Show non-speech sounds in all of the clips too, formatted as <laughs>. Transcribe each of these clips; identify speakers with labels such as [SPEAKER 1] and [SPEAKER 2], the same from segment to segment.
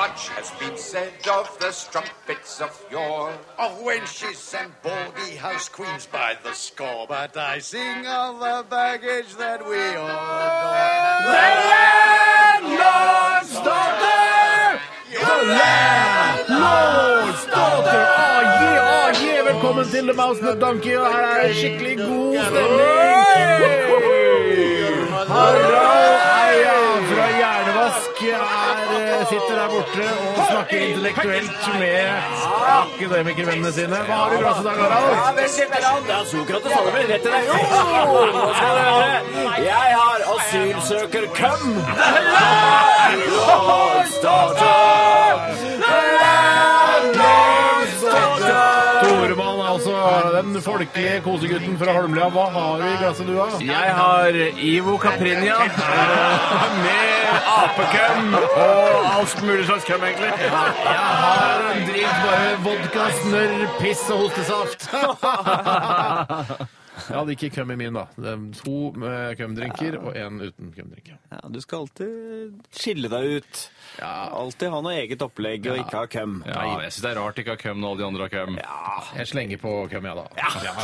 [SPEAKER 1] Much has been said of the strumpets of yore, of wenches and baldy house queens by the score. But I sing of the baggage that we all The landlord's daughter! The landlord's daughter!
[SPEAKER 2] Velkommen til The Mouse and the Donkey, og her er det skikkelig god stemning. Harald Eia fra Hjernevask er, eh, sitter der borte og snakker intellektuelt med akademikervennene sine. Hva har du i glasset i dag, Harald?
[SPEAKER 3] Sokrates holder meg rett i deg. Jo! Nå skal du høre. Jeg har asylsøker Køm.
[SPEAKER 2] Toremann, altså den folkelige kosegutten fra Holmlia. Hva har du i glasset, du, da?
[SPEAKER 3] Jeg har Ivo Caprinja eh, med apekøm og alt mulig slags køm, egentlig.
[SPEAKER 2] Jeg har en drink bare vodka, snørr, piss og hostesaft. Jeg hadde ikke køm i min, da. Det er To med kømdrinker og én uten kømdrink.
[SPEAKER 3] Ja, du skal alltid skille deg ut. Alltid ha noe eget opplegg og ikke ha køm.
[SPEAKER 4] Ja, jeg syns det er rart ikke har køm når alle de andre har køm.
[SPEAKER 2] Jeg slenger på køm, jeg, da.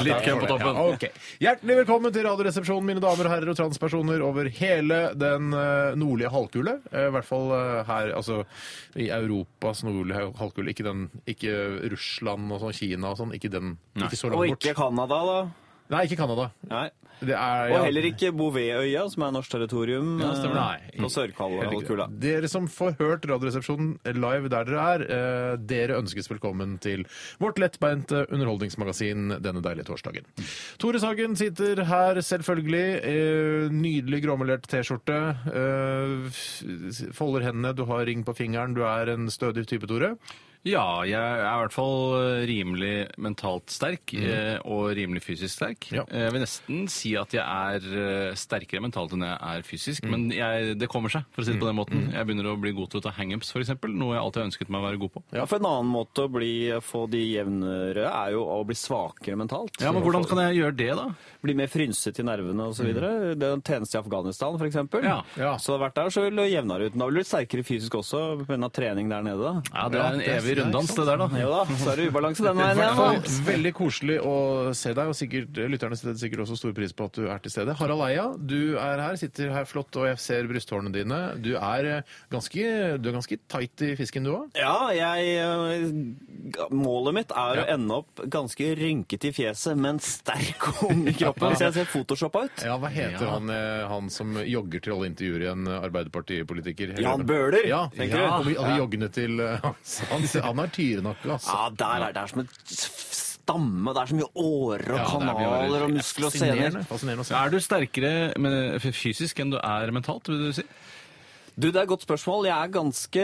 [SPEAKER 4] litt køm på toppen.
[SPEAKER 2] Ja, ok. Hjertelig velkommen til Radioresepsjonen, mine damer og herrer og transpersoner over hele den eh, nordlige halvkule. Eh, I hvert fall eh, her, altså i Europas nordlige halvkule. Ikke den Ikke Russland og sånn, Kina og sånn. Ikke den. Ikke så
[SPEAKER 3] Og
[SPEAKER 2] langt
[SPEAKER 3] ikke
[SPEAKER 2] bort.
[SPEAKER 3] Canada, da.
[SPEAKER 2] Nei, ikke Canada.
[SPEAKER 3] Nei.
[SPEAKER 2] Det er,
[SPEAKER 3] Og
[SPEAKER 2] ja.
[SPEAKER 3] heller ikke Bouvetøya, som er norsk territorium.
[SPEAKER 2] stemmer.
[SPEAKER 3] eh, På Sør-Kaldkula.
[SPEAKER 2] Dere som får hørt Radioresepsjonen live der dere er, eh, dere ønskes velkommen til vårt lettbeinte underholdningsmagasin denne deilige torsdagen. Tore Sagen sitter her, selvfølgelig. eh, Nydelig gråmelert T-skjorte. eh, f- Folder hendene, du har ring på fingeren, du er en stødig type, Tore.
[SPEAKER 4] Ja, jeg er i hvert fall eh, rimelig mentalt sterk, eh, og rimelig fysisk sterk.
[SPEAKER 2] Ja.
[SPEAKER 4] Eh, Jeg vil nesten si at jeg er eh, sterkere mentalt enn jeg er fysisk, men jeg, det kommer seg, for å si det på den måten. Jeg begynner å bli god til å ta hangups, f.eks., noe jeg alltid har ønsket meg å være god på.
[SPEAKER 3] Ja, eh, for En annen måte å bli, eh, få de jevnere er jo å bli svakere mentalt.
[SPEAKER 4] Ja, Men hvordan kan jeg gjøre det, da?
[SPEAKER 3] Bli mer frynset i nervene osv. Mm. Det er en tjeneste i Afghanistan, f.eks.
[SPEAKER 4] Ja.
[SPEAKER 2] Ja.
[SPEAKER 3] Så det har vært der, så vil det jevnere ut. Da blir du sterkere fysisk også pga. trening der nede. da.
[SPEAKER 4] Ja, Det er en
[SPEAKER 2] det er-
[SPEAKER 4] evig
[SPEAKER 2] det er
[SPEAKER 4] runddans, det der, da.
[SPEAKER 3] Jo da, så er det ubalanse den
[SPEAKER 2] I <laughs>
[SPEAKER 3] veien.
[SPEAKER 2] hvert fall
[SPEAKER 3] Ja.
[SPEAKER 2] veldig koselig å se deg, og sikkert, eh, lytterne setter sikkert også stor pris på at du er til stede. Harald Eia, du er her, sitter her flott, og jeg ser brysthårene dine. Du er eh, ganske, du er ganske tight i fisken, du òg?
[SPEAKER 3] Ja, jeg, eh, ga- målet mitt er å
[SPEAKER 2] Ja.
[SPEAKER 3] ende opp ganske rynkete i fjeset, men sterk og ung i kroppen, så jeg ser photoshoppa ut.
[SPEAKER 2] Ja, hva heter han, eh, han som jogger til alle intervjuer i en Arbeiderpartipolitiker?
[SPEAKER 3] Jan Bøhler,
[SPEAKER 2] Ja,
[SPEAKER 3] tenker
[SPEAKER 2] ja.
[SPEAKER 3] du?
[SPEAKER 2] Og vi- alle joggene til eh, hans- Han, han er tyrenakke, altså.
[SPEAKER 3] Ja, der er det er som en stamme. Det er så mye årer og
[SPEAKER 2] Ja, det er mye
[SPEAKER 4] årer.
[SPEAKER 3] kanaler og muskler og sener.
[SPEAKER 2] Fascinerende å se.
[SPEAKER 4] Er du sterkere men, fysisk enn du er mentalt, vil du si?
[SPEAKER 3] Du, det er et godt spørsmål. Jeg er ganske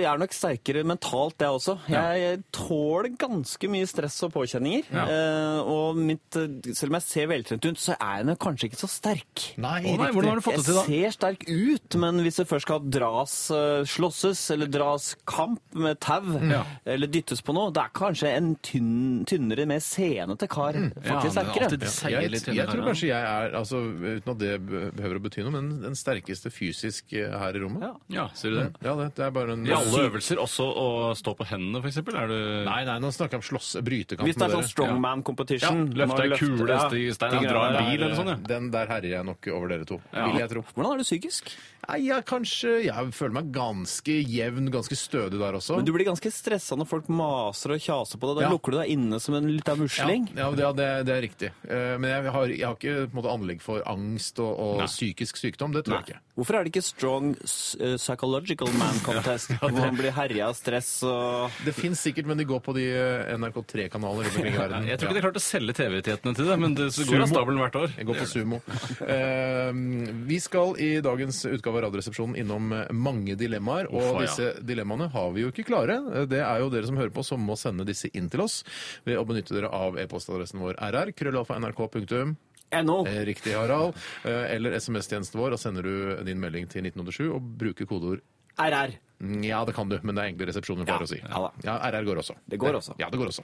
[SPEAKER 3] Jeg er nok sterkere mentalt, jeg også. Jeg tåler ganske mye stress og påkjenninger.
[SPEAKER 4] Ja.
[SPEAKER 3] Eh, og mitt, eh, selv om jeg ser veltrent ut, så er jeg nok kanskje ikke så sterk.
[SPEAKER 2] Nei,
[SPEAKER 4] Å nei,
[SPEAKER 2] riktig.
[SPEAKER 4] hvordan har du fått
[SPEAKER 3] Jeg
[SPEAKER 4] det til, da?
[SPEAKER 3] ser sterk ut, men hvis det først skal dras, eh, slåsses eller dras kamp med tau,
[SPEAKER 4] Mm. Ja.
[SPEAKER 3] eller dyttes på noe, det er kanskje en tynn, tynnere, mer senete kar faktisk
[SPEAKER 4] Mm. Ja, men
[SPEAKER 3] sterkere.
[SPEAKER 4] alltid seier
[SPEAKER 2] Jeg,
[SPEAKER 4] litt
[SPEAKER 2] jeg
[SPEAKER 4] under
[SPEAKER 2] tror
[SPEAKER 4] her, ja.
[SPEAKER 2] kanskje jeg er, altså, uten at det behøver å bety noe, men den sterkeste fysisk eh, her i rommet. Ja,
[SPEAKER 4] Ja, ser du det?
[SPEAKER 2] det, det er bare en
[SPEAKER 4] I alle øvelser, også å stå på hendene, f.eks.? Er du
[SPEAKER 2] Nei, nei, nå snakker jeg om slåss, brytekamp
[SPEAKER 3] Hvis det er
[SPEAKER 2] med
[SPEAKER 3] sånn
[SPEAKER 2] dere.
[SPEAKER 3] strongman competition
[SPEAKER 4] Ja, løfte ei kule, stige i stein,
[SPEAKER 3] de
[SPEAKER 4] ja, dra
[SPEAKER 3] greiene
[SPEAKER 4] en
[SPEAKER 3] der.
[SPEAKER 4] bil eller sånn, ja.
[SPEAKER 2] Den der herjer jeg nok over dere to, vil jeg tro.
[SPEAKER 3] Hvordan er du psykisk?
[SPEAKER 2] Nei, jeg kanskje Jeg føler meg ganske jevn, ganske stødig der også.
[SPEAKER 3] Men du blir ganske stressa når folk maser og kjaser på deg. Da
[SPEAKER 2] Ja.
[SPEAKER 3] lukker du deg inne som en liten musling.
[SPEAKER 2] Ja, ja det, det, det er riktig. Eh, Men jeg har, jeg har ikke på en måte, anlegg for angst og, og psykisk sykdom. Det tror jeg ikke.
[SPEAKER 3] Hvorfor er det ikke Strong s- eh, Psychological Man Contest? Hvor man blir herja av stress og
[SPEAKER 2] Det fins sikkert, men de går på de eh, NRK3-kanaler rundt
[SPEAKER 4] <laughs>
[SPEAKER 2] omkring i verden.
[SPEAKER 4] Jeg tror ikke de
[SPEAKER 2] Ja.
[SPEAKER 4] klarte å selge TV-rettighetene til det, men det så går av stabelen hvert år.
[SPEAKER 2] Jeg går på sumo. Eh, vi skal i dagens utgave av Radioresepsjonen innom eh, mange dilemmaer, og
[SPEAKER 4] Uffa, ja.
[SPEAKER 2] disse dilemmaene har vi jo ikke klare. Eh, Det er jo dere som hører på som må sende disse inn til oss ved å benytte dere av e-postadressen vår rr. krøllalfa.nrk. punktum.
[SPEAKER 3] NO.
[SPEAKER 2] Eh, Riktig, Harald. Eh, Eller SMS-tjenesten vår, og sender du din melding til 1987 og bruker kodeord
[SPEAKER 3] RR.
[SPEAKER 2] ja, det kan du, men det er egentlig resepsjonen vi pleier
[SPEAKER 3] Ja,
[SPEAKER 2] å si.
[SPEAKER 3] ja da.
[SPEAKER 2] RR går også.
[SPEAKER 3] Det går også.
[SPEAKER 2] Ja, det går også.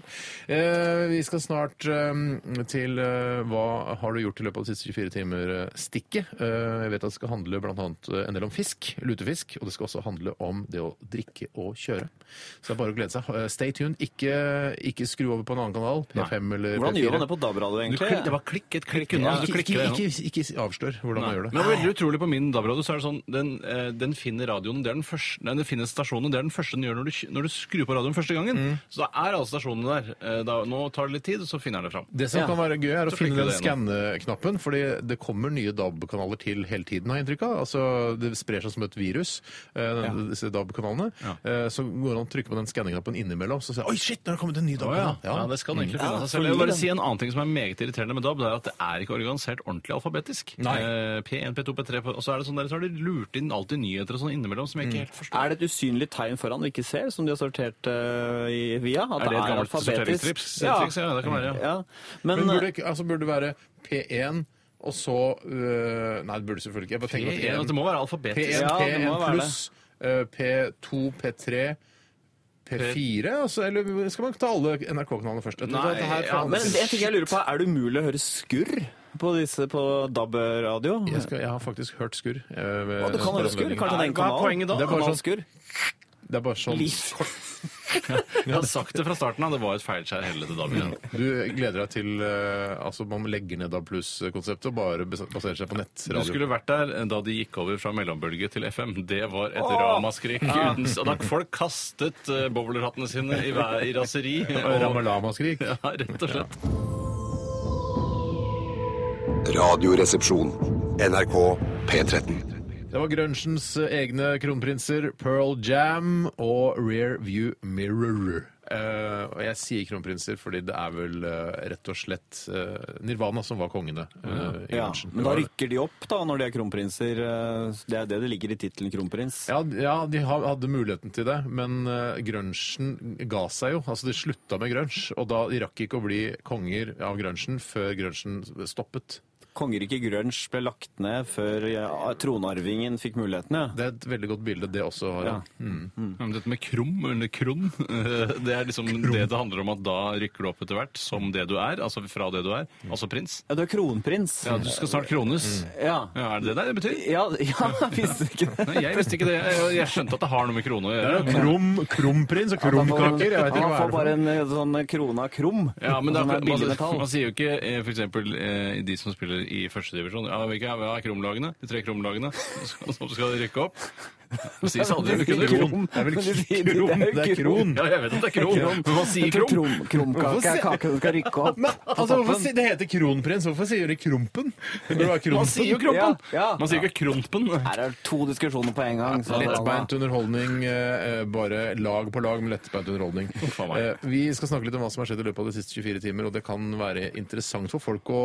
[SPEAKER 2] Eh, vi skal snart eh, til eh, hva har du gjort i løpet av de siste 24 timer-stikket. Eh, jeg vet at det skal handle bl.a. en del om fisk, lutefisk, og det skal også handle om det å drikke og kjøre. Så det er bare å glede seg. Eh, stay tuned. Ikke, ikke skru over på en annen kanal, P5 eller P4.
[SPEAKER 3] Hvordan gjør man det på DAB-radio,
[SPEAKER 4] Du
[SPEAKER 3] egentlig?
[SPEAKER 4] klik, det var klikk, et klikk unna. Du
[SPEAKER 2] Ikke,
[SPEAKER 4] klikker
[SPEAKER 2] ikke,
[SPEAKER 4] det nå.
[SPEAKER 2] ikke, ikke avslør hvordan man gjør det.
[SPEAKER 4] Men det var veldig utrolig på min DAB-radio så er det sånn, den, eh, den finner radioen, det er den første, nei, den finner stasjonen, det er den første den gjør når du, kj- når du skrur på radioen første gangen.
[SPEAKER 2] Mm.
[SPEAKER 4] Så da er alle stasjonene der. Eh, Da, nå tar det litt tid, så finner den det fram.
[SPEAKER 2] Det som
[SPEAKER 3] Ja.
[SPEAKER 2] kan være gøy, er å
[SPEAKER 4] Så
[SPEAKER 2] finne den
[SPEAKER 4] klikker du det gjennom.
[SPEAKER 2] skanne-knappen, fordi det kommer nye DAB-kanaler til hele tiden, har jeg inntrykk av. Altså, det sprer seg som et virus, eh, den- disse DAB-kanalene.
[SPEAKER 4] Ja.
[SPEAKER 2] Eh, Så går det an å trykke på den skanne-knappen innimellom, så sier jeg, oi, shit, nå har det kommet en ny
[SPEAKER 4] Å ja.
[SPEAKER 2] DAB-kanal.
[SPEAKER 4] ja, det skal den egentlig finne
[SPEAKER 3] Ja,
[SPEAKER 4] seg selv. Jeg vil
[SPEAKER 3] fordi
[SPEAKER 4] bare
[SPEAKER 3] den-
[SPEAKER 4] si en annen ting som er meget irriterende med DAB, det er at det er ikke organisert ordentlig alfabetisk.
[SPEAKER 2] Nei.
[SPEAKER 4] Eh, P1, P2, P3, og så er det sånn der, så har de lurt inn alltid nyheter og sånn innimellom som jeg
[SPEAKER 2] Mm.
[SPEAKER 4] ikke helt forstår.
[SPEAKER 3] Er det et usynlig tegn foran vi ikke ser, som de har sortert eh, i, via? At
[SPEAKER 4] Er det et gammelt
[SPEAKER 3] alfabetisk?
[SPEAKER 4] sorteringstriks?
[SPEAKER 3] Ja.
[SPEAKER 4] Triks, ja, det
[SPEAKER 2] Mm.
[SPEAKER 4] kan være, ja.
[SPEAKER 3] ja. Men,
[SPEAKER 2] Men burde, ikke- altså, burde det være P1, og så øh, Nei, det burde det selvfølgelig ikke. Jeg bare tenker
[SPEAKER 4] P1, at altså, det
[SPEAKER 2] på
[SPEAKER 4] må være
[SPEAKER 2] P1, P1,
[SPEAKER 4] alfabetisk.
[SPEAKER 3] Ja, det må
[SPEAKER 2] P1
[SPEAKER 3] være
[SPEAKER 2] pluss, øh, P2, P3 P4, altså, eller skal man ta alle NRK-kanalene først? Jeg tror
[SPEAKER 4] Nei,
[SPEAKER 2] dette her
[SPEAKER 4] ja,
[SPEAKER 2] forhandles-
[SPEAKER 3] eh, men en ting jeg lurer på, er det umulig å høre skurr på disse på DAB-radio?
[SPEAKER 2] Jeg, skal, jeg har faktisk hørt skurr. eh, ved-
[SPEAKER 3] Å, Du kan høre skurr, kanskje det er en
[SPEAKER 4] Hva er
[SPEAKER 3] kanal?
[SPEAKER 4] poenget da?
[SPEAKER 3] Det er bare
[SPEAKER 2] Kanal
[SPEAKER 3] sånn skurr.
[SPEAKER 2] Det er bare sånn
[SPEAKER 4] Jeg har sagt det fra starten av, det var et feilskjær helvete DAB igjen.
[SPEAKER 2] Du gleder deg til eh, Altså, man legger ned DAB pluss-konseptet og bare bas- baserer seg på
[SPEAKER 4] Du
[SPEAKER 2] nettradio.
[SPEAKER 4] skulle vært der eh, da de gikk over fra mellombølge til FM. Det var et ramaskrik. uten s- Og da folk kastet eh, bowlerhattene sine i, vær, i raseri.
[SPEAKER 2] Og
[SPEAKER 4] Og,
[SPEAKER 2] Ramalama-skrik.
[SPEAKER 4] <laughs> ja, rett og slett.
[SPEAKER 5] Radioresepsjon. NRK P13.
[SPEAKER 2] Det var grunchens egne kronprinser Pearl Jam og Rear View Mirror. Eh, og jeg sier kronprinser fordi det er vel eh, rett og slett eh, Nirvana som var kongene eh, i
[SPEAKER 3] Ja,
[SPEAKER 2] grunchen.
[SPEAKER 3] men da rykker de opp da når de er kronprinser. eh, Det er det det ligger i tittelen kronprins.
[SPEAKER 2] Ja, d- ja de ha- hadde muligheten til det, men uh, grunchen ga seg jo. Altså, De slutta med grunge, og da de rakk ikke å bli konger av grunchen før grunchen stoppet.
[SPEAKER 3] Kongeriket grunge ble lagt ned før ja, tronarvingen fikk muligheten, ja.
[SPEAKER 2] Det er et veldig godt bilde, det også. Harald.
[SPEAKER 3] Ja.
[SPEAKER 4] Ja, men Dette med krum <laughs> under kron, eh, det er liksom det det handler om at da rykker du opp etter hvert som det du er, altså fra det du er, altså prins.
[SPEAKER 3] Ja, du er kronprins.
[SPEAKER 4] Ja, du skal snart krones. Mm.
[SPEAKER 3] Ja.
[SPEAKER 4] Ja, er det det der det betyr?
[SPEAKER 3] Ja, ja <laughs> visste ikke det.
[SPEAKER 4] Nei, jeg visste ikke det. Jeg- Jeg skjønte at det har noe med krone å
[SPEAKER 2] Det er jo
[SPEAKER 4] gjøre.
[SPEAKER 2] krum, krumprins og krumkaker. Jeg vet ikke
[SPEAKER 3] Han
[SPEAKER 2] hva
[SPEAKER 3] får
[SPEAKER 2] er det
[SPEAKER 3] bare
[SPEAKER 2] for.
[SPEAKER 3] en eh, sånn krona Sånn krum.
[SPEAKER 4] Ja, men det er,
[SPEAKER 3] som er billig
[SPEAKER 4] man,
[SPEAKER 3] metall.
[SPEAKER 4] man sier jo ikke eh, for eksempel eh, de som spiller i første divisjon Ja, hvilke er, hva er kromlagene? De tre kromlagene <laughs> som skal- som skal rykke opp? Det sies aldri
[SPEAKER 3] Det
[SPEAKER 4] med
[SPEAKER 3] <laughs>
[SPEAKER 4] kunne
[SPEAKER 3] sier
[SPEAKER 4] kron.
[SPEAKER 3] kron.
[SPEAKER 2] Det er vel ikke kron, det er kron.
[SPEAKER 3] Men de sier det er jo
[SPEAKER 4] Ja, jeg vet at det er kron, men man sier
[SPEAKER 3] Jeg tror
[SPEAKER 4] krom.
[SPEAKER 3] Krom, kromkake er kake du skal rykke opp.
[SPEAKER 2] Men, altså, hvorfor,
[SPEAKER 3] toppen.
[SPEAKER 2] si- det heter kronprins. Hvorfor sier de krumpen? Det burde være
[SPEAKER 4] Man sier jo
[SPEAKER 2] krompen.
[SPEAKER 4] krompen!
[SPEAKER 3] Ja, ja.
[SPEAKER 4] Man sier ikke krompen.
[SPEAKER 3] Her er det to diskusjoner på en gang. så-
[SPEAKER 2] Lettbeint underholdning, eh, eh, bare lag på lag med lettbeint underholdning.
[SPEAKER 4] <laughs> faen meg.
[SPEAKER 2] Eh, vi skal snakke litt om hva som har skjedd i løpet av de siste 24 timer, og det kan være interessant for folk å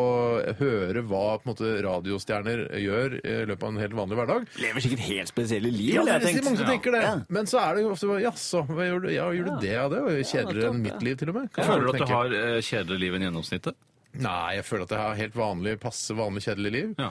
[SPEAKER 2] høre hva på en måte, radiostjerner gjør eh, i løpet av en helt vanlig hverdag.
[SPEAKER 3] Lever sikkert helt spesielle liv,
[SPEAKER 2] Ja, det
[SPEAKER 3] ville
[SPEAKER 2] er
[SPEAKER 3] jeg
[SPEAKER 2] mange som
[SPEAKER 3] tenkt.
[SPEAKER 2] tenker det. Men så er det jo ofte bare Jaså, hva gjør du? Ja, gjør du det av det? Og Kjedeligere enn mitt liv, til og med. kan
[SPEAKER 4] Føler du
[SPEAKER 2] folk
[SPEAKER 4] at du
[SPEAKER 2] tenke.
[SPEAKER 4] har eh, kjedeligere liv enn gjennomsnittet?
[SPEAKER 2] Nei, jeg føler at jeg har helt vanlig, passe vanlig kjedelig liv.
[SPEAKER 4] Ja.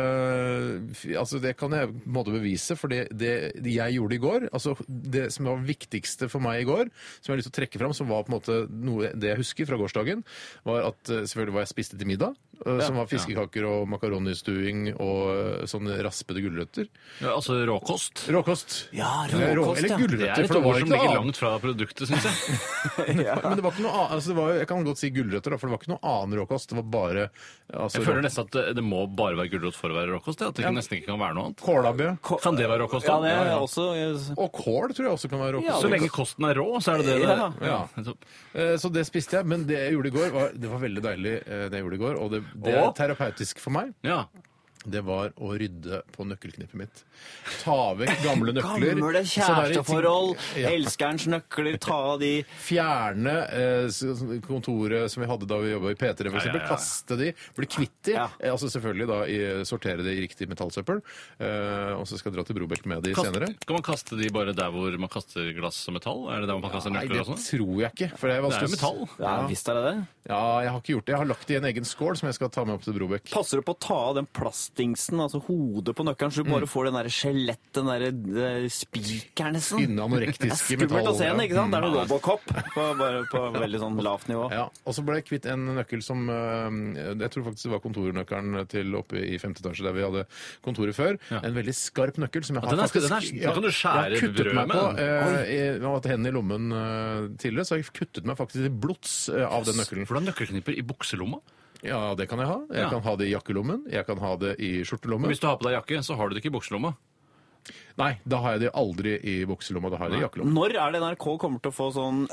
[SPEAKER 2] Eh, f- altså Det kan jeg på en måte bevise, for det, det jeg gjorde i går altså Det som var viktigste for meg i går, som jeg har lyst til å trekke fram, som var på en måte noe det jeg husker fra gårsdagen, var at eh, selvfølgelig hva jeg spiste til middag, eh, som var fiskekaker og makaronistuing og eh, sånne raspede gulrøtter.
[SPEAKER 4] Ja, altså råkost.
[SPEAKER 2] Råkost.
[SPEAKER 3] Ja,
[SPEAKER 2] Eh, rå-
[SPEAKER 3] råkost, ja.
[SPEAKER 2] Eller
[SPEAKER 4] Det
[SPEAKER 2] gulrøtter,
[SPEAKER 4] er et
[SPEAKER 2] for det
[SPEAKER 4] ord
[SPEAKER 2] var
[SPEAKER 4] som
[SPEAKER 2] ikke
[SPEAKER 4] ligger
[SPEAKER 2] noe annet.
[SPEAKER 4] langt fra produktet, syns jeg. <laughs>
[SPEAKER 2] Men det var ikke noe annet, altså det var, jo- jeg kan godt si gulrøtter, da, for det var ikke noe annen råkost. Det var bare altså,
[SPEAKER 4] Jeg føler nesten at det- det må bare være gulrot for å være råkost. ja, At det
[SPEAKER 2] Ja.
[SPEAKER 4] nesten ikke kan være noe annet.
[SPEAKER 2] kålabø.
[SPEAKER 4] Kan det være råkost?
[SPEAKER 3] Ja,
[SPEAKER 4] da?
[SPEAKER 3] det er også eh,
[SPEAKER 2] Og kål tror jeg også kan være råkost.
[SPEAKER 3] Ja,
[SPEAKER 4] Så lenge kosten er rå, så er det det. det.
[SPEAKER 3] Ja.
[SPEAKER 2] Ja.
[SPEAKER 4] nettopp.
[SPEAKER 2] Eh, Så det spiste jeg, men det jeg gjorde i går var, det var veldig deilig eh, det jeg gjorde i går, og det, det er
[SPEAKER 4] Og?
[SPEAKER 2] terapeutisk for meg.
[SPEAKER 4] ja.
[SPEAKER 2] Det var å rydde på nøkkelknippet mitt. Ta vekk gamle nøkler.
[SPEAKER 3] Gamle
[SPEAKER 2] sånne der ting-
[SPEAKER 3] kjæresteforhold,
[SPEAKER 2] Ja.
[SPEAKER 3] elskerens nøkler, ta av de
[SPEAKER 2] Fjerne eh, s- s- kontoret som vi hadde da vi jobba i P3, for eksempel.
[SPEAKER 4] ja, ja.
[SPEAKER 2] Kaste de, bli kvitt de.
[SPEAKER 3] Ja.
[SPEAKER 2] Eh, Altså selvfølgelig da i, sortere de i riktig metallsøppel. Eh, og så skal jeg dra til Brobekk med de senere.
[SPEAKER 4] Kan man kaste de bare der hvor man kaster glass og metall? Er det der man kaster
[SPEAKER 2] Nei,
[SPEAKER 4] nøkler
[SPEAKER 2] det
[SPEAKER 4] og sånn?
[SPEAKER 2] tror jeg ikke. For det er
[SPEAKER 4] Det er jo
[SPEAKER 2] vanskelig å s-
[SPEAKER 4] metall.
[SPEAKER 3] ja, Visst er det det.
[SPEAKER 2] Ja, jeg har ikke gjort det. Jeg har lagt det i en egen skål som jeg skal ta med opp til Brobekk.
[SPEAKER 3] Passer du på å ta av den plastingsen, altså hodet på nøkkelen, så du
[SPEAKER 2] Mm.
[SPEAKER 3] bare får den der skjelett, den der eh, spikeren
[SPEAKER 4] Mm.
[SPEAKER 3] nesten?
[SPEAKER 2] Innen
[SPEAKER 4] <laughs>
[SPEAKER 3] Det er
[SPEAKER 2] anorektiske
[SPEAKER 3] skummelt å se den,
[SPEAKER 2] ja.
[SPEAKER 3] ikke sant? Det er noe Robocop på, bare på
[SPEAKER 2] <laughs>
[SPEAKER 3] veldig sånn lavt nivå.
[SPEAKER 2] Mm. Ja, og så ble jeg kvitt en nøkkel som eh, Jeg tror faktisk det var kontornøkkelen til oppe i femte etasje der vi hadde kontoret før. En veldig skarp nøkkel som jeg har
[SPEAKER 4] den er-
[SPEAKER 2] faktisk
[SPEAKER 4] den er- den kan du skjære
[SPEAKER 2] jeg har kuttet
[SPEAKER 4] brød
[SPEAKER 2] meg
[SPEAKER 4] med.
[SPEAKER 2] på. eh, jeg har hatt hendene i lommen eh, tidligere, så har jeg kuttet meg faktisk til blods eh, av den nøkkelen.
[SPEAKER 4] For du har nøkkelknipper i bukselomma.
[SPEAKER 2] Ja, det kan jeg ha. Jeg
[SPEAKER 4] Ja.
[SPEAKER 2] kan ha det i jakkelommen. Jeg kan ha det i skjortelommen.
[SPEAKER 4] Hvis du har på deg jakke, så har du det ikke i bukselomma.
[SPEAKER 2] Nei, da har jeg det aldri i bukselomma. Da har jeg det i jakkelommen.
[SPEAKER 3] Når er det NRK kommer til å få sånn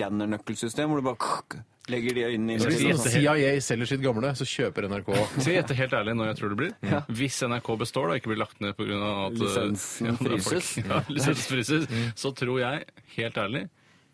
[SPEAKER 3] øyeskannernøkkelsystem, hvor du bare kuk, legger de øynene
[SPEAKER 4] Skal vi
[SPEAKER 3] inn i sånn-
[SPEAKER 4] si-
[SPEAKER 2] Hvis CIA selger sitt gamle, så kjøper NRK.
[SPEAKER 4] Skal jeg gjette helt ærlig når jeg tror det blir? Hvis NRK består og ikke blir lagt ned pga. at eh,
[SPEAKER 3] Lisensen
[SPEAKER 4] det er folk-
[SPEAKER 3] fryses.
[SPEAKER 4] Ja, lisensen fryses, så tror jeg, helt ærlig,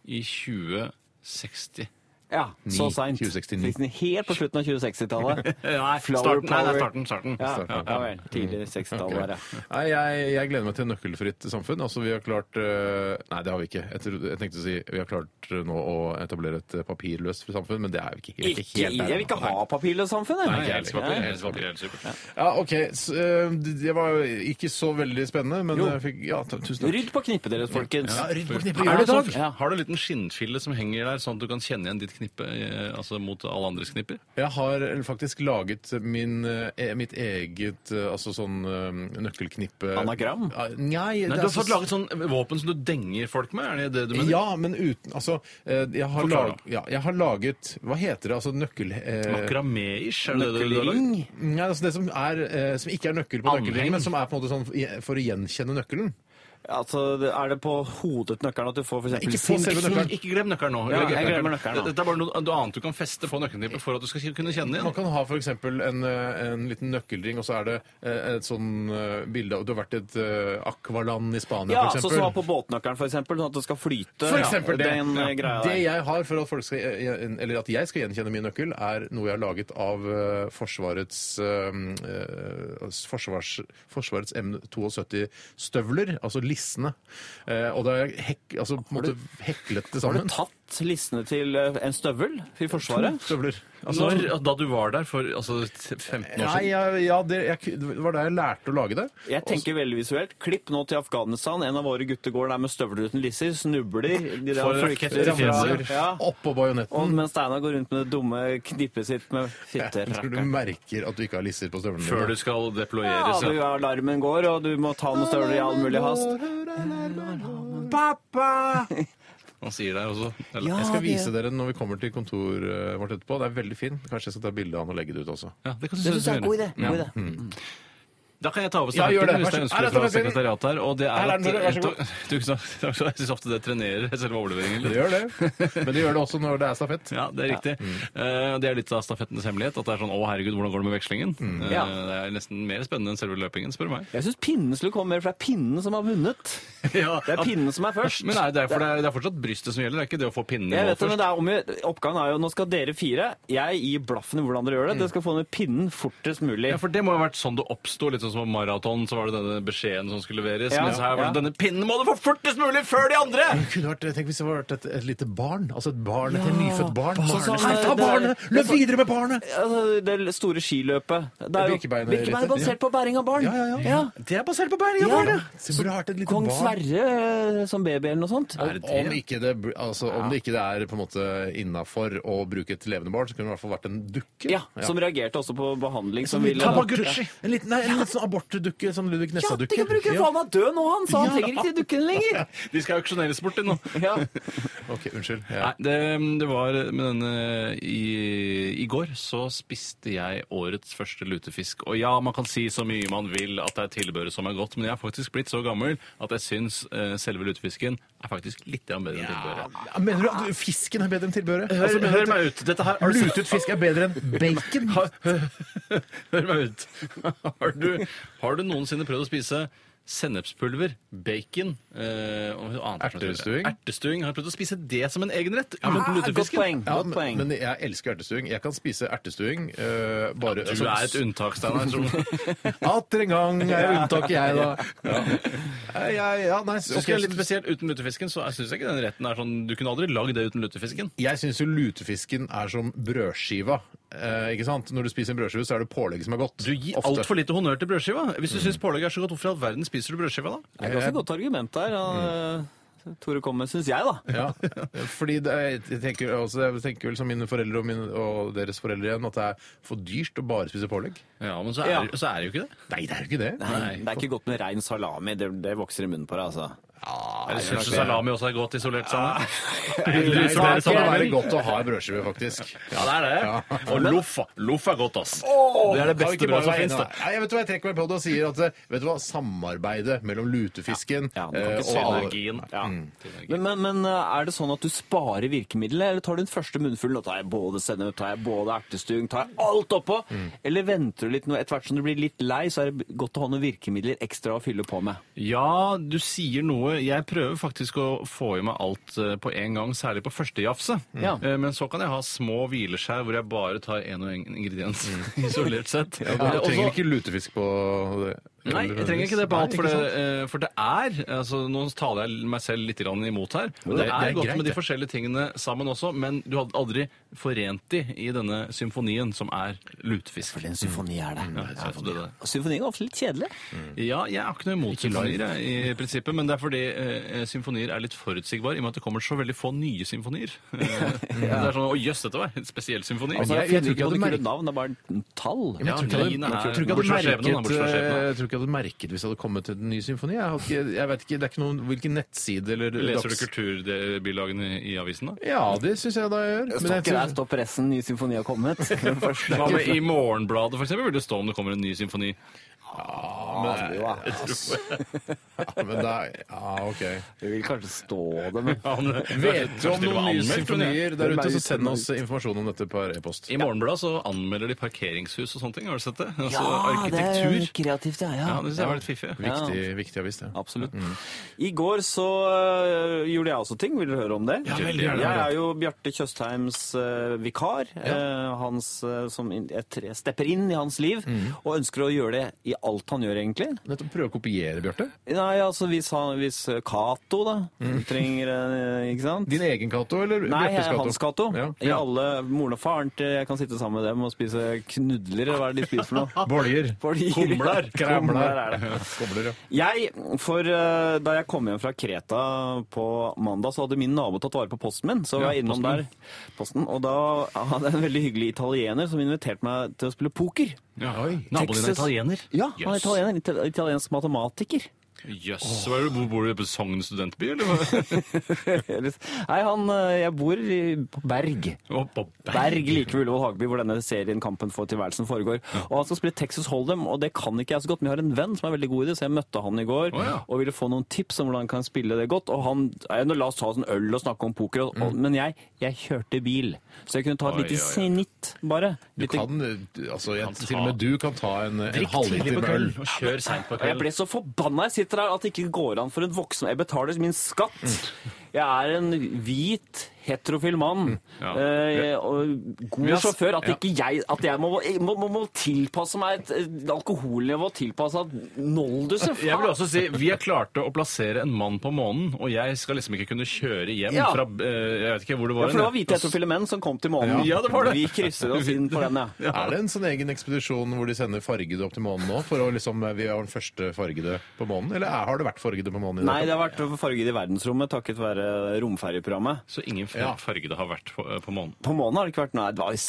[SPEAKER 4] i 2060.
[SPEAKER 3] Ja, så seint.
[SPEAKER 2] 2069.
[SPEAKER 3] Helt på slutten
[SPEAKER 2] <laughs>
[SPEAKER 3] av 2060-tallet.
[SPEAKER 4] Nei,
[SPEAKER 3] Flower
[SPEAKER 4] starten, nei, nei,
[SPEAKER 3] power.
[SPEAKER 4] starten. starten.
[SPEAKER 3] Ja,
[SPEAKER 4] starten.
[SPEAKER 3] ja, vel. Tidlig 60-tall
[SPEAKER 2] Mm. Ok.
[SPEAKER 3] der, ja.
[SPEAKER 2] Nei, jeg, jeg gleder meg til nøkkelfritt samfunn. Altså, vi har klart eh, Nei, det har vi ikke. Jeg, tror, jeg tenkte å si vi har klart eh, nå å etablere et eh, papirløst samfunn, men det er vi ikke helt,
[SPEAKER 3] Ikke,
[SPEAKER 2] helt
[SPEAKER 3] jeg
[SPEAKER 2] der.
[SPEAKER 3] vil ikke ha papirløst samfunn,
[SPEAKER 4] Nei, jeg
[SPEAKER 3] jeg.
[SPEAKER 4] elsker papir, jeg elsker papir, jeg elsker papir.
[SPEAKER 2] Ja, OK. Så, eh, det det var ikke så veldig spennende, men
[SPEAKER 3] Jo.
[SPEAKER 2] jeg fikk Ja, t- tusen takk.
[SPEAKER 3] Rydd på knippet deres, folkens.
[SPEAKER 2] Ja, rydd på knippet.
[SPEAKER 4] Har du,
[SPEAKER 2] Ja,
[SPEAKER 4] sånn-
[SPEAKER 3] Ja.
[SPEAKER 4] har du en liten skinnfille som henger der, sånn at du kan kjenne igjen ditt knippe eh, altså mot alle andres knipper?
[SPEAKER 2] Jeg har faktisk laget min, eh, mitt eget eh, altså sånn eh, nøkkelknippe
[SPEAKER 3] Anagram?
[SPEAKER 2] Ja, Nei,
[SPEAKER 4] Nei,
[SPEAKER 2] det
[SPEAKER 4] Du
[SPEAKER 2] er
[SPEAKER 4] har
[SPEAKER 2] så-
[SPEAKER 4] fått laget sånn våpen som du denger folk med? Er det det du mener?
[SPEAKER 2] Ja, men uten Altså, eh, jeg har,
[SPEAKER 4] Forklar,
[SPEAKER 2] lag, ja, jeg har laget Hva heter det? Altså nøkkel... Eh,
[SPEAKER 4] Makramé-ish? Er det det du har laget?
[SPEAKER 3] Nøkkelring.
[SPEAKER 2] Nei, altså det som, er, eh, som ikke er nøkkel på
[SPEAKER 4] Anheng.
[SPEAKER 2] nøkkelringen, men som er på en måte sånn i- for å gjenkjenne nøkkelen.
[SPEAKER 3] Altså, er det på hodet til nøkkelen at du får for
[SPEAKER 2] Ikke
[SPEAKER 3] eksempel
[SPEAKER 2] på selve
[SPEAKER 3] sint-
[SPEAKER 2] nøkkelen.
[SPEAKER 4] Ikke glem nøkkelen nå.
[SPEAKER 3] Ja,
[SPEAKER 4] Eller
[SPEAKER 3] jeg
[SPEAKER 4] glem
[SPEAKER 3] glemmer nøkkelen nå.
[SPEAKER 4] Dette er bare noe noe annet du kan feste på nøkkelknippet for at du skal kunne kjenne
[SPEAKER 2] Man
[SPEAKER 4] igjen.
[SPEAKER 2] kan ha for eksempel en, eh, en liten nøkkelring, og så er det eh, et sånn eh, bilde av Du har vært i et eh, akvaland i Spania,
[SPEAKER 3] Ja, altså,
[SPEAKER 2] for
[SPEAKER 3] så
[SPEAKER 2] eksempel.
[SPEAKER 3] som var på båtnøkkelen, for eksempel, sånn at det skal flyte.
[SPEAKER 2] for eksempel det.
[SPEAKER 3] Den eh,
[SPEAKER 2] ja.
[SPEAKER 3] greia
[SPEAKER 2] Det
[SPEAKER 3] der.
[SPEAKER 2] jeg har for at, folk skal, gjen- eller at jeg skal gjenkjenne min nøkkel, er noe jeg har laget av eh, Forsvarets eh, eh, forsvars, Forsvarets M72-støvler, altså lissene. Eh, og da har jeg hek, altså, på en måte heklet det
[SPEAKER 3] Har
[SPEAKER 2] sammen.
[SPEAKER 3] du tatt lissene til eh, en støvel til
[SPEAKER 2] <laughs>
[SPEAKER 3] Forsvaret?
[SPEAKER 2] Støvler. Altså,
[SPEAKER 4] Når, da du var der for altså, 15 år
[SPEAKER 2] Nei,
[SPEAKER 4] siden?
[SPEAKER 2] jeg, ja, det, jeg, det var da jeg lærte å lage det.
[SPEAKER 3] Jeg tenker veldig visuelt. Klipp nå til Afghanistan. En av våre gutter går der med støvler uten lisser, snubler. De der
[SPEAKER 4] Får
[SPEAKER 3] flykter
[SPEAKER 4] raketter i
[SPEAKER 3] fra-
[SPEAKER 4] fjeset.
[SPEAKER 3] Ja.
[SPEAKER 2] Oppå
[SPEAKER 3] Og
[SPEAKER 2] bajonetten.
[SPEAKER 3] mens Steinar går rundt med det dumme knippet sitt med
[SPEAKER 2] Jeg tror du
[SPEAKER 3] fitterakker.
[SPEAKER 2] merker at du ikke har lisser på støvlene
[SPEAKER 4] Før du skal
[SPEAKER 3] Ja,
[SPEAKER 4] deployeres.
[SPEAKER 3] du,
[SPEAKER 4] Ja,
[SPEAKER 3] alarmen går, og du må ta noen støvler i all mulig hast. Pappa!
[SPEAKER 4] Han sier det også. Eller,
[SPEAKER 3] <laughs> Ja.
[SPEAKER 2] Jeg skal
[SPEAKER 3] det-
[SPEAKER 2] vise dere når vi kommer til kontoret vårt etterpå. Det er veldig fint. Kanskje jeg skal ta bilde av den og legge det ut også.
[SPEAKER 4] ja, det kan du
[SPEAKER 3] Det
[SPEAKER 4] synes
[SPEAKER 3] syns jeg er en
[SPEAKER 4] du
[SPEAKER 3] god
[SPEAKER 4] gjør.
[SPEAKER 3] idé. God idé.
[SPEAKER 4] Mm. Da kan jeg ta over
[SPEAKER 2] Ja, gjør det.
[SPEAKER 4] stafettpinnen hvis det
[SPEAKER 2] Vær
[SPEAKER 4] er
[SPEAKER 2] så- Her er
[SPEAKER 4] ønskelig fra
[SPEAKER 2] stafettpinnen.
[SPEAKER 4] sekretariatet her. Og det
[SPEAKER 2] Her
[SPEAKER 4] er
[SPEAKER 2] er
[SPEAKER 4] at,
[SPEAKER 2] den, vær så god.
[SPEAKER 4] Tusen takk. Takk skal <laughs> du ha. Jeg syns ofte det trenerer selve overleveringen.
[SPEAKER 2] Det Mm.
[SPEAKER 4] litt.
[SPEAKER 2] gjør det. Men det gjør det også når det er stafett.
[SPEAKER 4] Ja, det er riktig. Eh, det er litt av stafettens hemmelighet. At det er sånn 'Å, herregud, hvordan går det med vekslingen?'
[SPEAKER 2] Mm.
[SPEAKER 4] Eh,
[SPEAKER 3] Ja.
[SPEAKER 4] det er nesten mer spennende enn selve løpingen, spør du meg.
[SPEAKER 3] Jeg syns pinnen skulle komme mer, for det er pinnen som har vunnet.
[SPEAKER 4] <laughs> Ja,
[SPEAKER 3] Det er pinnen som er først.
[SPEAKER 4] Men nei, det, er for det, er, det er fortsatt brystet som gjelder, det er ikke det å få pinnen
[SPEAKER 3] Jeg
[SPEAKER 4] i mål
[SPEAKER 3] vet det, men
[SPEAKER 4] først.
[SPEAKER 3] det er om, Oppgaven er jo nå skal dere fire. Jeg gir blaffen i hvordan dere gjør det. Dere skal få ned pinnen fortest mulig.
[SPEAKER 4] Mm. Ja, for det må jo ha vært sånn det oppsto. Litt sånn som på maraton, så var det denne beskjeden som skulle leveres.
[SPEAKER 3] Ja,
[SPEAKER 4] mens her var det
[SPEAKER 3] ja.
[SPEAKER 4] denne pinnen må du få fortest mulig før de andre!
[SPEAKER 2] Det kunne vært, tenk hvis det var et, et lite barn. Altså et barn, et nyfødt barn.
[SPEAKER 3] Sånn som,
[SPEAKER 2] Hei, ta
[SPEAKER 3] eh, det er-
[SPEAKER 2] barnet! Løp videre med barnet!
[SPEAKER 3] Altså, det store skiløpet. Det er jo
[SPEAKER 2] Birkebeinet,
[SPEAKER 3] Birkebein er
[SPEAKER 2] rett og slett.
[SPEAKER 3] basert på bæring av barn.
[SPEAKER 2] Ja, ja, ja.
[SPEAKER 3] Det er basert på bæring
[SPEAKER 2] Ja, det. Så burde det vært et lite
[SPEAKER 3] Kong
[SPEAKER 2] barn.
[SPEAKER 3] Sverre eh, som baby eller noe sånt.
[SPEAKER 4] det det?
[SPEAKER 2] Om ikke det, br- altså, om det ikke det er på en måte innafor å bruke et levende barn, så kunne det i hvert fall vært en dukke.
[SPEAKER 3] Ja, Som reagerte også på behandling. Som
[SPEAKER 2] En
[SPEAKER 3] ville
[SPEAKER 2] liten
[SPEAKER 3] da-
[SPEAKER 2] Tamagotchi. En liten, nei, en liten sånn abortdukke, sånn Ludvig
[SPEAKER 3] Ja, du
[SPEAKER 2] Nessa-dukke.
[SPEAKER 3] kan bruke faen meg død nå, han! Så han trenger ikke de dukkene lenger.
[SPEAKER 2] <laughs>
[SPEAKER 4] De skal auksjoneres bort til nå.
[SPEAKER 3] Ja.
[SPEAKER 2] Ok, unnskyld. Ja.
[SPEAKER 4] Nei, det, det var med denne i, I går så spiste jeg årets første lutefisk. Og ja, man kan si så mye man vil at det er tilbehøret som er godt, men jeg er faktisk blitt så gammel at jeg syns eh, selve lutefisken er faktisk litt grann bedre enn tilbehøret.
[SPEAKER 2] Ja, Mener du at fisken er bedre enn tilbehøret? Altså, mener
[SPEAKER 4] Hør-
[SPEAKER 2] du
[SPEAKER 4] Altså, hør
[SPEAKER 2] at
[SPEAKER 4] meg ut. Dette her- har du- <laughs>
[SPEAKER 2] Lutet fisk er bedre enn bacon?
[SPEAKER 4] Hør meg ut. <laughs> Har du, har du noensinne prøvd å spise sennepspulver, bacon eh, og noe annet som heter-
[SPEAKER 2] Ertestuing?
[SPEAKER 4] Ertestuing. Har du prøvd å spise det som en egen rett?
[SPEAKER 3] Ah,
[SPEAKER 4] uten lutefisken?
[SPEAKER 3] godt poeng.
[SPEAKER 2] Ja,
[SPEAKER 3] Godt
[SPEAKER 2] men,
[SPEAKER 3] poeng.
[SPEAKER 2] men jeg elsker ertestuing. Jeg kan spise ertestuing eh, bare
[SPEAKER 4] Du er et unntak, Steinar. som-
[SPEAKER 2] Atter en gang er jeg unntaket, jeg,
[SPEAKER 4] <laughs>
[SPEAKER 2] da. Ja, jeg, ja nei,
[SPEAKER 4] Så
[SPEAKER 2] ok,
[SPEAKER 4] skal jeg litt spesielt Uten lutefisken så syns jeg ikke den retten er sånn Du kunne aldri lagd det uten lutefisken.
[SPEAKER 2] Jeg syns jo lutefisken er som brødskiva. Eh, ikke sant? Når du spiser en brødskive, så er det pålegget som er godt.
[SPEAKER 4] Du gir
[SPEAKER 2] Ofte.
[SPEAKER 4] altfor lite honnør til brødskiva. Hvis du syns pålegget er så godt, hvorfor i all verden spiser du brødskiva da?
[SPEAKER 3] Det er ganske godt argument der.
[SPEAKER 2] Mm.
[SPEAKER 3] og, eh, Tore kommer, syns jeg, da.
[SPEAKER 2] Ja, <laughs> fordi det, er- jeg, tenker, også, jeg tenker vel som mine foreldre og, mine, og deres foreldre igjen, at det er for dyrt å bare spise pålegg.
[SPEAKER 4] Ja, men så er,
[SPEAKER 3] Ja.
[SPEAKER 4] Så er det jo ikke det.
[SPEAKER 2] Nei, det er jo ikke det.
[SPEAKER 4] Nei.
[SPEAKER 3] Det er ikke godt med rein salami. Det, det vokser i munnen på deg, altså.
[SPEAKER 4] Eller syns du salami også er godt isolert sånn. sammen?
[SPEAKER 2] Nei,
[SPEAKER 4] Isolert
[SPEAKER 2] det kan
[SPEAKER 4] sammen.
[SPEAKER 2] være godt å ha en brødskive, faktisk.
[SPEAKER 4] Ja, det er det. <laughs> Og loff, da. loff er godt, ass. det er det
[SPEAKER 2] Kan vi
[SPEAKER 4] beste
[SPEAKER 2] ikke bare
[SPEAKER 4] brødet som
[SPEAKER 2] være
[SPEAKER 4] fins,
[SPEAKER 2] enige,
[SPEAKER 4] da.
[SPEAKER 2] da? Nei, jeg vet du hva, jeg trekker meg på det og sier at eh, vet du hva, samarbeidet mellom lutefisken
[SPEAKER 3] Ja, ja, man kan
[SPEAKER 2] eh,
[SPEAKER 3] ikke
[SPEAKER 2] og
[SPEAKER 3] se
[SPEAKER 4] Synergien.
[SPEAKER 3] Ja.
[SPEAKER 4] Mm.
[SPEAKER 3] Men, men, men er det sånn at du sparer virkemidlet, eller tar du den første munnfullen og tar jeg både sennep, tar jeg både ertestuing, tar jeg alt oppå?
[SPEAKER 4] Mm.
[SPEAKER 3] Eller venter du litt nå? Etter hvert som du blir litt lei, så er det godt å ha noen virkemidler ekstra å fylle på med.
[SPEAKER 4] Ja, du sier noe. Jeg prøver faktisk å få i meg alt eh, på en gang, særlig på første jafse.
[SPEAKER 3] Ja.
[SPEAKER 4] Eh, Men så kan jeg ha små hvileskjær hvor jeg bare tar én og én ingrediens <laughs> isolert sett.
[SPEAKER 2] Ja,
[SPEAKER 4] Eh,
[SPEAKER 2] du
[SPEAKER 4] og så-
[SPEAKER 2] trenger ikke lutefisk på det.
[SPEAKER 4] Nei, jeg trenger ikke det på
[SPEAKER 2] Nei,
[SPEAKER 4] alt, for det,
[SPEAKER 2] sant?
[SPEAKER 4] eh, for det er altså, Nå taler jeg meg selv litt grann imot her. Det,
[SPEAKER 2] det-
[SPEAKER 4] er,
[SPEAKER 2] det er
[SPEAKER 4] godt
[SPEAKER 2] greit,
[SPEAKER 4] med de
[SPEAKER 2] det.
[SPEAKER 4] forskjellige tingene sammen også, men du hadde aldri forent de i denne symfonien som er lutefisk.
[SPEAKER 3] For en symfoni er Mm. det.
[SPEAKER 4] Ja, jeg tror det er det.
[SPEAKER 3] Og Symfonier er ofte litt kjedelige.
[SPEAKER 4] Ja, jeg er ikke noe imot symfonier, jeg, i prinsippet, men det er fordi eh, symfonier er litt forutsigbare, i og med at det kommer så veldig få nye symfonier. Det er sånn, Å jøss, dette var en spesiell symfoni.
[SPEAKER 2] Altså,
[SPEAKER 3] Jeg,
[SPEAKER 2] jeg- jeg tror ikke jeg
[SPEAKER 3] ikke
[SPEAKER 2] hadde
[SPEAKER 3] noe
[SPEAKER 2] merket-
[SPEAKER 3] navn, det er bare tall.
[SPEAKER 2] Men jeg
[SPEAKER 4] Ja,
[SPEAKER 2] tror ikke jeg
[SPEAKER 4] Line
[SPEAKER 2] hadde-
[SPEAKER 4] er-
[SPEAKER 2] jeg tror ikke jeg hadde
[SPEAKER 4] bortsett fra skjebnen, da,
[SPEAKER 2] merket,
[SPEAKER 4] bortsett fra
[SPEAKER 2] eh, jeg
[SPEAKER 4] skjebnen.
[SPEAKER 2] tror ikke jeg hadde merket hvis jeg hadde kommet til den nye symfonien. Jeg hadde ikke, jeg vet ikke, det er ikke noen, hvilken nettside eller
[SPEAKER 4] Leser du
[SPEAKER 2] dags-
[SPEAKER 4] kulturbilagene i avisen, da?
[SPEAKER 2] Ja, det syns jeg da jeg gjør.
[SPEAKER 3] Står ikke der, står pressen, ny symfoni har
[SPEAKER 4] <laughs>
[SPEAKER 3] kommet. Den første.
[SPEAKER 4] Hva med I Morgenbladet for eksempel, vil det stå om det kommer en ny symfoni.
[SPEAKER 2] Ja, men da, ja, ok.
[SPEAKER 3] Det vil kanskje stå det, men
[SPEAKER 4] Ja, men-
[SPEAKER 2] Vet du
[SPEAKER 4] Kanskje
[SPEAKER 2] om
[SPEAKER 4] til
[SPEAKER 2] noen
[SPEAKER 4] og
[SPEAKER 2] nye
[SPEAKER 4] med anmeldt, men jeg-
[SPEAKER 2] symfonier der
[SPEAKER 3] Hvem er
[SPEAKER 2] ute,
[SPEAKER 3] det
[SPEAKER 2] så send
[SPEAKER 3] som-
[SPEAKER 2] oss informasjon om dette på e-post.
[SPEAKER 4] I Morgenbladet så anmelder de parkeringshus og sånne ting. Har du sett det? Altså
[SPEAKER 3] det
[SPEAKER 4] arkitektur.
[SPEAKER 3] er kreativt, ja. ja.
[SPEAKER 4] Ja, det synes jeg var litt fiffig.
[SPEAKER 3] Ja.
[SPEAKER 2] Viktig, viktig avis, det.
[SPEAKER 3] Absolutt. I går så øh, gjorde jeg også ting. Vil dere høre om det?
[SPEAKER 4] Ja, veldig gjerne.
[SPEAKER 3] Jeg er jo Bjarte Tjøstheims øh, vikar. øh, hans, øh, som inn- jeg tre- stepper inn i hans liv og ønsker å gjøre det i alt han gjør, egentlig.
[SPEAKER 2] Nettopp prøve å kopiere, Bjarte.
[SPEAKER 3] Nei, altså hvis, han, hvis øh, Cato da trenger øh, Ikke sant?
[SPEAKER 2] Din egen Cato, eller
[SPEAKER 3] Nei, jeg
[SPEAKER 2] Bjørtes
[SPEAKER 3] er Hans Cato.
[SPEAKER 2] Ja.
[SPEAKER 3] I alle moren og faren til Jeg kan sitte sammen med dem og spise knudler, eller hva er det de spiser for
[SPEAKER 2] <laughs>
[SPEAKER 3] noe?
[SPEAKER 2] Boljer.
[SPEAKER 3] Fordi-
[SPEAKER 4] Kumler.
[SPEAKER 3] Kumler er det.
[SPEAKER 2] <laughs> Kobler, ja.
[SPEAKER 3] Jeg, for eh, Da jeg kom hjem fra Kreta på mandag, så hadde min nabo tatt vare på posten min. Så var jeg innom der, posten, og da hadde jeg en veldig hyggelig italiener som inviterte meg til å spille poker.
[SPEAKER 4] Ja.
[SPEAKER 2] Oi.
[SPEAKER 4] Naboen din er
[SPEAKER 3] Texas.
[SPEAKER 4] italiener?
[SPEAKER 3] Ja, han er
[SPEAKER 4] Jøss.
[SPEAKER 3] italiener. Ital- Italiensk matematiker. <laughs>
[SPEAKER 4] Jøss. Hva er det, Bor- Bor du på Sogn studentby, eller? hva?
[SPEAKER 3] Nei, han eh, Jeg bor i, på Berg.
[SPEAKER 4] Og <laughs> på
[SPEAKER 3] Berg like ved Ullevål Hageby, hvor denne serien Kampen for tilværelsen foregår. Og han skal spille Texas Hold'em, og det kan ikke jeg så godt, men jeg har en venn som er veldig god i det, så jeg møtte han i går
[SPEAKER 4] Å, ja.
[SPEAKER 3] og ville få noen tips om hvordan han kan spille det godt. Og han ja, nå La oss ta oss en øl og snakke om poker, og, og, men jeg, jeg kjørte bil, så jeg kunne ta et
[SPEAKER 4] Mm. Oi,
[SPEAKER 3] lite
[SPEAKER 4] oi, oi.
[SPEAKER 3] snitt, bare.
[SPEAKER 2] Du
[SPEAKER 3] Lite-
[SPEAKER 2] kan, eh, altså, jeg,
[SPEAKER 4] Kan ta-
[SPEAKER 2] til og med du kan ta en, en
[SPEAKER 4] Drikk tidlig
[SPEAKER 2] halvliter
[SPEAKER 4] på
[SPEAKER 2] med øl.
[SPEAKER 4] kvelden og kjør seint på
[SPEAKER 3] Og jeg ble
[SPEAKER 4] kvelden.
[SPEAKER 3] så forbanna jeg sitter her at det ikke går an for en voksen. Jeg betaler min skatt.
[SPEAKER 4] Mm.
[SPEAKER 3] Jeg er en hvit, heterofil mann.
[SPEAKER 4] Ja.
[SPEAKER 3] eh, og god
[SPEAKER 4] Vi har s-
[SPEAKER 3] sjåfør. At
[SPEAKER 4] ja.
[SPEAKER 3] ikke jeg At jeg må, jeg må, må, må tilpasse meg et et alkoholnivå tilpassa Noldus. for
[SPEAKER 4] Jeg vil
[SPEAKER 3] faen.
[SPEAKER 4] også si, Vi har klart å plassere en mann på månen, og jeg skal liksom ikke kunne kjøre hjem
[SPEAKER 3] Ja.
[SPEAKER 4] fra eh, Jeg vet ikke hvor
[SPEAKER 3] Ja, for det
[SPEAKER 4] det var.
[SPEAKER 3] var
[SPEAKER 4] hen, jeg.
[SPEAKER 3] hvite heterofile menn som kom til månen.
[SPEAKER 4] Ja, det var det.
[SPEAKER 3] Vi krysser oss inn på den,
[SPEAKER 4] <laughs>
[SPEAKER 3] ja.
[SPEAKER 2] Er det en sånn egen ekspedisjon hvor de sender fargede opp til månen nå? For å liksom, eh, vi er den første fargede på månen? Eller er, har det vært fargede på månen? i dag?
[SPEAKER 3] Nei, det har vært farget i verdensrommet takket være romferjeprogrammet.
[SPEAKER 4] Så ingen ja. farge det har vært på, eh, på månen.
[SPEAKER 3] På månen har det ikke vært Nei, det var i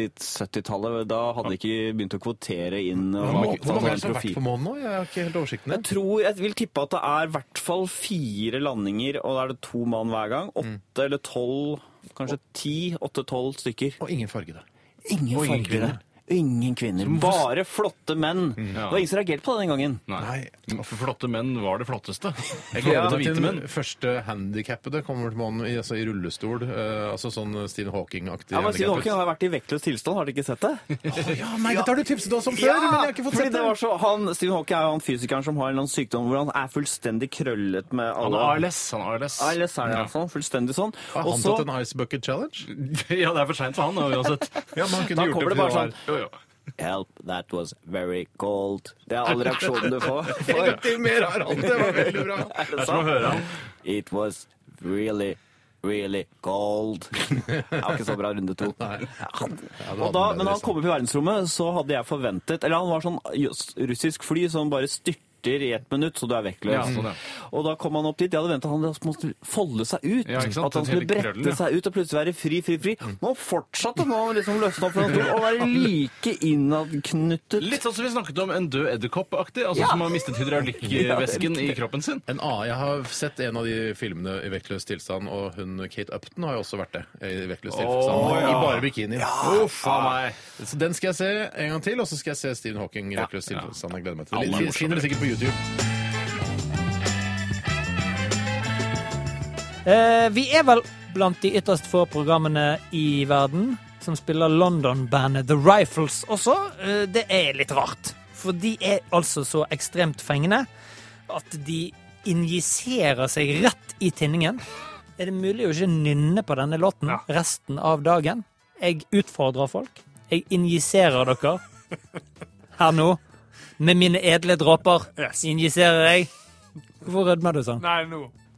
[SPEAKER 3] 60-70-tallet. Da hadde de ikke begynt å kvotere inn. og
[SPEAKER 2] Hvor
[SPEAKER 3] var
[SPEAKER 2] mange
[SPEAKER 3] opptatt
[SPEAKER 2] hvor mange er
[SPEAKER 3] av
[SPEAKER 2] det som har
[SPEAKER 3] profil.
[SPEAKER 2] vært på månen nå? Jeg har ikke helt oversikten.
[SPEAKER 3] Jeg tror, jeg vil tippe at det er i hvert fall fire landinger, og da er det to mann hver gang.
[SPEAKER 2] Mm.
[SPEAKER 3] Åtte eller tolv, kanskje ti, åtte-tolv stykker.
[SPEAKER 2] Og ingen farge der.
[SPEAKER 3] Ingen
[SPEAKER 2] ingen
[SPEAKER 3] fargere. Ingen kvinner. Bare flotte menn.
[SPEAKER 2] Mm.
[SPEAKER 3] Det var ingen som reagerte på det den gangen.
[SPEAKER 4] Nei.
[SPEAKER 2] Nei.
[SPEAKER 4] For flotte menn var det
[SPEAKER 3] <laughs>
[SPEAKER 4] flotteste. Jeg
[SPEAKER 2] Gleder
[SPEAKER 4] gleder meg
[SPEAKER 2] meg
[SPEAKER 4] til hvite menn.
[SPEAKER 2] den første handikappede kommer til månen i, altså, i rullestol. eh, altså sånn Stephen Hawking-aktig.
[SPEAKER 3] Ja, men
[SPEAKER 2] handikappet.
[SPEAKER 3] Stephen Hawking har vært i vektløs tilstand, har dere ikke sett
[SPEAKER 2] <laughs>
[SPEAKER 3] det?
[SPEAKER 2] Å, ja, nei, dette har du tipset oss om før, men jeg har ikke fått
[SPEAKER 3] fordi
[SPEAKER 2] sett
[SPEAKER 3] det
[SPEAKER 2] det.
[SPEAKER 3] var så, han, Stephen Hawking er jo han fysikeren som har en eller annen sykdom hvor han er fullstendig krøllet med alle
[SPEAKER 4] Han har ALS. Han har ALS.
[SPEAKER 3] ALS er det,
[SPEAKER 4] Ja.
[SPEAKER 3] altså. Fullstendig sånn.
[SPEAKER 2] Har
[SPEAKER 3] Og
[SPEAKER 2] han
[SPEAKER 3] så-
[SPEAKER 2] tatt en Ice Bucket Challenge?
[SPEAKER 4] <laughs> Ja, det er for seint for han, da, uansett.
[SPEAKER 2] Ja, men han kunne
[SPEAKER 3] Da
[SPEAKER 2] gjort
[SPEAKER 3] kommer
[SPEAKER 2] det
[SPEAKER 3] det bare
[SPEAKER 2] fordi
[SPEAKER 3] sånn.
[SPEAKER 4] <laughs> Jo, jo.
[SPEAKER 3] Help, that was very cold. Det er alle reaksjonene du
[SPEAKER 4] <laughs>
[SPEAKER 3] får.
[SPEAKER 2] var Til mer har han, det var veldig
[SPEAKER 3] <laughs>
[SPEAKER 2] bra.
[SPEAKER 4] Det er som å høre han.
[SPEAKER 3] It was really, really
[SPEAKER 4] <laughs>
[SPEAKER 3] cold. Det var ikke så bra runde to. Han- Og da, men han kom opp i verdensrommet, så hadde jeg forventet Eller han var sånn jøss, russisk fly som bare styrter i ett minutt, så du er vektløs.
[SPEAKER 4] Ja, sånn, ja.
[SPEAKER 3] Og da kom han opp dit. Jeg hadde ventet han måtte folde seg ut.
[SPEAKER 4] Ja, ikke sant?
[SPEAKER 3] at han
[SPEAKER 4] Den
[SPEAKER 3] skulle
[SPEAKER 4] hele
[SPEAKER 3] brette
[SPEAKER 4] krøllen, ja.
[SPEAKER 3] seg ut og plutselig være fri, fri, fri. Nå fortsatte han å liksom løsne opp fra en stol og være like innadknyttet.
[SPEAKER 4] Litt sånn som vi snakket om en død edderkopp-aktig, altså
[SPEAKER 3] Ja.
[SPEAKER 4] som har mistet hydraulikkvæsken i kroppen sin.
[SPEAKER 2] En annen, jeg har sett en av de filmene i vektløs tilstand, og hun Kate Upton har jo også vært det. I vektløs tilstand. I bare bikini.
[SPEAKER 4] Uff a meg.
[SPEAKER 2] Så den skal jeg se en gang til, og så skal jeg se Stephen Hawking i vektløs tilstand. Jeg gleder meg til
[SPEAKER 4] Alle er
[SPEAKER 2] det.
[SPEAKER 4] morsomme.
[SPEAKER 2] Finner det sikkert på YouTube.
[SPEAKER 6] Eh, vi er vel blant de ytterst få programmene i verden som spiller London-bandet The Rifles også. Eh, det er litt rart. For de er altså så ekstremt fengende at de injiserer seg rett i tinningen. Er det mulig å ikke nynne på denne låten resten av dagen? Jeg utfordrer folk. Jeg injiserer dere her nå. Med mine edle dråper injiserer jeg. Hvorfor rødmer du sånn?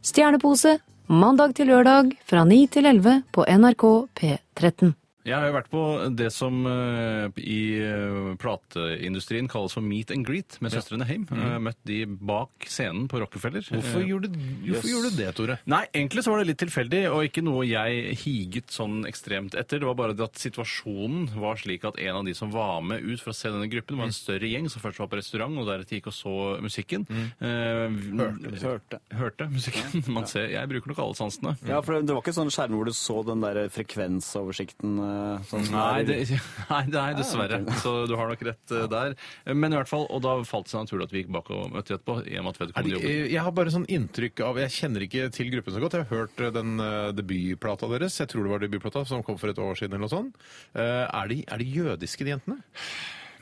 [SPEAKER 7] Stjernepose. Mandag til lørdag fra 9 til 11 på NRK P13.
[SPEAKER 4] Jeg har jo vært på det som eh, i eh, plateindustrien kalles for meet and greet med søstrene Heim. Jeg har Møtt de bak scenen på Rockefeller.
[SPEAKER 2] Mm.
[SPEAKER 4] Eh,
[SPEAKER 2] Hvorfor gjorde, hvorfor gjorde du det, Tore?
[SPEAKER 4] Nei, egentlig så var det litt tilfeldig, og ikke noe jeg higet sånn ekstremt etter. Det var bare det at situasjonen var slik at en av de som var med ut for å se denne gruppen,
[SPEAKER 2] Mm.
[SPEAKER 4] var en større gjeng som først var på restaurant, og deretter gikk og så musikken.
[SPEAKER 2] Mm.
[SPEAKER 4] hørte, hørte. Hørte musikken. <laughs> Man ser, jeg bruker nok alle sansene.
[SPEAKER 3] Ja, for det var ikke sånn skjerm hvor du så den der eh, frekvensoversikten? eh, Sånn som
[SPEAKER 4] Nei,
[SPEAKER 3] er-
[SPEAKER 4] det, <laughs> nei,
[SPEAKER 3] Ah,
[SPEAKER 4] nei, dessverre. Så du har nok rett eh, der. Men i hvert fall, og da falt det seg naturlig at vi gikk bak og møtte etterpå. i og med
[SPEAKER 2] Er
[SPEAKER 4] at vedkommende
[SPEAKER 2] det,
[SPEAKER 4] jobbet.
[SPEAKER 2] jeg har bare sånn inntrykk av Jeg kjenner ikke til gruppen så godt. Jeg har hørt den eh, debutplata deres, jeg tror det var debutplata, som kom for et år siden eller noe sånt. Eh, er, de, er de jødiske, de jentene?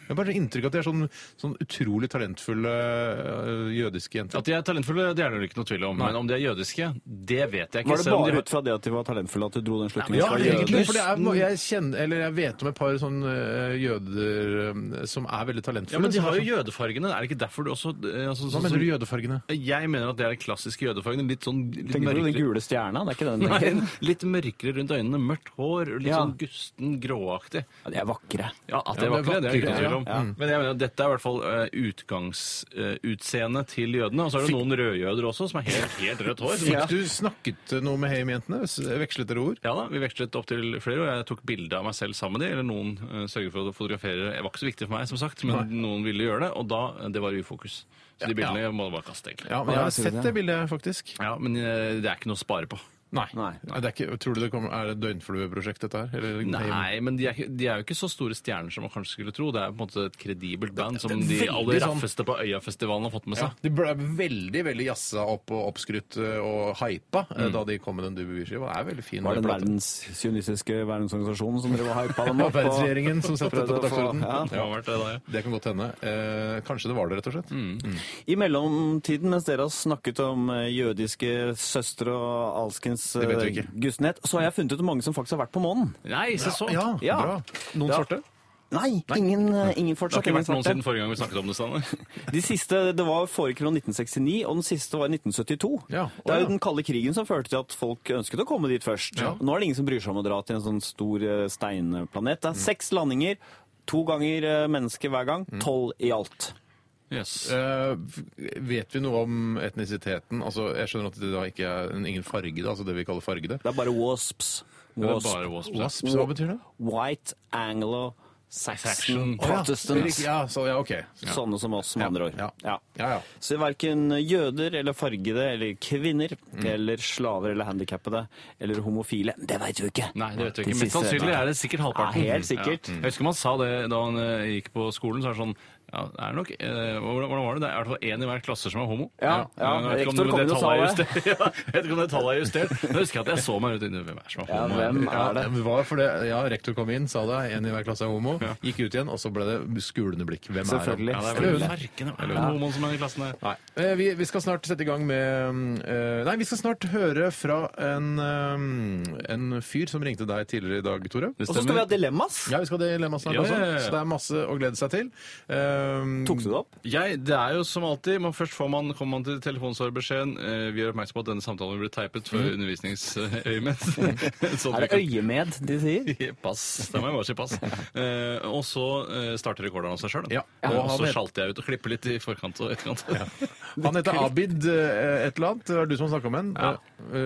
[SPEAKER 2] Jeg har bare inntrykk av at de er sånn, sånn utrolig talentfulle eh, jødiske jenter.
[SPEAKER 4] At de er talentfulle, det er det vel ikke noe tvil om. Men om de er jødiske, det vet jeg ikke.
[SPEAKER 3] Var det
[SPEAKER 4] selv om de
[SPEAKER 3] bare
[SPEAKER 4] har-
[SPEAKER 3] ut fra det at de var talentfulle at du dro den slutningen?
[SPEAKER 2] Ja,
[SPEAKER 3] fra
[SPEAKER 2] egentlig.
[SPEAKER 3] jøder?
[SPEAKER 2] For det er, jeg, kjenner, eller jeg vet om et par sånne eh, jøder eh, som er veldig talentfulle.
[SPEAKER 4] Ja, men de
[SPEAKER 2] som er
[SPEAKER 4] har jo
[SPEAKER 3] altså?
[SPEAKER 4] jødefargene. Er det ikke derfor du også eh, altså,
[SPEAKER 2] sånn- Hva
[SPEAKER 4] sånn
[SPEAKER 2] mener
[SPEAKER 4] som-
[SPEAKER 2] du jødefargene?
[SPEAKER 4] Jeg mener at det er de klassiske jødefargene. Litt sånn litt
[SPEAKER 3] Tenker du den
[SPEAKER 4] mørkere.
[SPEAKER 3] gule stjerna? Det er ikke den du tenker? <laughs>
[SPEAKER 4] Nei, litt mørkere rundt øynene, mørkt hår, litt
[SPEAKER 3] Ja.
[SPEAKER 4] sånn gusten, gråaktig.
[SPEAKER 3] Ja, de er vakre.
[SPEAKER 4] Ja, at det
[SPEAKER 2] Ja,
[SPEAKER 4] var
[SPEAKER 2] men
[SPEAKER 4] ikke det, det er ikke
[SPEAKER 2] vakre,
[SPEAKER 4] noe tvil om. Mm.
[SPEAKER 2] ja.
[SPEAKER 4] Men jeg mener at dette er i hvert fall eh, utgangsutseendet til jødene. Og så er det noen rødjøder også, som er helt, helt rødt hår. <laughs>
[SPEAKER 2] Fikk du snakket noe med Heim-jentene? S- Vekslet dere ord?
[SPEAKER 4] Ja da, Vi vekslet opp til flere, og jeg tok bilde av meg selv sammen med de, eller noen uh, sørget for å fotografere. Det var ikke så viktig for meg, som sagt, men noen ville gjøre det, og da eh, det var ufokus. Så de bildene må du bare kaste, egentlig.
[SPEAKER 2] Ja, men jeg har sett det bildet, faktisk.
[SPEAKER 4] Ja, men eh, det er ikke noe å spare på.
[SPEAKER 2] Nei.
[SPEAKER 3] Nei.
[SPEAKER 2] Det er, ikke, tror du det kommer, er det døgnflueprosjekt, dette her? Eller,
[SPEAKER 4] Nei, men de er, ikke- de er jo ikke så store stjerner som man kanskje skulle tro. Det er på en måte et kredibelt band som
[SPEAKER 2] det er
[SPEAKER 4] de
[SPEAKER 2] veldig
[SPEAKER 4] aller
[SPEAKER 2] sånn-
[SPEAKER 4] raffeste på Øyafestivalen har fått med
[SPEAKER 2] Ja,
[SPEAKER 4] seg.
[SPEAKER 2] de ble veldig veldig jazza opp og oppskrytt eh, og hypa eh, da de kom med den dubby-skiva. Det er veldig fin.
[SPEAKER 3] Var det den
[SPEAKER 2] plate.
[SPEAKER 3] verdens sionistiske verdensorganisasjonen som drev og hypa
[SPEAKER 2] <laughs>
[SPEAKER 3] dem
[SPEAKER 2] Ja,
[SPEAKER 3] opp? og-
[SPEAKER 2] Verdensregjeringen som setter dette på
[SPEAKER 3] prøvde å få-
[SPEAKER 2] dagsordenen.
[SPEAKER 3] ja.
[SPEAKER 4] Det har vært det da, ja.
[SPEAKER 2] Det kan godt hende. Eh, kanskje det var det, rett og slett.
[SPEAKER 3] I mellomtiden, mens dere har snakket om eh, jødiske søstre og alskens
[SPEAKER 2] Det vet vi
[SPEAKER 3] eh,
[SPEAKER 2] ikke.
[SPEAKER 3] gustenhet, så har jeg funnet ut mange som faktisk har vært på månen.
[SPEAKER 4] Nei, se så!
[SPEAKER 2] Ja,
[SPEAKER 3] Ja.
[SPEAKER 2] bra. Noen
[SPEAKER 3] Ja.
[SPEAKER 2] sorte?
[SPEAKER 3] Nei, ingen, eh, ingen
[SPEAKER 4] Det har
[SPEAKER 3] fortsatt.
[SPEAKER 4] ikke
[SPEAKER 3] ingen
[SPEAKER 4] vært noen
[SPEAKER 3] svarte.
[SPEAKER 4] siden forrige gang vi snakket om det, Steinar.
[SPEAKER 3] De siste, Det var forrige kronen 1969, og den siste var 1972.
[SPEAKER 2] Ja.
[SPEAKER 3] Det er
[SPEAKER 2] Å, ja.
[SPEAKER 3] jo den kalde krigen som førte til at folk ønsket å komme dit først.
[SPEAKER 2] Ja.
[SPEAKER 3] Nå er det ingen som bryr seg om å dra til en sånn stor eh, steinplanet. Det er seks landinger, to ganger eh, mennesker hver gang, tolv i alt.
[SPEAKER 4] Yes.
[SPEAKER 2] Eh, vet vi noe om etnisiteten? Altså, jeg skjønner at det da ikke er en- ingen fargede, altså det vi kaller fargede.
[SPEAKER 3] Det er bare wasps.
[SPEAKER 4] Det er bare wasps. ja.
[SPEAKER 2] Wasps, hva betyr det?
[SPEAKER 3] White Anglo Saxon
[SPEAKER 4] Saxon.
[SPEAKER 3] Protestants.
[SPEAKER 2] Riktig, Ja, så, ja, ok. Ja.
[SPEAKER 3] Sånne som oss, med andre ord.
[SPEAKER 2] Ja. Ja, ja.
[SPEAKER 3] Så verken jøder eller fargede eller kvinner eller slaver eller handikappede eller homofile Det veit vi ikke!
[SPEAKER 4] Nei, det vet jeg
[SPEAKER 3] De
[SPEAKER 4] ikke. Men
[SPEAKER 3] siste-
[SPEAKER 4] sannsynlig er det sikkert halvparten.
[SPEAKER 3] Ja, helt sikkert.
[SPEAKER 4] Ja. Jeg husker man sa det da han eh, gikk på skolen. så er det sånn, ja, det er nok, eh, hvordan, hvordan var det? Det er i hvert fall én i hver klasse som er homo.
[SPEAKER 3] Ja, ja,
[SPEAKER 4] Men Jeg vet ikke om
[SPEAKER 3] rektor
[SPEAKER 4] det-
[SPEAKER 3] kom
[SPEAKER 4] det
[SPEAKER 3] inn og
[SPEAKER 4] tallet er
[SPEAKER 3] sa det.
[SPEAKER 4] justert. <laughs> Ja, jeg vet ikke om det tallet er justert. Men jeg husker at jeg så meg rundt inne. Hvem er det som er
[SPEAKER 3] Ja,
[SPEAKER 4] homo?
[SPEAKER 3] hvem er det?
[SPEAKER 2] Ja, men hva for det? ja, rektor kom inn, sa det, en i hver klasse er homo. Gikk ut igjen, og så ble det skulende blikk. Hvem er han?
[SPEAKER 3] Selvfølgelig.
[SPEAKER 4] Ja, det er
[SPEAKER 2] Eller
[SPEAKER 4] vel
[SPEAKER 2] hun.
[SPEAKER 4] merkende er det noen homoen som er i klassen der.
[SPEAKER 2] Nei. Eh, Vi, vi skal snart sette i gang med mm, eh, Nei, vi skal snart høre fra en, eh, en fyr som ringte deg tidligere i dag, Tore.
[SPEAKER 4] Det
[SPEAKER 3] Og så skal vi ha dilemmas!
[SPEAKER 2] Ja, vi skal ha dilemma snart
[SPEAKER 4] Ja,
[SPEAKER 2] også,
[SPEAKER 4] ja, ja.
[SPEAKER 2] så det er masse å glede seg til. Eh,
[SPEAKER 3] Tok du det opp?
[SPEAKER 4] Jeg, det er jo som alltid, man Først får man, kommer man til telefonsvarbeskjeden. Eh, vi gjør oppmerksom på at denne samtalen blir teipet for <laughs> undervisningsøyemed. sånn at
[SPEAKER 3] Er
[SPEAKER 4] vi
[SPEAKER 3] det
[SPEAKER 4] kan-
[SPEAKER 3] øyemed de
[SPEAKER 4] <laughs>
[SPEAKER 3] sier?
[SPEAKER 4] Pass. Da må jeg bare si pass. Eh, og så eh, starter rekorderen av seg sjøl.
[SPEAKER 2] Ja.
[SPEAKER 4] Og
[SPEAKER 2] Ja.
[SPEAKER 4] så sjalter jeg ut og klipper litt i forkant og etterkant.
[SPEAKER 2] Han heter Abid eh, et eller annet. Det var du som snakka om ham.
[SPEAKER 4] Ja.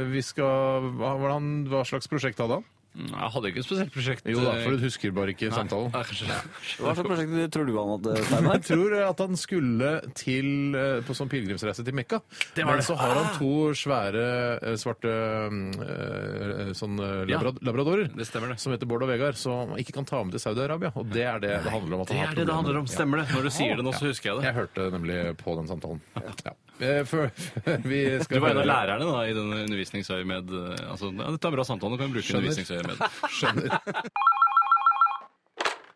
[SPEAKER 2] Vi skal, hva, hvordan, hva slags prosjekt hadde han?
[SPEAKER 4] Mm, Jeg hadde ikke et spesielt prosjekt.
[SPEAKER 2] Jo da,
[SPEAKER 4] eh,
[SPEAKER 2] for du husker bare ikke samtalen.
[SPEAKER 4] Nei, kanskje ikke.
[SPEAKER 3] Hva slags prosjekt tror du han hadde, Steinar?
[SPEAKER 2] <laughs> Jeg tror at han skulle til, eh, på sånn pilegrimsreise til Mekka.
[SPEAKER 4] Det var
[SPEAKER 2] Men
[SPEAKER 4] det. Ah.
[SPEAKER 2] så har han to svære eh, svarte eh, sånn eh,
[SPEAKER 4] Ja.
[SPEAKER 2] labrad labradorer
[SPEAKER 4] Det stemmer det.
[SPEAKER 2] som heter Bård og Vegard, som han ikke kan ta med til Saudi-Arabia. Og det er det det handler om. at
[SPEAKER 4] Det
[SPEAKER 2] han
[SPEAKER 4] er
[SPEAKER 2] har
[SPEAKER 4] det det
[SPEAKER 2] problemer med.
[SPEAKER 4] handler om. Stemmer det. Når du sier det nå, så husker jeg det.
[SPEAKER 2] Jeg hørte nemlig på den samtalen. Ja. Eh, Før <laughs> før vi skal
[SPEAKER 4] Du var en av
[SPEAKER 2] høre-
[SPEAKER 4] lærerne da, i denne undervisningsøyemed. eh, Altså, ja, dette er en bra samtale, nå kan vi bruke
[SPEAKER 2] Skjønner.
[SPEAKER 4] undervisningsøyemed.
[SPEAKER 2] Skjønner.
[SPEAKER 4] <laughs>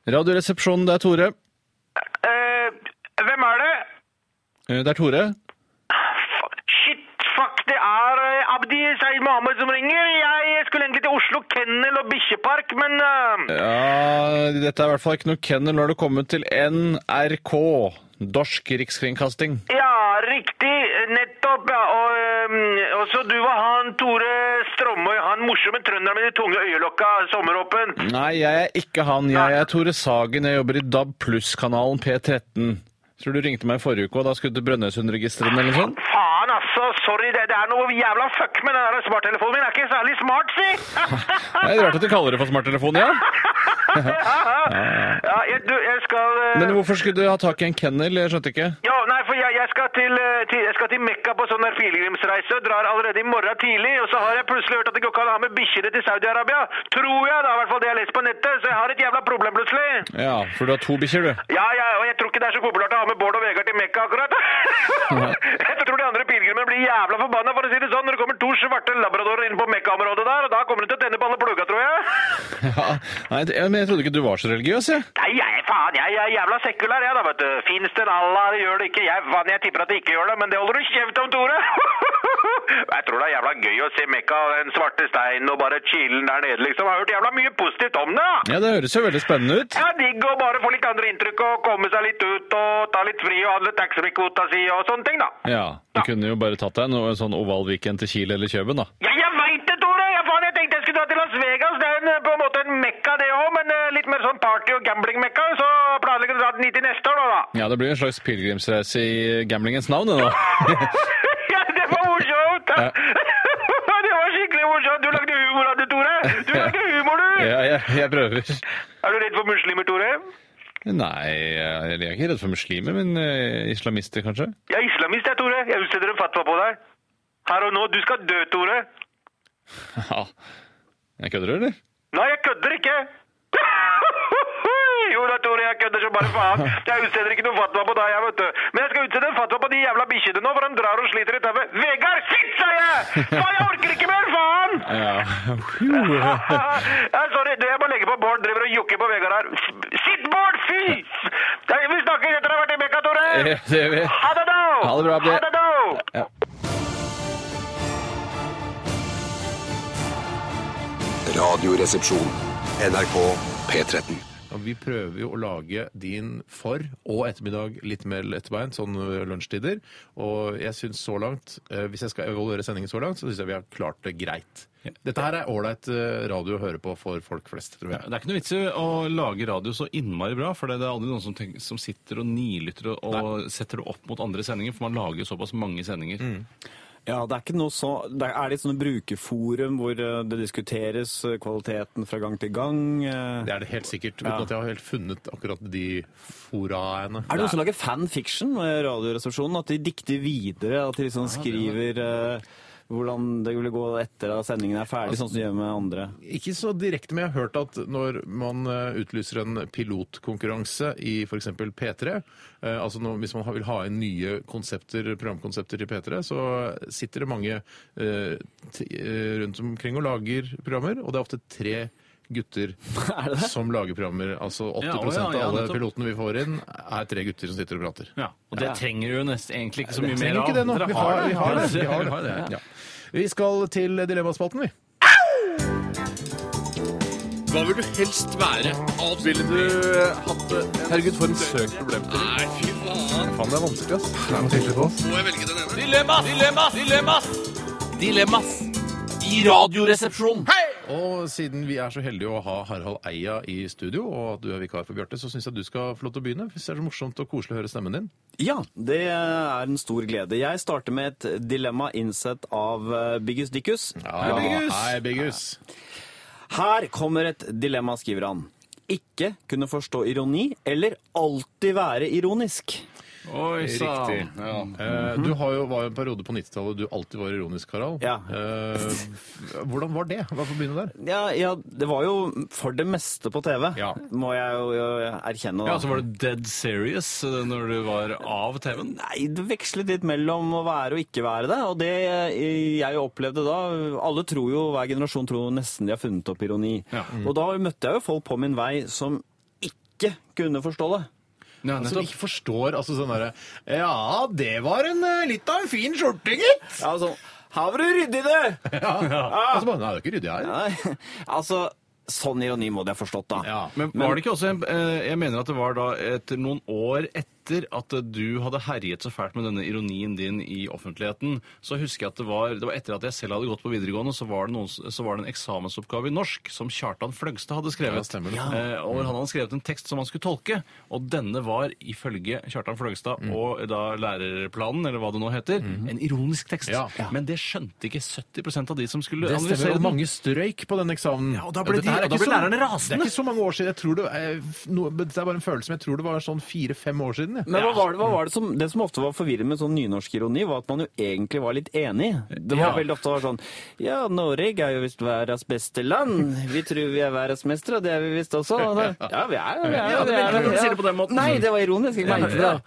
[SPEAKER 4] Radioresepsjonen, det er Tore.
[SPEAKER 8] Eh, hvem er det?
[SPEAKER 4] Eh, Det er Tore.
[SPEAKER 8] Fa- Shit, fuck, det er eh, Abdi Saeed Mohammed som ringer. Jeg skulle egentlig til Oslo Kennel og Bikkjepark, men eh,
[SPEAKER 4] Ja, dette er i hvert fall ikke noe kennel. Nå har du kommet til NRK. Dorsk Rikskringkasting.
[SPEAKER 8] Ja, riktig. Nettopp, ja. Og, eh, og så du var han Tore Strømøy, han morsomme trønderen med de tunge øyelokka, sommeråpen.
[SPEAKER 4] Nei, jeg er ikke han. Jeg er Tore Sagen. Jeg jobber i DAB Pluss-kanalen P13. Tror du ringte meg i forrige uke, og da skulle du til Brønnøysundregistrene eller noe sånt?
[SPEAKER 2] <laughs>
[SPEAKER 8] Faen, altså. Sorry, det, det er noe jævla fuck med den der smarttelefonen min. Er ikke særlig smart, si!
[SPEAKER 4] Nei, det er rart at du kaller det for smarttelefon, ja.
[SPEAKER 8] ja, jeg, du, jeg skal eh,
[SPEAKER 4] Men hvorfor skulle du ha tak i en kennel? Jeg skjønte ikke.
[SPEAKER 8] Ja, nei, for jeg, jeg, skal til, eh, til, jeg skal til Mekka på sånn der pilegrimsreise og drar allerede i morgen tidlig. Og så har jeg plutselig hørt at det går ikke an å ha med bikkjene til Saudi-Arabia. Tror jeg, da, i hvert fall det jeg har lest på nettet. Så jeg har et jævla problem plutselig.
[SPEAKER 4] Ja, for du har to bikkjer, du.
[SPEAKER 8] Ja, ja, og jeg tror ikke det er så populært å ha med Bård og Vegard til Mekka akkurat. <laughs> <laughs> jeg tror de andre pilegrimene blir jævla forbanna, for å si det sånn, når det kommer to svarte labradorer inn på Mekka-området der, og da kommer de til å tenne på alle plugga, tror jeg.
[SPEAKER 4] Ja. Nei, jeg, men jeg trodde ikke du var så religiøs, jeg.
[SPEAKER 8] Nei, jeg, faen, jeg, jeg er jævla sekulær, jeg da, vet du. Fins det en Allah, det gjør det ikke. Jeg, faen, jeg tipper at det ikke gjør det, men det holder du kjeft om, Tore. <laughs> jeg tror det er jævla gøy å se Mekka, den svarte steinen og bare chillen der nede, liksom. Jeg har hørt jævla mye positivt om det. da.
[SPEAKER 4] Ja, det høres jo veldig spennende ut.
[SPEAKER 8] Ja, digg å bare få litt andre inntrykk og komme seg litt ut og ta litt fri og handle taxfree-kvota si og sånne ting, da.
[SPEAKER 4] Ja, du kunne jo bare tatt deg noe, en sånn oval weekend til Kiel eller Kjøben, da.
[SPEAKER 8] Ja, jeg veit det, Tore! Ja, faen, jeg tenkte jeg skulle dra til Las Vegas. Det er en, eh, på en måte en Mekka, det òg, men eh, litt mer sånn party- og gambling-Mekka. Så planlegger du å dra den hit til neste år, da. <laughs> da.
[SPEAKER 4] Ja, det blir en slags pilegrimsreise i gamblingens navn, det nå.
[SPEAKER 8] Ja, det var morsomt!
[SPEAKER 4] Ja.
[SPEAKER 8] <laughs> Det var skikkelig morsomt! Du lagde humor av det, Tore! Du lagde humor, du!
[SPEAKER 4] Ja, jeg, jeg prøver.
[SPEAKER 8] Er du redd for muslimer, Tore?
[SPEAKER 4] Nei, jeg er ikke redd for muslimer, men eh, islamister kanskje?
[SPEAKER 8] Jeg er islamist, jeg, Tore. Jeg utsteder en fatwa på deg. Her og nå. Du skal dø, Tore.
[SPEAKER 4] Ja. Jeg kødder, eller?
[SPEAKER 8] Nei, jeg kødder ikke! <laughs> Jo da, Tore, jeg kødder som bare faen. Jeg utsteder ikke noen fatwa på deg, jeg, vet du. Men jeg skal utstede en fatwa på de jævla bikkjene nå, for de drar og sliter i tauet. Vegard, sitt, sa jeg! Faen, jeg orker ikke mer, faen!
[SPEAKER 4] Ja.
[SPEAKER 8] <laughs> ja, sorry, du, jeg må legge på Bård. Driver og jukker på Vegard her. Sitt, Bård! Fy! Nei, Vi snakkes etter å ha vært i Mekka, Tore!
[SPEAKER 4] Ja, det gjør vi.
[SPEAKER 8] Ha det, da!
[SPEAKER 4] Ha det bra, Abdi.
[SPEAKER 8] Ha det, da!
[SPEAKER 5] Radioresepsjon. NRK P13.
[SPEAKER 2] Og vi prøver jo å lage din for- og ettermiddag litt mer lettbeint, sånn eh, lunsjtider. Og jeg syns så langt, eh, hvis jeg skal evaluere sendingen så langt, så syns jeg vi har klart det greit. Dette her er ålreit eh, radio å høre på for folk flest, tror jeg.
[SPEAKER 4] Det er ikke noe vits i å lage radio så innmari bra, for det er aldri noen som, tenker, som sitter og nilytter og, og setter det opp mot andre sendinger, for man lager jo såpass mange sendinger.
[SPEAKER 2] Mm.
[SPEAKER 3] Ja, det er ikke noe så Det er litt sånne brukerforum hvor eh, det diskuteres eh, kvaliteten fra gang til gang. eh.
[SPEAKER 2] Det er det helt sikkert, uten
[SPEAKER 3] Ja.
[SPEAKER 2] at jeg har helt funnet akkurat de foraene.
[SPEAKER 3] Er det noen som lager fanfiction med Radioresepsjonen? At de dikter videre? At de liksom skriver eh, hvordan det ville gå etter at sendingen er ferdig, sånn som de gjør med andre?
[SPEAKER 2] Ikke så direkte, men jeg har hørt at når man eh, utlyser en pilotkonkurranse i f.eks. P3, eh, altså når, hvis man har- vil ha inn nye konsepter, programkonsepter i P3, så sitter det mange eh, t eh, rundt omkring og lager programmer, og det er ofte tre
[SPEAKER 3] <laughs>
[SPEAKER 2] gutter som lager programmer. Altså 80
[SPEAKER 4] Ja, å ja,
[SPEAKER 2] av
[SPEAKER 4] ja,
[SPEAKER 2] alle
[SPEAKER 4] nettopp.
[SPEAKER 2] pilotene vi får inn, er tre gutter som sitter og prater.
[SPEAKER 4] Ja, og det trenger du jo nesten egentlig ikke så mye mer
[SPEAKER 2] Trenger
[SPEAKER 4] av.
[SPEAKER 2] ikke det nå.
[SPEAKER 4] Dere
[SPEAKER 2] Vi har, vi har det. Vi,
[SPEAKER 4] Vi
[SPEAKER 2] har det. Ja. vi skal til Dilemmaspalten, vi.
[SPEAKER 9] Hva vil du helst være? Ville du hatt det?
[SPEAKER 2] Herregud, for en søk problem.
[SPEAKER 9] Nei, fy faen.
[SPEAKER 2] Faen, det er vanskelig, ass. Det er vanskelig på oss.
[SPEAKER 9] Må jeg velge den ene?
[SPEAKER 10] Dilemmas! Dilemmas! Dilemmas! Dilemmas! I radioresepsjonen!
[SPEAKER 2] Og siden vi er så heldige å ha Harald Eia i studio, og at du er vikar for Bjarte, så syns jeg du skal få lov til å begynne. Hvis det er så morsomt og koselig å høre stemmen din.
[SPEAKER 3] Ja, det er en stor glede. Jeg starter med et dilemma innsett av eh, Biggus Dickus. Ja.
[SPEAKER 2] Hei, Biggus!
[SPEAKER 3] Her kommer et dilemma, skriver han. Ikke kunne forstå ironi, eller alltid være ironisk.
[SPEAKER 4] Oi, sann.
[SPEAKER 2] Riktig.
[SPEAKER 4] Ja.
[SPEAKER 2] Eh, Du har jo, var jo en periode på 90-tallet du alltid var ironisk, Harald.
[SPEAKER 3] Ja.
[SPEAKER 2] Eh, hvordan var det? Hva får begynne der?
[SPEAKER 3] Ja, ja, det var jo for det meste på TV,
[SPEAKER 2] Ja.
[SPEAKER 3] må jeg jo jo erkjenne.
[SPEAKER 4] ja,
[SPEAKER 3] Da.
[SPEAKER 4] så var det dead serious eh, når du var av TV-en.
[SPEAKER 3] Nei, det vekslet litt mellom å være og ikke være det. Og det eh, jeg opplevde da Alle tror jo, hver generasjon tror nesten de har funnet opp ironi.
[SPEAKER 4] Ja.
[SPEAKER 3] Og da møtte jeg jo folk på min vei som ikke kunne forstå det.
[SPEAKER 4] Ja,
[SPEAKER 2] Som
[SPEAKER 4] nettopp.
[SPEAKER 2] ikke forstår altså sånn derre Ja, det var en, eh, litt av en fin skjorte, gitt!
[SPEAKER 3] Ja, sånn Her var du ryddig, du!
[SPEAKER 2] Ja. Og så bare Nei, det er jo ikke ryddig her.
[SPEAKER 3] Nei, altså Sånn ironi må de ha forstått, da.
[SPEAKER 2] Ja.
[SPEAKER 4] Men var det ikke også en, eh, Jeg mener at det var da etter noen år etter at du hadde herjet så fælt med denne ironien din i offentligheten, så husker jeg at det var det var etter at jeg selv hadde gått på videregående, så var det, noen, så var det en eksamensoppgave i norsk som Kjartan Fløgstad hadde skrevet.
[SPEAKER 2] Ja, stemmer det.
[SPEAKER 4] Eh, og han hadde skrevet en tekst som han skulle tolke, og denne var ifølge Kjartan
[SPEAKER 2] Mm.
[SPEAKER 4] Fløgstad og da lærerplanen, eller hva det nå heter, en ironisk tekst.
[SPEAKER 2] Mhm. Ja.
[SPEAKER 4] Men det skjønte ikke 70 av de som skulle
[SPEAKER 2] Det stemmer,
[SPEAKER 4] analysere
[SPEAKER 2] og
[SPEAKER 4] den.
[SPEAKER 2] mange strøyk på den eksamen.
[SPEAKER 4] Ja, og da ble
[SPEAKER 2] Dette her
[SPEAKER 4] de-
[SPEAKER 2] er
[SPEAKER 4] og da
[SPEAKER 2] ikke
[SPEAKER 4] ble
[SPEAKER 2] så-
[SPEAKER 4] lærerne rasende.
[SPEAKER 2] Det er ikke så mange år siden. Jeg tror det, er noe- men det er bare en følelse, men jeg tror det var sånn fire-fem år siden. jeg.
[SPEAKER 3] Men hva var det, hva var det, som, det som ofte var forvirrende med sånn nynorsk ironi, var at man jo egentlig var litt enig. Det var
[SPEAKER 4] Ja.
[SPEAKER 3] veldig ofte var sånn Ja, Norge er jo visst verdens beste land. Vi tror vi er verdensmestere, og det er vi visst også. Og da- Ja, vi er jo
[SPEAKER 4] Ja, det virker som du sier det på den måten.
[SPEAKER 3] Nei, det var ironisk. Jeg mente det.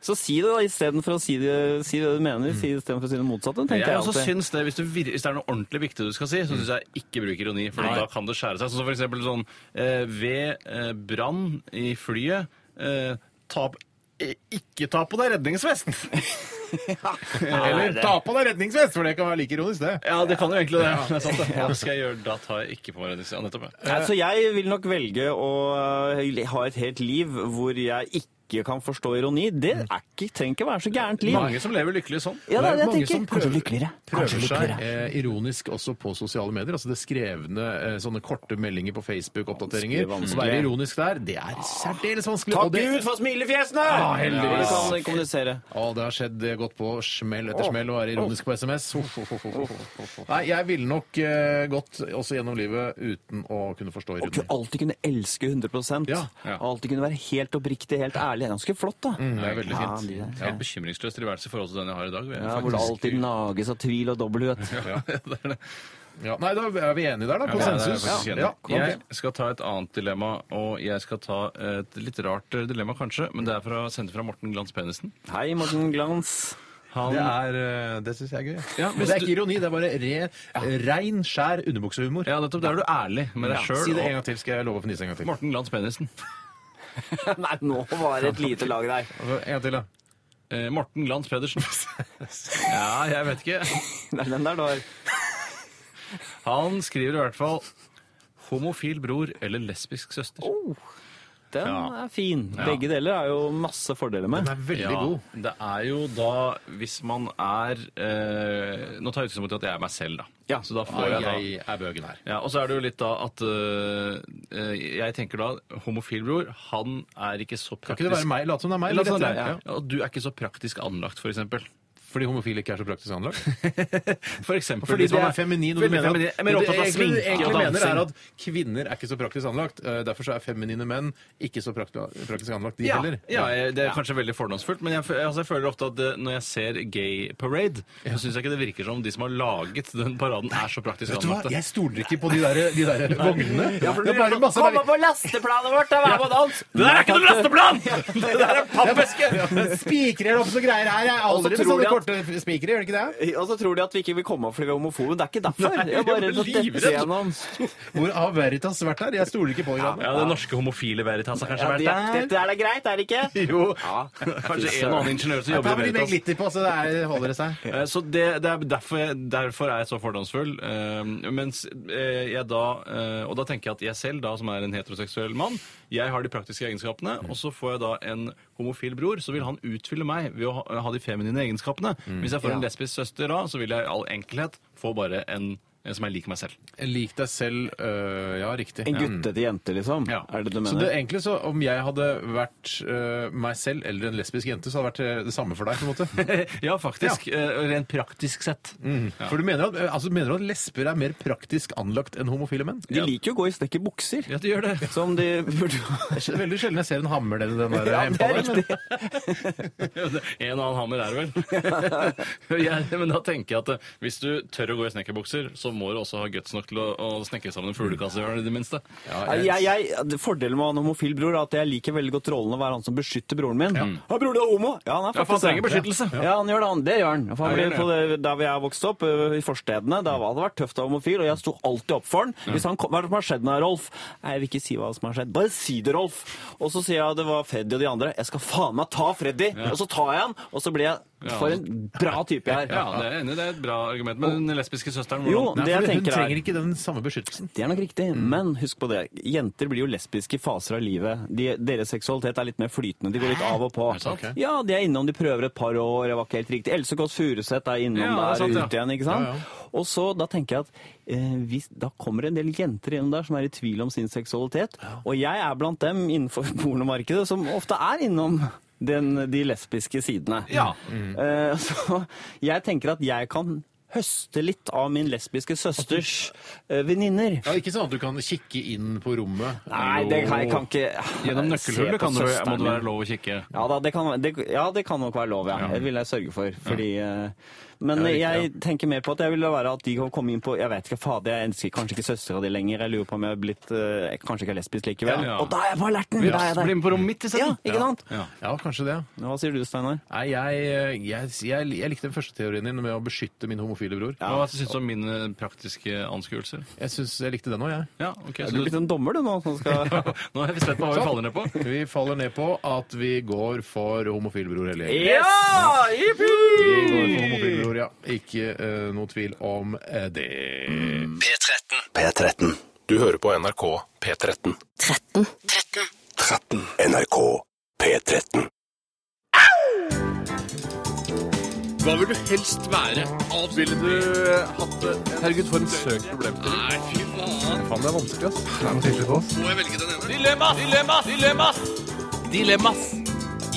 [SPEAKER 3] Så si det, da, istedenfor å si det, si det du mener. Si det istedenfor å si det motsatte, tenker jeg
[SPEAKER 4] Jeg også
[SPEAKER 3] alltid.
[SPEAKER 4] syns det, hvis, du, vir- hvis det er noe ordentlig viktig du skal si, så syns jeg ikke bruk ironi, for da kan det skjære seg. Sånn som for eksempel sånn eh, Ved eh, brann i flyet eh, ta, p- eh, Ikke ta på deg redningsvest!
[SPEAKER 2] Eller ta på deg redningsvest, for det kan være like ironisk, det.
[SPEAKER 4] <laughs> Ja, det kan jo egentlig det. det er sant, det. Hva skal jeg gjøre? Da tar jeg ikke på meg redningsvest. Ja, nettopp. ja.
[SPEAKER 3] Nei, Så jeg vil nok velge å øh, ha et helt liv hvor jeg ikke kan forstå ironi. Det er ikke, trenger ikke være så gærent liv.
[SPEAKER 4] Mange som lever lykkelig sånn.
[SPEAKER 3] Ja, det er det jeg
[SPEAKER 2] mange som
[SPEAKER 3] tenker. Kanskje lykkeligere.
[SPEAKER 2] Prøver
[SPEAKER 3] Kanskje
[SPEAKER 2] seg
[SPEAKER 3] lykkeligere.
[SPEAKER 2] eh, ironisk også på sosiale medier. Altså det skrevne, eh, sånne korte meldinger på Facebook-oppdateringer. Å
[SPEAKER 3] Vanskelig, vanskelig.
[SPEAKER 2] være ironisk der, det er særdeles vanskelig.
[SPEAKER 3] Takk
[SPEAKER 2] og det,
[SPEAKER 3] Gud for smilefjesene!
[SPEAKER 2] Ja, heldigvis.
[SPEAKER 3] Vi kan kommunisere.
[SPEAKER 2] Å, det har skjedd. Det har gått på smell etter smell å være ironisk på SMS. Uff, uff, uff, uff, uff, uff. Nei, jeg ville nok eh, gått også gjennom livet uten å kunne forstå
[SPEAKER 3] Og ku-
[SPEAKER 2] ironi.
[SPEAKER 3] alltid kunne elske 100
[SPEAKER 2] Ja,
[SPEAKER 4] ja. Mm.
[SPEAKER 3] Og alltid kunne være helt oppriktig, helt ærlig. Det er Ganske flott, da.
[SPEAKER 2] Det er veldig
[SPEAKER 3] Ja,
[SPEAKER 2] fint.
[SPEAKER 3] de der.
[SPEAKER 4] Helt bekymringsløs tilværelse i forhold til den jeg har i dag. vil jeg
[SPEAKER 3] Ja, hvor det
[SPEAKER 4] faktisk-
[SPEAKER 3] alltid nages av tvil og dobbelthet.
[SPEAKER 4] <laughs> Ja, det er det.
[SPEAKER 2] Ja, nei, da er vi enige der, da. Konsensus.
[SPEAKER 4] Ja,
[SPEAKER 2] Ja, kom
[SPEAKER 4] Jeg
[SPEAKER 2] til.
[SPEAKER 4] skal ta et annet dilemma, og jeg skal ta et litt rart eh, dilemma, kanskje, men det er fra, sendt fra Morten Glans Pedersen.
[SPEAKER 3] Hei, Morten Glans. <laughs>
[SPEAKER 4] Han,
[SPEAKER 2] er, eh, det syns jeg er gøy.
[SPEAKER 4] Ja,
[SPEAKER 2] Og
[SPEAKER 4] hvis
[SPEAKER 2] det er
[SPEAKER 4] du-
[SPEAKER 2] ikke ironi, det er bare re, rein, skjær underbuksehumor.
[SPEAKER 4] ja, nettopp. Da er du ærlig med deg
[SPEAKER 2] Ja,
[SPEAKER 4] sjøl.
[SPEAKER 2] Si det en gang til, skal jeg love å fnise en gang til.
[SPEAKER 4] Morten Glans Pedersen.
[SPEAKER 3] Nei, nå var det et lite lag der.
[SPEAKER 2] Altså, En gang til, da.
[SPEAKER 4] Eh, Morten Glans
[SPEAKER 2] <laughs>
[SPEAKER 4] Pedersen. Ja, jeg vet ikke.
[SPEAKER 3] Nei, Den der, da.
[SPEAKER 2] Oh.
[SPEAKER 4] Han skriver i hvert fall homofil bror eller lesbisk søster.
[SPEAKER 3] Den
[SPEAKER 4] Ja.
[SPEAKER 3] er fin.
[SPEAKER 4] Ja.
[SPEAKER 3] Begge deler er jo masse fordeler med.
[SPEAKER 2] Den er veldig
[SPEAKER 4] ja,
[SPEAKER 2] god.
[SPEAKER 4] Det er jo da Hvis man er eh, Nå tar jeg utgangspunkt i at jeg er meg selv, da.
[SPEAKER 3] Ja.
[SPEAKER 4] Så da får
[SPEAKER 2] Og
[SPEAKER 4] jeg da
[SPEAKER 2] jeg er bøgen her.
[SPEAKER 4] ja, Og så er det jo litt da at øh, øh, Jeg tenker da homofilbror, han er ikke så
[SPEAKER 2] Kan
[SPEAKER 4] praktisk
[SPEAKER 2] ikke det være meg? Lat som det er meg.
[SPEAKER 4] La oss
[SPEAKER 2] eller
[SPEAKER 4] ta det,
[SPEAKER 2] dette?
[SPEAKER 4] ja. Ja, og Du er ikke så praktisk anlagt, for eksempel.
[SPEAKER 2] Fordi homofile ikke er så praktisk
[SPEAKER 4] <laughs>
[SPEAKER 2] anlagt?
[SPEAKER 4] For eksempel
[SPEAKER 2] Fordi
[SPEAKER 4] hvis
[SPEAKER 2] man
[SPEAKER 4] man
[SPEAKER 2] er feminin, og du
[SPEAKER 4] Veldig
[SPEAKER 2] mener
[SPEAKER 4] feminin.
[SPEAKER 2] at,
[SPEAKER 4] Jeg er mer opptatt
[SPEAKER 2] det
[SPEAKER 4] av
[SPEAKER 2] egentlig-
[SPEAKER 4] sminke
[SPEAKER 2] egentlig
[SPEAKER 4] og
[SPEAKER 2] mener er
[SPEAKER 4] dansing.
[SPEAKER 2] at kvinner er ikke så praktisk anlagt. eh, Derfor så er feminine menn ikke så prakt- praktisk anlagt, de
[SPEAKER 4] ja,
[SPEAKER 2] heller.
[SPEAKER 4] ja, jeg- det er kanskje veldig fordomsfullt, men jeg, f- altså, jeg føler ofte at det, når jeg ser Gay Parade, så syns jeg ikke det virker som de som har laget den paraden, er så praktisk
[SPEAKER 2] Vet du hva,
[SPEAKER 4] anlagt.
[SPEAKER 2] jeg stoler ikke på de der, de der vognene. det er
[SPEAKER 4] sånn,
[SPEAKER 2] bare masse
[SPEAKER 3] Kom opp på lasteplanet vårt, da! Vær med og dans!
[SPEAKER 4] Det der er ikke noe
[SPEAKER 3] <laughs>
[SPEAKER 4] lasteplan! Det der er pappeske!
[SPEAKER 2] <laughs> Spikrer opp så greier her. Jeg er
[SPEAKER 3] Og så
[SPEAKER 2] aldri med
[SPEAKER 3] tror
[SPEAKER 2] sånne
[SPEAKER 3] de at-
[SPEAKER 2] korte spikere, gjør det ikke det?
[SPEAKER 3] Og så tror de at vi ikke vil komme opp fordi vi er homofobe. Det er
[SPEAKER 4] <laughs>
[SPEAKER 3] ikke derfor.
[SPEAKER 4] Nei,
[SPEAKER 3] jeg er bare redd for
[SPEAKER 4] jeg
[SPEAKER 3] å
[SPEAKER 4] blir
[SPEAKER 3] dette gjennom.
[SPEAKER 2] Hvor har Veritas vært her? Jeg stoler ikke på de greiene.
[SPEAKER 4] Ja, det norske homofile Veritas har kanskje
[SPEAKER 3] Ja, de,
[SPEAKER 4] vært der.
[SPEAKER 3] dette er da greit, er det ikke?
[SPEAKER 2] Jo.
[SPEAKER 3] Ja.
[SPEAKER 4] Kanskje en og annen ingeniør som
[SPEAKER 2] Ta
[SPEAKER 4] jobber
[SPEAKER 2] med
[SPEAKER 4] i
[SPEAKER 2] litt mer
[SPEAKER 4] Veritas.
[SPEAKER 2] glitter på, så det er, holder det seg.
[SPEAKER 4] <laughs> Eh, Så det, det er derfor, jeg, derfor er jeg så fordomsfull. Eh, mens eh, jeg da eh, Og da tenker jeg at jeg selv, da som er en heteroseksuell mann, jeg har de praktiske egenskapene, og så får jeg da en homofil bror, så vil han utfylle meg ved å ha, ha de feminine egenskapene. Hvis jeg får en lesbisk søster da, så vil jeg i all enkelhet få bare en en som er lik meg selv.
[SPEAKER 2] Lik deg selv. øh, ja, riktig.
[SPEAKER 3] En
[SPEAKER 2] Ja.
[SPEAKER 3] guttete jente, liksom?
[SPEAKER 4] Ja.
[SPEAKER 3] Er det du
[SPEAKER 2] Så det,
[SPEAKER 3] mener?
[SPEAKER 2] egentlig så, om jeg hadde vært øh, meg selv eller en lesbisk jente, så hadde det vært øh, det samme for deg, på en måte.
[SPEAKER 3] <laughs>
[SPEAKER 4] <laughs> Ja, faktisk. eh, Rent praktisk sett.
[SPEAKER 2] For du mener, at, øh, altså, mener du at lesber er mer praktisk anlagt enn homofile menn?
[SPEAKER 3] De liker jo å gå i snekker bukser.
[SPEAKER 4] Ja, det gjør det.
[SPEAKER 3] Som de burde
[SPEAKER 2] Det er veldig sjelden jeg ser en hammer nedi den der
[SPEAKER 3] <laughs> Ja, det
[SPEAKER 2] hempa
[SPEAKER 3] er
[SPEAKER 2] der. Men,
[SPEAKER 3] riktig.
[SPEAKER 4] <laughs> En og annen hammer er det vel. <laughs> Jeg, men da tenker jeg at eh, hvis du tør å gå i snekkerbukser, så må du også ha guts nok til å, å snekre sammen en fuglekasse, i det minste.
[SPEAKER 3] Ja, Jeg, jeg, det fordelen med å ha en homofil bror er at jeg liker veldig godt rollen å være han som beskytter broren min. Ja. bror, du er homo! Ja, han er
[SPEAKER 4] Ja, for han
[SPEAKER 3] faktisk det.
[SPEAKER 4] trenger beskyttelse.
[SPEAKER 3] Ja. Ja, han gjør det. han. Det gjør han. For han
[SPEAKER 4] Ja,
[SPEAKER 3] ble,
[SPEAKER 4] det gjør
[SPEAKER 3] på det, da vi er vokst opp, ø, i forstedene, da var det vært tøft å være homofil, og jeg sto alltid opp for han. Hvis han kom, Hva er det som har skjedd med deg, Rolf? Nei, jeg vil ikke si hva som har skjedd. Bare si det, Rolf! Og så sier jeg at det var Freddy og de andre. Jeg skal faen meg ta Freddy! Og så tar jeg han, og så blir jeg For en bra type jeg er.
[SPEAKER 4] Ja, det er, jeg enig, i, det er et bra argument. Men den lesbiske søsteren,
[SPEAKER 3] Jo,
[SPEAKER 4] hvordan?
[SPEAKER 3] det jeg
[SPEAKER 2] fordi hun
[SPEAKER 3] tenker er
[SPEAKER 2] trenger ikke den samme beskyttelsen.
[SPEAKER 3] Det er nok riktig,
[SPEAKER 4] Mm.
[SPEAKER 3] men husk på det. Jenter blir jo lesbiske i faser av livet. De, deres seksualitet er litt mer flytende. De går litt av og på.
[SPEAKER 4] det sant? Ok.
[SPEAKER 3] Ja, de er innom, de prøver et par år. Det var ikke helt riktig. Else Kåss Furuseth er innom
[SPEAKER 4] Ja, det er
[SPEAKER 3] der
[SPEAKER 4] sant, ja.
[SPEAKER 3] ute igjen, ikke sant?
[SPEAKER 2] Ja, ja.
[SPEAKER 3] Og så da tenker jeg at eh, hvis, da kommer det en del jenter innom der som er i tvil om sin seksualitet. Og jeg er blant dem innenfor <laughs> pornomarkedet som ofte er innom den, de lesbiske sidene.
[SPEAKER 4] Ja.
[SPEAKER 3] Eh, <laughs> så jeg tenker at jeg kan høste litt av min lesbiske søsters eh, venninner.
[SPEAKER 2] Ja, ikke sånn at du kan kikke inn på rommet.
[SPEAKER 3] Nei, det kan, jeg kan ikke
[SPEAKER 4] Gjennom
[SPEAKER 3] se
[SPEAKER 4] nøkkelhullet
[SPEAKER 3] på
[SPEAKER 4] kan det
[SPEAKER 3] søsteren
[SPEAKER 4] må det
[SPEAKER 3] min.
[SPEAKER 4] være lov å kikke.
[SPEAKER 3] Ja, da, det kan, det, ja, det kan nok være lov, ja. Det vil jeg sørge for. Fordi, eh, men
[SPEAKER 2] Ja, riktig,
[SPEAKER 3] jeg tenker mer på at jeg vil la være at de kan komme inn på Jeg vet ikke, fader, jeg elsker kanskje ikke søstera di lenger. Jeg lurer på om jeg har blitt eh, jeg Kanskje ikke er lesbisk likevel.
[SPEAKER 4] Ja.
[SPEAKER 3] Og da er jeg på alerten! Da er jeg
[SPEAKER 4] Bli
[SPEAKER 3] der.
[SPEAKER 4] med på rommet mitt
[SPEAKER 3] Ja,
[SPEAKER 4] isteden!
[SPEAKER 3] ikke sant?
[SPEAKER 4] Ja.
[SPEAKER 2] Ja, kanskje det.
[SPEAKER 3] Hva sier du, Steinar?
[SPEAKER 2] Nei, jeg, jeg, jeg, jeg likte den første teorien din med å beskytte min homofile bror.
[SPEAKER 4] Ja. Hva syns du om mine praktiske anskuelser?
[SPEAKER 2] Jeg syns jeg likte den òg, jeg.
[SPEAKER 4] Ja, ok,
[SPEAKER 3] Er du
[SPEAKER 4] så
[SPEAKER 3] Sånn.
[SPEAKER 4] du...
[SPEAKER 3] blitt en dommer, du nå? Som skal...
[SPEAKER 4] <laughs> Nå er vi spent på hva vi faller ned på.
[SPEAKER 2] Vi faller ned på at vi går for homofilbror hele gjengen.
[SPEAKER 3] Ja! Jippi!
[SPEAKER 2] Vi går for homofilbror, ja. Ikke eh, noe tvil om eh, det.
[SPEAKER 5] P13.
[SPEAKER 10] Du hører på NRK P13.
[SPEAKER 7] 13.
[SPEAKER 5] 13. NRK P13.
[SPEAKER 9] Hva vil du helst være? Ville du eh, hatt det? Herregud, for en søk problemstilling. Nei, fy faen.
[SPEAKER 2] Faen, det er vanskelig, ass.
[SPEAKER 9] Må jeg velge den ene?
[SPEAKER 10] Dilemmas! Dilemmas! Dilemmas! Dilemmas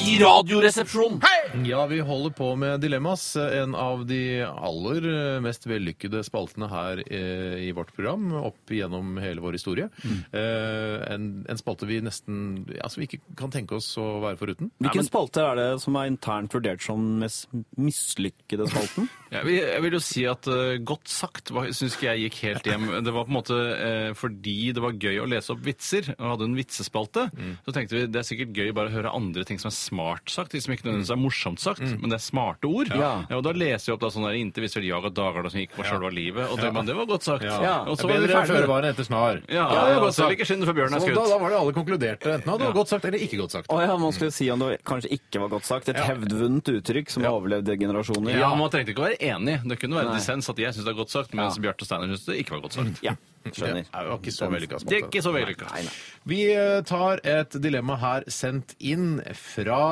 [SPEAKER 10] i Radioresepsjonen.
[SPEAKER 2] Ja, vi holder på med Dilemmas, en av de aller eh, mest vellykkede spaltene her eh, i vårt program opp gjennom hele vår historie.
[SPEAKER 9] Mm.
[SPEAKER 2] Eh, En, en spalte vi nesten altså vi ikke kan tenke oss å være foruten.
[SPEAKER 3] Hvilken spalte er det som er internt vurdert som mest mislykkede spalten?
[SPEAKER 4] Ja, vi- jeg vil jo si at eh, godt sagt syns ikke jeg gikk
[SPEAKER 3] <laughs>
[SPEAKER 4] helt hjem. Det var på en måte eh, fordi det var gøy å lese opp vitser, og hadde en vitsespalte,
[SPEAKER 3] Mm.
[SPEAKER 4] så tenkte vi det er sikkert gøy bare å høre andre ting som er smart sagt, de som ikke nødvendigvis er morsomt sagt, men det er smarte ord.
[SPEAKER 3] Mm. Ja.
[SPEAKER 4] og da leser vi opp da sånn der inntil visste vel jag og Dagerdal som gikk på sjølve livet, og det, men det var godt sagt.
[SPEAKER 3] Ja.
[SPEAKER 4] Og så var vi
[SPEAKER 2] Bedre føre
[SPEAKER 4] ferdige.
[SPEAKER 2] var enn etter snar.
[SPEAKER 4] Ja, ja, ja, godt sagt. Ikke skynd for bjørnen er
[SPEAKER 2] Så
[SPEAKER 4] skutt.
[SPEAKER 2] Da, da var det alle konkluderte. Enten hadde det var godt sagt eller ikke godt sagt.
[SPEAKER 3] Å ja, man skulle si om det kanskje ikke var godt sagt. Et hevdvunnet uttrykk som har overlevd generasjoner.
[SPEAKER 4] Ja, Man trengte ikke å være enig. Det kunne være
[SPEAKER 3] Nei.
[SPEAKER 4] dissens at jeg syns det er godt sagt, mens Bjarte og Steinar syns det ikke var godt sagt.
[SPEAKER 3] Ja. Skjønner.
[SPEAKER 2] Det var ikke så vellykka.
[SPEAKER 4] Det er ikke så vellykka.
[SPEAKER 3] Nei, nei.
[SPEAKER 2] Vi eh, tar et dilemma her sendt inn fra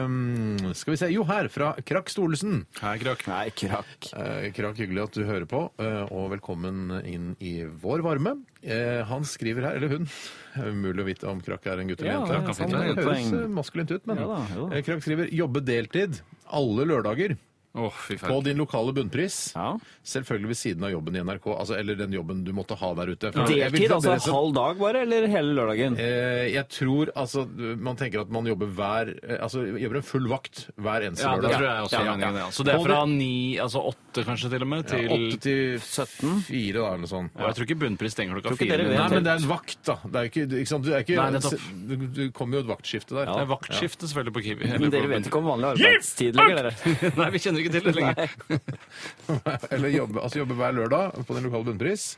[SPEAKER 2] eh, Skal vi se Jo, her. Fra Krakk Stolesen.
[SPEAKER 4] Hei, Krakk.
[SPEAKER 3] Nei, krakk.
[SPEAKER 2] Eh, Krakk, hyggelig at du hører på, eh, og velkommen inn i vår varme. Eh, Han skriver her, eller hun <laughs> det er Umulig å vite om Krakk er en gutt eller
[SPEAKER 6] Ja,
[SPEAKER 2] jente.
[SPEAKER 6] det kan fint
[SPEAKER 2] Det
[SPEAKER 4] være et
[SPEAKER 2] høres
[SPEAKER 3] poeng.
[SPEAKER 2] eh, maskulint ut, men
[SPEAKER 3] Ja da, ja da.
[SPEAKER 2] Eh, Krakk skriver 'jobbe deltid alle lørdager'
[SPEAKER 4] Åh, fy
[SPEAKER 2] på
[SPEAKER 4] faen.
[SPEAKER 2] din lokale bunnpris.
[SPEAKER 3] Ja.
[SPEAKER 2] Selvfølgelig ved siden av jobben i NRK, altså, eller den jobben du måtte ha der ute. For jeg vil
[SPEAKER 3] Deltid, altså
[SPEAKER 2] fremdeles-
[SPEAKER 3] halv dag bare, eller hele lørdagen?
[SPEAKER 2] Eh, Jeg tror altså Man tenker at man jobber hver eh, Altså jobber en full vakt hver eneste
[SPEAKER 4] Ja, det
[SPEAKER 2] lørdag.
[SPEAKER 4] tror jeg også
[SPEAKER 2] Ja,
[SPEAKER 4] er
[SPEAKER 2] ja,
[SPEAKER 4] meningen.
[SPEAKER 2] ja.
[SPEAKER 4] Ja. Så det er
[SPEAKER 2] Og
[SPEAKER 4] fra ni, altså åtte kanskje til og med,
[SPEAKER 2] ja,
[SPEAKER 4] til
[SPEAKER 2] åtte til 17? Fire, da, eller noe sånt.
[SPEAKER 4] Og jeg tror ikke bunnpris stenger klokka
[SPEAKER 3] Tror ikke
[SPEAKER 4] fire.
[SPEAKER 3] dere vet
[SPEAKER 2] Nei,
[SPEAKER 4] men-
[SPEAKER 3] det.
[SPEAKER 2] men det er en vakt, da. Det er jo ikke, du- ikke sant? Du, er ikke,
[SPEAKER 4] Nei, nettopp.
[SPEAKER 2] du, du kommer jo et vaktskifte der.
[SPEAKER 4] Det er vaktskifte selvfølgelig på
[SPEAKER 3] <laughs>
[SPEAKER 4] Kiwi.
[SPEAKER 3] Men dere vet ikke om vanlig arbeidstid lenger, dere.
[SPEAKER 4] <laughs> Nei, vi kjenner ikke til det lenger.
[SPEAKER 2] <laughs> Eller jobbe, altså jobbe hver lørdag på den lokale bunnpris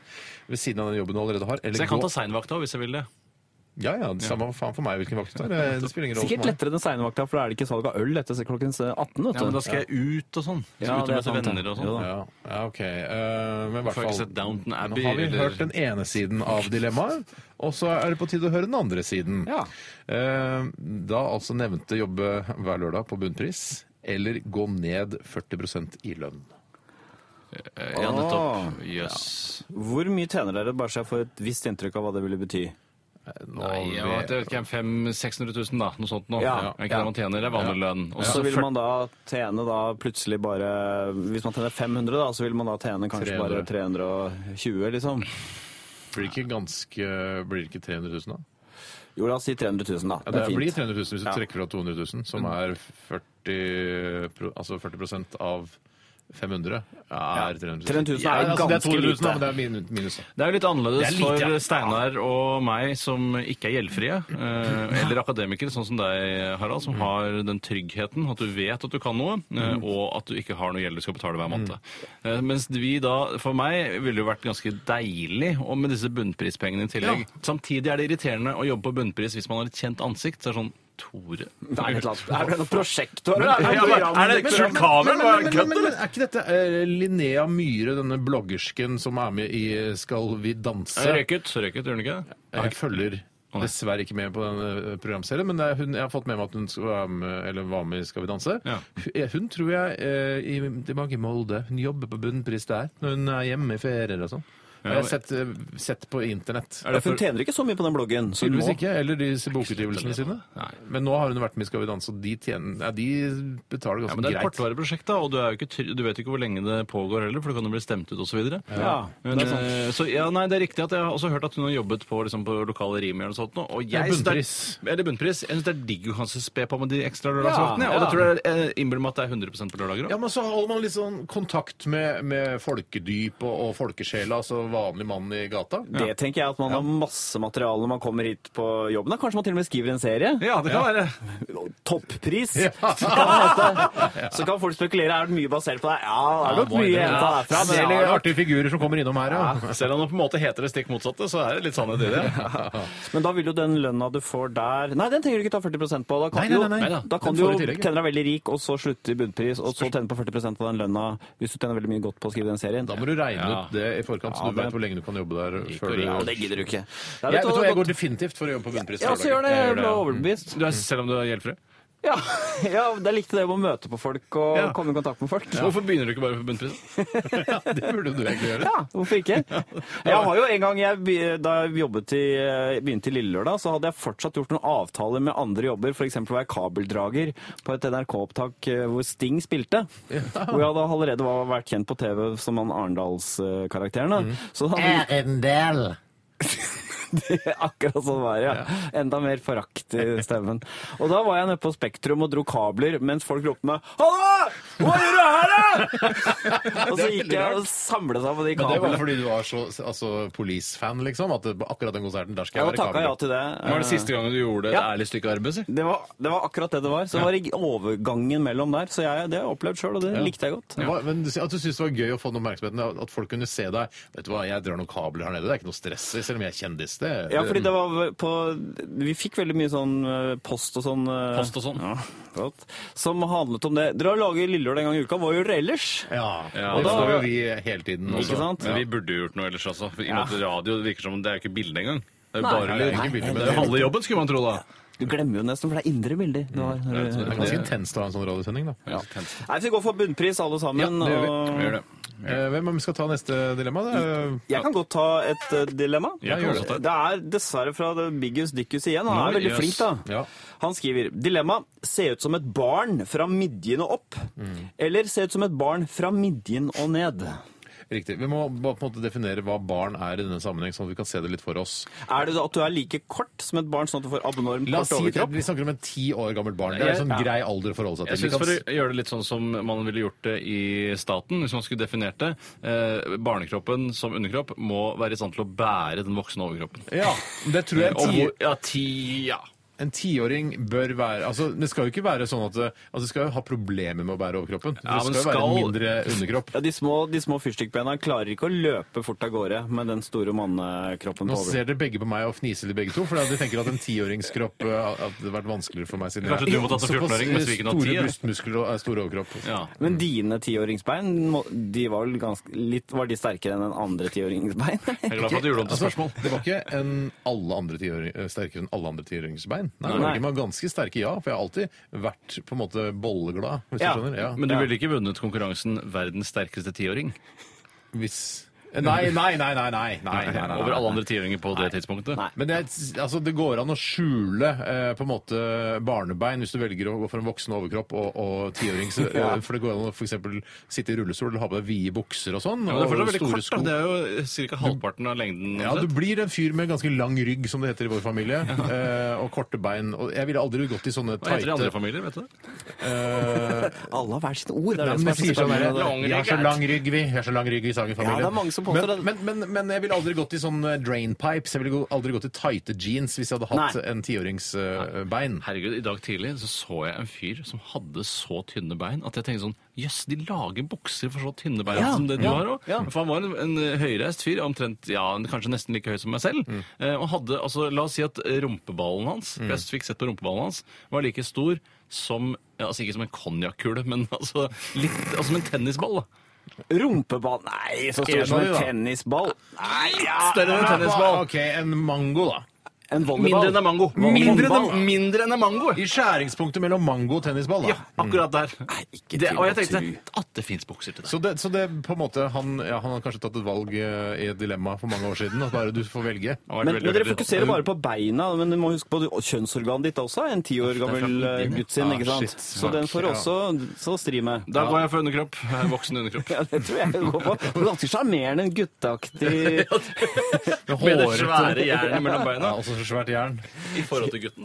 [SPEAKER 2] ved siden av den jobben du allerede har. Eller
[SPEAKER 4] Så jeg kan
[SPEAKER 2] gå-
[SPEAKER 4] ta seinvakt òg, hvis jeg vil det.
[SPEAKER 2] Ja, ja, det samme faen for meg hvilken vakt det er. Det spiller ingen rolle
[SPEAKER 3] Sikkert
[SPEAKER 2] for meg.
[SPEAKER 3] lettere den seine vakta, for da er det ikke salg av øl etter klokken 18.
[SPEAKER 4] Ja, men
[SPEAKER 3] Vet
[SPEAKER 4] da
[SPEAKER 3] du.
[SPEAKER 4] skal jeg ut og sånn.
[SPEAKER 3] Ja,
[SPEAKER 4] Jeg
[SPEAKER 3] det
[SPEAKER 4] skal ut og
[SPEAKER 3] er
[SPEAKER 4] møte
[SPEAKER 3] sant,
[SPEAKER 4] venner og
[SPEAKER 3] ja. Jo
[SPEAKER 4] sånn.
[SPEAKER 3] da.
[SPEAKER 2] Ja, ja, ok. Eh, men i hvert
[SPEAKER 4] Får jeg ikke
[SPEAKER 2] fall
[SPEAKER 4] sett Downton
[SPEAKER 2] Nå
[SPEAKER 4] Abbey
[SPEAKER 2] har vi
[SPEAKER 4] eller-
[SPEAKER 2] hørt den ene siden av dilemmaet, og så er det på tide å høre den andre siden.
[SPEAKER 3] Ja.
[SPEAKER 2] Eh, Da altså nevnte jobbe hver lørdag på bunnpris, eller gå ned 40 i lønn.
[SPEAKER 4] Eh,
[SPEAKER 3] Ah,
[SPEAKER 4] Ja, nettopp. Jøss.
[SPEAKER 3] Hvor mye tjener dere, bare så jeg får et visst inntrykk av hva det ville bety?
[SPEAKER 2] Nå
[SPEAKER 4] Nei,
[SPEAKER 2] vi-
[SPEAKER 4] jeg vet jeg vet ikke, 500 600 000 da, noe sånt nå.
[SPEAKER 3] Ja.
[SPEAKER 4] Er ikke det man tjener, det er vanlig lønn. Og
[SPEAKER 3] Så
[SPEAKER 4] så
[SPEAKER 3] vil
[SPEAKER 4] fyrt-
[SPEAKER 3] man da tjene da plutselig bare Hvis man tjener 500, da, så vil man da tjene
[SPEAKER 2] 300.
[SPEAKER 3] kanskje bare 320, liksom?
[SPEAKER 2] Blir det ikke ganske Blir det ikke 300 000, da?
[SPEAKER 3] Jo, la oss si 300 000, da.
[SPEAKER 2] Ja,
[SPEAKER 3] det, er
[SPEAKER 2] blir
[SPEAKER 3] fint.
[SPEAKER 2] 300 000 hvis du
[SPEAKER 3] Ja.
[SPEAKER 2] trekker fra 200 000, som er 40, pro- altså 40 av 500 er 300 000.
[SPEAKER 3] 300 000 er
[SPEAKER 2] Ja, altså,
[SPEAKER 3] ganske
[SPEAKER 2] Det er 200 000, da, men
[SPEAKER 3] lite.
[SPEAKER 2] det er min- minus. da.
[SPEAKER 4] Det er jo litt annerledes
[SPEAKER 2] Det er lite,
[SPEAKER 4] for
[SPEAKER 2] ja.
[SPEAKER 4] Steinar og meg som ikke er gjeldfrie, eh, eller akademikere, sånn som deg,
[SPEAKER 2] Mm.
[SPEAKER 4] Harald, som har den tryggheten at du vet at du kan noe, eh, og at du ikke har noe gjeld du skal betale hver
[SPEAKER 2] Mm.
[SPEAKER 4] måned. Eh, Mens vi da, for meg, ville det jo vært ganske deilig og med disse bunnprispengene i tillegg. Samtidig er det irriterende å jobbe på bunnpris hvis man har et kjent ansikt. Så er det sånn Tore
[SPEAKER 3] Det er, et eller annet. er det noe prosjekt? Tore?
[SPEAKER 4] Men-
[SPEAKER 3] Er det noe
[SPEAKER 4] Ja, men-
[SPEAKER 3] program-
[SPEAKER 4] er det et skjult
[SPEAKER 2] sånn-
[SPEAKER 4] kamera?
[SPEAKER 2] Men, men, men, men, men, er ikke dette eh, Linnea Myhre, denne bloggersken som er med i eh, Skal vi danse?
[SPEAKER 4] Røyket, røyket, gjør den ikke det?
[SPEAKER 2] Jeg følger dessverre ikke med på den programserien, men det er hun, jeg har fått med meg at hun skal være med, eller var med i Skal vi danse.
[SPEAKER 4] Ja.
[SPEAKER 2] Hun, eh, hun tror jeg eh, i Demage Molde Hun jobber på bunnpris der når hun er hjemme i ferier og sånn.
[SPEAKER 4] Ja,
[SPEAKER 2] jeg
[SPEAKER 4] men-
[SPEAKER 2] har sett, eh, sett på internett.
[SPEAKER 4] Er det
[SPEAKER 3] Hun
[SPEAKER 4] for...
[SPEAKER 3] tjener ikke så mye på den bloggen. Så nå
[SPEAKER 2] Tydeligvis ikke, eller disse bokutgivelsene sine.
[SPEAKER 4] Nei.
[SPEAKER 2] Men nå har hun vært med i Skal vi danse, og de, tjener, ja, de betaler
[SPEAKER 4] Ja,
[SPEAKER 2] ganske
[SPEAKER 4] men Det er et
[SPEAKER 2] altså, greit.
[SPEAKER 4] kortvarig prosjekt, da, og du, er jo ikke, try- du vet ikke hvor lenge det pågår heller, for du kan jo bli stemt ut osv.
[SPEAKER 3] Ja,
[SPEAKER 4] Men, eh, så, ja, nei, det er riktig at Jeg har også hørt at hun har jobbet på, liksom, på lokale Rimi eller noe sånt. nå, Og jeg
[SPEAKER 2] Eller
[SPEAKER 4] synes det er-
[SPEAKER 2] bunnpris.
[SPEAKER 4] Eller bunnpris. Jeg syns det er digg å kanskje spe på med de ekstra lørdagsvaktene. Og det
[SPEAKER 3] ja.
[SPEAKER 4] tror jeg eh, innbiller meg at det er 100 på lørdager
[SPEAKER 2] Ja,
[SPEAKER 4] òg.
[SPEAKER 2] men så holder man litt sånn kontakt med, med folkedyp og, og folkesjela, altså vanlig mann i gata.
[SPEAKER 3] det tenker jeg at man har masse materiale når man kommer hit på jobben. Da. Kanskje man til og med skriver en serie?
[SPEAKER 4] Ja, det kan være.
[SPEAKER 3] Toppris! <laughs> Kan det hete. Så kan folk spekulere er det mye basert på deg. Ja, det er nok
[SPEAKER 4] må
[SPEAKER 3] mye
[SPEAKER 4] jeg-
[SPEAKER 3] henta derfra.
[SPEAKER 2] Det
[SPEAKER 3] Men
[SPEAKER 2] er
[SPEAKER 3] ja,
[SPEAKER 2] litt artige figurer som kommer innom her, ja.
[SPEAKER 4] Selv om det på en måte heter det stikk motsatte, så er det litt sannhet i det.
[SPEAKER 3] Men da vil jo den lønna du får der Nei, den trenger du ikke ta 40 på. Da kan
[SPEAKER 2] Nei, nei,
[SPEAKER 3] du jo-
[SPEAKER 2] nei,
[SPEAKER 4] nei.
[SPEAKER 3] Da kan
[SPEAKER 2] Den
[SPEAKER 3] du jo
[SPEAKER 2] får du i tillegg.
[SPEAKER 3] tjene deg veldig rik, og så slutte i bunnpris, og så tjene på 40 på den lønna hvis du tjener veldig mye godt på å skrive den
[SPEAKER 2] <laughs>
[SPEAKER 3] serien.
[SPEAKER 2] Da må du regne
[SPEAKER 4] Ja.
[SPEAKER 2] ut det i forkant, så
[SPEAKER 3] Ja,
[SPEAKER 2] du
[SPEAKER 3] men-
[SPEAKER 2] vet hvor lenge du kan jobbe der. før du...
[SPEAKER 3] Ja, det gidder du ikke. Det
[SPEAKER 2] Jeg,
[SPEAKER 3] er litt
[SPEAKER 2] vet du, hva, jeg
[SPEAKER 3] godt-
[SPEAKER 2] går definitivt for å jobbe på bunnpris.
[SPEAKER 3] ja, så gjør det. Jeg ble overbevist.
[SPEAKER 4] Du er, selv om du er gjeldfri?
[SPEAKER 3] Ja, <laughs> ja jeg likte det med å møte på folk og
[SPEAKER 4] Ja.
[SPEAKER 3] komme i kontakt med folk.
[SPEAKER 4] Hvorfor begynner du ikke bare på <laughs> bunnpris?
[SPEAKER 2] Ja, det burde du egentlig gjøre.
[SPEAKER 3] Ja,
[SPEAKER 2] <laughs>
[SPEAKER 3] hvorfor ikke? Jeg har jo en gang jeg, be- da jeg jobbet i, eh, begynte i Lille Lørdag, så hadde jeg fortsatt gjort noen avtaler med andre jobber, f.eks. å være kabeldrager på et NRK-opptak eh, hvor Sting spilte. Hvor jeg hadde allerede var, vært kjent på TV som han Arendalskarakteren.
[SPEAKER 2] Mm.
[SPEAKER 3] da. Så da <laughs> hadde Akkurat sånn var det, ja. Enda mer forakt i stemmen. Og da var jeg nede på Spektrum og dro kabler, mens folk ropte meg 'Hallo! Hva gjør du her,
[SPEAKER 2] <laughs>
[SPEAKER 3] da?!' og så gikk jeg og samlet seg på de
[SPEAKER 2] Men det var
[SPEAKER 3] kablene.
[SPEAKER 2] fordi du var så altså, police-fan, liksom? At det, på akkurat den konserten der skal
[SPEAKER 3] Jeg
[SPEAKER 2] jeg
[SPEAKER 3] har
[SPEAKER 2] være
[SPEAKER 3] takka ja
[SPEAKER 2] kabel.
[SPEAKER 3] til det.
[SPEAKER 4] Var det siste gangen du gjorde et
[SPEAKER 3] Ja.
[SPEAKER 4] ærlig stykke arbeid? Si?
[SPEAKER 3] Det var, det var akkurat det det var. Så det var i overgangen mellom der. Så jeg, det har jeg opplevd sjøl, og det likte jeg godt.
[SPEAKER 2] Hva- Men du- at du syntes det var gøy å få den oppmerksomheten? At folk kunne se deg? Vet du hva, jeg drar noen kabler her nede, det er ikke noe stress, selv om jeg er kjendis. Det,
[SPEAKER 3] Ja, fordi det var på Vi fikk veldig mye sånn eh, post og sånn eh,
[SPEAKER 4] Post og sånn.
[SPEAKER 3] Godt. Som handlet om det. Dere har laget Lillelørdag en gang i uka. Hva gjør dere ellers.
[SPEAKER 2] Ja,
[SPEAKER 4] Ja,
[SPEAKER 2] og
[SPEAKER 4] det
[SPEAKER 2] da
[SPEAKER 4] får
[SPEAKER 2] får
[SPEAKER 4] jo
[SPEAKER 2] jo vi hele tiden
[SPEAKER 4] Også.
[SPEAKER 2] også.
[SPEAKER 3] Ikke sant?
[SPEAKER 4] Men vi burde jo gjort noe ellers også. I og med at radio det virker som det er jo ikke bilde engang. Det er jo
[SPEAKER 3] Nei,
[SPEAKER 4] bare
[SPEAKER 2] Nei, det er
[SPEAKER 4] lyd.
[SPEAKER 2] ikke billig, men
[SPEAKER 4] Det er jo halve jobben, skulle man tro, da.
[SPEAKER 3] Du glemmer jo nesten, for det er indre bilder. Du har,
[SPEAKER 4] det
[SPEAKER 2] det er ganske intenst å ha en sånn radiosending, da.
[SPEAKER 4] Ja.
[SPEAKER 3] Nei, vi går for bunnpris, alle sammen.
[SPEAKER 2] Ja, det gjør
[SPEAKER 3] og-
[SPEAKER 4] Vi gjør det.
[SPEAKER 2] Eh, Hvem om vi skal ta neste dilemma? Det er-
[SPEAKER 3] Jeg kan godt ta et eh, dilemma.
[SPEAKER 2] Ja, gjør det.
[SPEAKER 3] det er dessverre fra The Biggus Dickus igjen. Han er
[SPEAKER 4] Nei,
[SPEAKER 3] veldig
[SPEAKER 4] yes.
[SPEAKER 3] flink, da.
[SPEAKER 2] Ja.
[SPEAKER 3] Han skriver Dilemma se ut som et barn fra midjen og opp, eller se ut som et barn fra midjen og ned.
[SPEAKER 2] Riktig. Vi må bare på en måte definere hva barn er i denne sammenheng, sånn at vi kan se det litt for oss.
[SPEAKER 3] Er det at du er like kort som et barn, sånn at du får abnorm
[SPEAKER 2] La oss
[SPEAKER 3] kort
[SPEAKER 2] si at
[SPEAKER 3] overkropp?
[SPEAKER 2] vi snakker om en ti år gammelt barn. Det er en sånn grei alder å forholde seg
[SPEAKER 4] Jeg
[SPEAKER 2] til. Vi
[SPEAKER 4] synes
[SPEAKER 2] kan
[SPEAKER 4] For
[SPEAKER 2] s-
[SPEAKER 4] å gjøre det litt sånn som man ville gjort det i staten, hvis man skulle definert det eh, Barnekroppen som underkropp må være i stand til å bære den voksne overkroppen.
[SPEAKER 2] Ja, men det tror jeg
[SPEAKER 4] Eh, Og
[SPEAKER 2] ti,
[SPEAKER 4] hvor- ja, ti, ja.
[SPEAKER 2] en tiåring bør være altså, Det skal jo ikke være sånn at det, altså, det skal jo ha problemer med å bære overkroppen. Det
[SPEAKER 4] Ja,
[SPEAKER 2] skal
[SPEAKER 4] men
[SPEAKER 2] jo være en
[SPEAKER 4] skal-
[SPEAKER 2] mindre underkropp.
[SPEAKER 3] Ja, de små, de små fyrstikkbena klarer ikke å løpe fort av gårde med den store mannekroppen
[SPEAKER 2] Nå
[SPEAKER 3] på over.
[SPEAKER 2] ser dere begge på meg og fniser litt begge to, for de tenker at en tiåringskropp eh, at det hadde vært vanskeligere for meg siden
[SPEAKER 4] Kanskje du må ta til 14-åring, mens vi ikke når
[SPEAKER 2] Såpass
[SPEAKER 4] 10,
[SPEAKER 2] Store
[SPEAKER 4] da.
[SPEAKER 2] brystmuskler og eh, stor overkropp.
[SPEAKER 4] ja.
[SPEAKER 3] Men dine tiåringsbein må- de var vel ganske, litt, var de sterkere enn den andre tiåringsbein?
[SPEAKER 4] Jeg er glad for at du gjorde det om til
[SPEAKER 2] Altså,
[SPEAKER 4] spørsmål.
[SPEAKER 2] det var ikke en alle andre tiåring, eh, sterkere enn alle andre tiåringsbein. Nei, det var
[SPEAKER 3] Nei.
[SPEAKER 2] ikke, men ganske sterke, ja. For jeg har alltid vært på en måte bolleglad, hvis
[SPEAKER 3] Ja,
[SPEAKER 2] du skjønner. Ja.
[SPEAKER 4] Men du ville ikke vunnet konkurransen 'Verdens sterkeste tiåring'
[SPEAKER 2] hvis... Nei, nei, nei, nei, nei, nei, nei, nei.
[SPEAKER 4] over alle andre tiåringer på det tidspunktet?
[SPEAKER 3] Nei.
[SPEAKER 2] Men det, er, altså, det går an å skjule eh, på en måte barnebein hvis du velger å gå for en voksen overkropp og, og tiåring. <laughs> så- eh, For det går an å for eksempel sitte i rullestol eller ha på deg vide bukser og sånn.
[SPEAKER 4] Ja, men det er
[SPEAKER 2] og
[SPEAKER 4] fortsatt veldig
[SPEAKER 2] store
[SPEAKER 4] kort, da.
[SPEAKER 2] sko.
[SPEAKER 4] Det er jo ca. halvparten av lengden.
[SPEAKER 2] Ja, du blir en fyr med ganske lang rygg, som det heter i vår familie. <laughs> eh, og korte bein. Og jeg ville aldri gått i sånne
[SPEAKER 4] Hva heter det i andre
[SPEAKER 2] tighte
[SPEAKER 4] familier, vet du det?
[SPEAKER 2] eh,
[SPEAKER 3] <laughs> Alle har hver sitt ord. Det er
[SPEAKER 2] Nei,
[SPEAKER 3] det
[SPEAKER 2] men
[SPEAKER 3] som er
[SPEAKER 2] de sier
[SPEAKER 3] så
[SPEAKER 2] sånn der,
[SPEAKER 3] spennende.
[SPEAKER 4] Lang
[SPEAKER 2] Vi har
[SPEAKER 4] rygg,
[SPEAKER 2] så
[SPEAKER 4] er det.
[SPEAKER 2] lang rygg, vi. Vi har så lang rygg i Sagerfamilien.
[SPEAKER 3] Ja, det er mange som påstår
[SPEAKER 2] men, men, men, men jeg ville aldri gått i sånn eh, drain pipes. Jeg ville gå- aldri gått i tighte jeans hvis jeg hadde hatt
[SPEAKER 3] Nei.
[SPEAKER 2] en tiåringsbein.
[SPEAKER 4] Herregud, I dag tidlig så, så jeg en fyr som hadde så tynne bein at jeg tenkte sånn Jøss, de lager bukser for så tynne bein
[SPEAKER 3] Ja,
[SPEAKER 4] som det du
[SPEAKER 3] ja,
[SPEAKER 4] har òg.
[SPEAKER 3] ja.
[SPEAKER 4] For han var en, en eh, høyreist fyr, omtrent ja, en- kanskje nesten like høy som meg selv.
[SPEAKER 3] Mm.
[SPEAKER 4] Eh, og hadde, altså, La oss si at rumpeballen hans, for jeg fikk sett på rumpeballen hans, var like stor som ja, altså Ikke som en konjakkule, men altså, litt, altså som en tennisball. da.
[SPEAKER 3] Rumpeball Nei, så stor
[SPEAKER 2] En
[SPEAKER 3] som
[SPEAKER 2] av de,
[SPEAKER 3] en
[SPEAKER 2] da.
[SPEAKER 3] tennisball. Nei, ja.
[SPEAKER 4] Større enn en tennisball.
[SPEAKER 2] Ah, Ok, en mango, da.
[SPEAKER 3] En volleyball.
[SPEAKER 4] Mindre enn en mango. Mindre enn en, mindre enn en mango!
[SPEAKER 2] I skjæringspunktet mellom mango og tennisball. Da.
[SPEAKER 4] Ja, akkurat der.
[SPEAKER 3] ikke
[SPEAKER 4] det,
[SPEAKER 3] til
[SPEAKER 4] og
[SPEAKER 3] å
[SPEAKER 4] jeg tenkte at det fins bukser til deg.
[SPEAKER 2] Så det, så det på en måte, han, ja, han har kanskje tatt et valg eh, i et dilemma for mange år siden. At bare du får velge.
[SPEAKER 3] Men, men dere fokuserer bare på beina, men du må huske på det- og kjønnsorganet ditt også. er En ti år gammel
[SPEAKER 4] fra
[SPEAKER 3] eh,
[SPEAKER 4] midjen, ja.
[SPEAKER 3] gutt sin,
[SPEAKER 2] Ah,
[SPEAKER 3] ikke sant?
[SPEAKER 2] shit.
[SPEAKER 3] Så den får
[SPEAKER 2] Ja.
[SPEAKER 3] også så stri med.
[SPEAKER 4] Da går jeg for underkropp. Voksen underkropp.
[SPEAKER 3] <laughs> Ja, det tror jeg jeg går for. Det er Ganske sjarmerende, en gutteaktig
[SPEAKER 2] <laughs>
[SPEAKER 4] Med det svære jernet mellom beina
[SPEAKER 2] Ja, også så svært jern.
[SPEAKER 4] i forhold til gutten.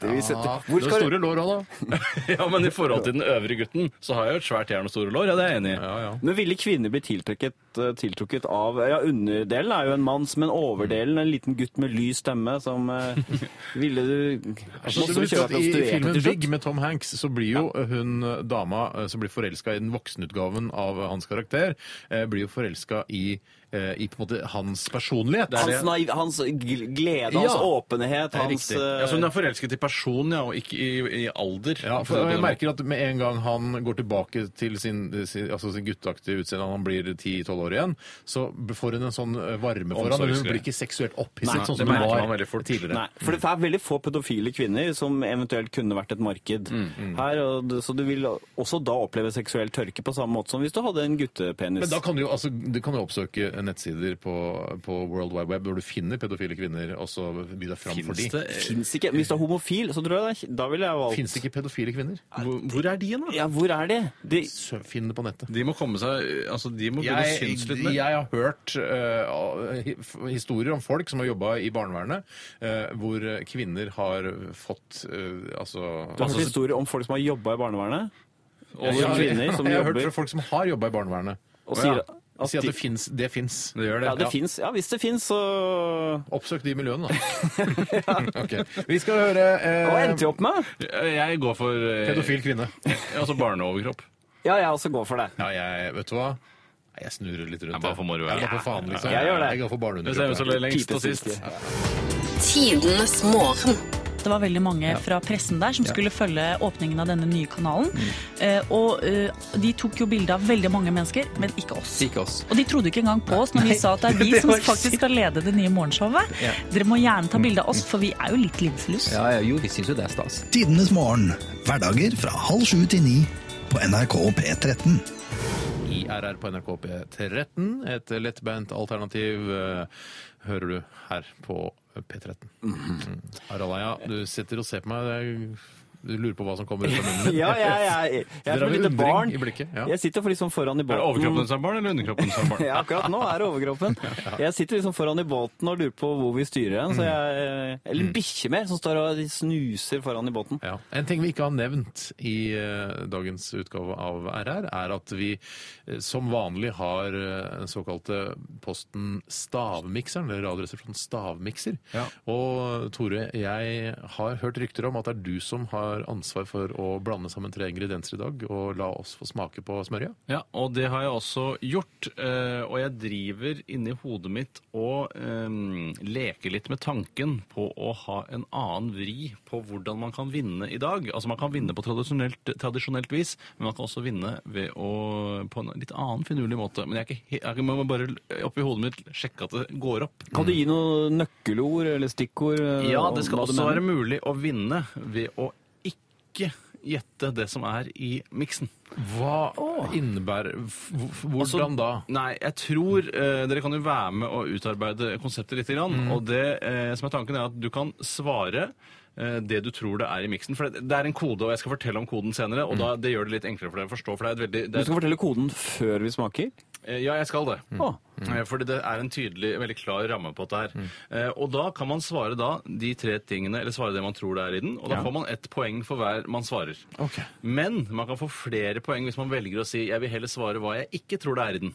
[SPEAKER 3] det vi setter-
[SPEAKER 2] Ah,
[SPEAKER 3] Hvor
[SPEAKER 2] det er
[SPEAKER 3] skal du
[SPEAKER 2] store lår òg, da.
[SPEAKER 4] <laughs> Ja, Men i forhold til den øvrige gutten så har jeg jo et svært jern og store lår. Ja, det er jeg enig i.
[SPEAKER 3] Men ville kvinner bli tiltrukket, eh, tiltrukket av Ja, underdelen er jo en manns, men overdelen en liten gutt med lys stemme som
[SPEAKER 2] <laughs>
[SPEAKER 3] eh, Ville du
[SPEAKER 2] Så
[SPEAKER 3] Måtte
[SPEAKER 2] det betyr
[SPEAKER 3] du kjøre
[SPEAKER 2] at I
[SPEAKER 3] deg
[SPEAKER 2] filmen
[SPEAKER 3] prostituert?
[SPEAKER 2] Big med Tom Hanks så blir jo hun eh, dama eh, som blir forelska i den voksenutgaven av eh, hans karakter, eh, blir jo forelska i, eh, i på en måte hans personlighet.
[SPEAKER 3] Hans, naiv, hans gl- glede, hans
[SPEAKER 2] Ja.
[SPEAKER 3] åpenhet, hans eh,
[SPEAKER 4] Ja, så hun er forelsket i person, ja, og ikke i, i alder.
[SPEAKER 2] Ja, for jeg merker at med en gang han går tilbake til sin, sin, altså sin gutteaktige utseende, han blir 10-12 år igjen, så får hun en sånn eh, varme for han, og hun
[SPEAKER 4] Omsorgsgreie.
[SPEAKER 2] blir ikke seksuelt opphisset,
[SPEAKER 4] Nei,
[SPEAKER 2] sånn
[SPEAKER 4] det
[SPEAKER 2] som hun
[SPEAKER 4] merker man
[SPEAKER 2] var
[SPEAKER 4] veldig fort.
[SPEAKER 2] tidligere.
[SPEAKER 3] Nei, for det er veldig få pedofile kvinner som eventuelt kunne vært et marked
[SPEAKER 2] Mm,
[SPEAKER 3] her. Og, du- så du vil også da oppleve seksuell tørke på samme måte som hvis du hadde en guttepenis.
[SPEAKER 2] Men da kan du jo, altså, du kan jo oppsøke nettsider på, på World Wide Web hvor du finner pedofile kvinner, og så by deg fram for de.
[SPEAKER 4] det
[SPEAKER 3] Finnes ikke, Hvis du er homofil, så tror jeg det, er- da ville jeg valgt
[SPEAKER 2] Fins det ikke pedofile kvinner?
[SPEAKER 4] hvor, hvor er de hen, da?
[SPEAKER 3] Ja, hvor er de? de
[SPEAKER 2] Sø- Finn det på nettet.
[SPEAKER 4] De må komme seg Altså, de må begynne å
[SPEAKER 2] Jeg,
[SPEAKER 4] synes litt
[SPEAKER 2] jeg
[SPEAKER 4] mer.
[SPEAKER 2] har hørt eh, hi- historier om folk som har jobba i barnevernet, eh, hvor kvinner har fått eh, altså
[SPEAKER 3] du har hørt historier om folk som har jobba i barnevernet? Og
[SPEAKER 2] Ja,
[SPEAKER 3] kvinner
[SPEAKER 2] <laughs>
[SPEAKER 3] som
[SPEAKER 2] jeg har
[SPEAKER 3] jobber
[SPEAKER 2] hørt fra folk som har jobba i barnevernet.
[SPEAKER 3] og sier
[SPEAKER 2] ja.
[SPEAKER 3] at
[SPEAKER 2] Si at
[SPEAKER 3] de-
[SPEAKER 2] det fins. Det fins.
[SPEAKER 4] Det gjør det.
[SPEAKER 3] Ja, det finnes. ja, hvis det fins, så
[SPEAKER 2] Oppsøk de miljøene, da.
[SPEAKER 3] <laughs>
[SPEAKER 2] Ok. Vi skal høre
[SPEAKER 3] Hva
[SPEAKER 2] eh,
[SPEAKER 3] endte vi opp med?
[SPEAKER 4] Jeg går for eh,
[SPEAKER 2] pedofil kvinne.
[SPEAKER 4] <laughs> Altså barneoverkropp.
[SPEAKER 3] Ja, jeg også går for det.
[SPEAKER 2] Ja, jeg, vet du hva? Nei, Jeg snurrer litt rundt.
[SPEAKER 4] Ja, bare for moro, ja.
[SPEAKER 2] jeg. Bare for faen, liksom.
[SPEAKER 3] Ja, jeg gjør det.
[SPEAKER 2] Jeg går for
[SPEAKER 4] Vi ser hvem som
[SPEAKER 2] barneunderkroppen.
[SPEAKER 4] er lengst og sist.
[SPEAKER 11] Tidenes morgen. Det var veldig mange fra pressen der som
[SPEAKER 12] Ja. Mm.
[SPEAKER 11] skulle følge åpningen av denne nye kanalen. Eh, og eh, de tok jo bilde av veldig mange mennesker, men ikke oss.
[SPEAKER 12] Ikke oss.
[SPEAKER 11] Og de trodde ikke engang på oss når
[SPEAKER 12] Nei,
[SPEAKER 11] vi sa
[SPEAKER 12] <laughs>
[SPEAKER 11] at det er vi
[SPEAKER 12] det
[SPEAKER 11] som
[SPEAKER 12] var
[SPEAKER 11] faktisk skal lede det nye morgenshowet.
[SPEAKER 12] Ja. Mm.
[SPEAKER 11] Dere må gjerne ta bilde av oss, for vi er jo litt linselus.
[SPEAKER 12] Ja, ja, jo, vi syns jo det er stas.
[SPEAKER 13] Tidenes morgen. Hverdager fra halv sju til ni på NRK P13.
[SPEAKER 2] IRR på NRK P13. Et lettbeint alternativ eh, hører du her på P13. Mm. Harald Eia, du sitter og ser på meg. det er- Du lurer på hva som kommer ut av munnen min.
[SPEAKER 3] <laughs> Ja, jeg, jeg, jeg,
[SPEAKER 2] Dere
[SPEAKER 3] er
[SPEAKER 2] har
[SPEAKER 3] et lite
[SPEAKER 2] undring
[SPEAKER 3] barn.
[SPEAKER 2] i blikket. Ja.
[SPEAKER 3] Jeg sitter for liksom foran i
[SPEAKER 4] Er
[SPEAKER 3] båten.
[SPEAKER 4] det overkroppen som er barn, eller underkroppen som er barn?
[SPEAKER 3] <laughs> ja, akkurat nå er det overkroppen. Jeg sitter liksom foran i båten og lurer på hvor vi styrer den. Så jeg, eh, eller en bikkje mer, som står og snuser foran i båten.
[SPEAKER 2] En ting vi ikke har nevnt i eh, dagens utgave av RR, er at vi eh, som vanlig har eh, den såkalte posten Stavmikseren, eller Radioresepsjonen Stavmikser. Og Tore, jeg har hørt rykter om at det er du som har ansvar for å blande sammen tre ingredienser i dag, og la oss få smake på smørja.
[SPEAKER 4] Ja, og det har jeg også gjort. eh, Og jeg driver inni hodet mitt og eh, leker litt med tanken på å ha en annen vri på hvordan man kan vinne i dag. Altså man kan vinne på tradisjonelt, tradisjonelt vis, men man kan også vinne ved å, på en litt annen finurlig måte. Men jeg, er ikke, he- jeg må bare oppi hodet mitt sjekke at det går opp.
[SPEAKER 3] Kan du gi noen nøkkelord eller stikkord? eh,
[SPEAKER 4] Ja,
[SPEAKER 3] om
[SPEAKER 4] det skal
[SPEAKER 3] hva du
[SPEAKER 4] også
[SPEAKER 3] mener?
[SPEAKER 4] være mulig å vinne ved å ikke gjette det som er i miksen.
[SPEAKER 2] Hva Altså, innebærer f- f- Hvordan da?
[SPEAKER 4] Altså, Nei, jeg tror eh, Dere kan jo være med og utarbeide konseptet litt. Grann,
[SPEAKER 2] Mm.
[SPEAKER 4] Og det eh, som er tanken, er at du kan svare eh, det du tror det er i miksen. For det, det er en kode, og jeg skal fortelle om koden senere.
[SPEAKER 2] Mm.
[SPEAKER 4] Og da, det gjør det litt enklere for dere å forstå. For det er et veldig,
[SPEAKER 3] Du
[SPEAKER 4] det er
[SPEAKER 3] skal fortelle koden før vi smaker?
[SPEAKER 4] Eh, Ja, jeg skal det.
[SPEAKER 3] Å.
[SPEAKER 4] Eh, Fordi det er en tydelig, veldig klar ramme på dette her.
[SPEAKER 3] Mm.
[SPEAKER 4] Eh, Og da kan man svare da de tre tingene, eller svare det man tror det er i den, og da
[SPEAKER 2] Ja.
[SPEAKER 4] får man ett poeng for hver man svarer. Men man kan få flere poeng hvis man velger å si jeg vil heller svare hva jeg ikke tror det er i den.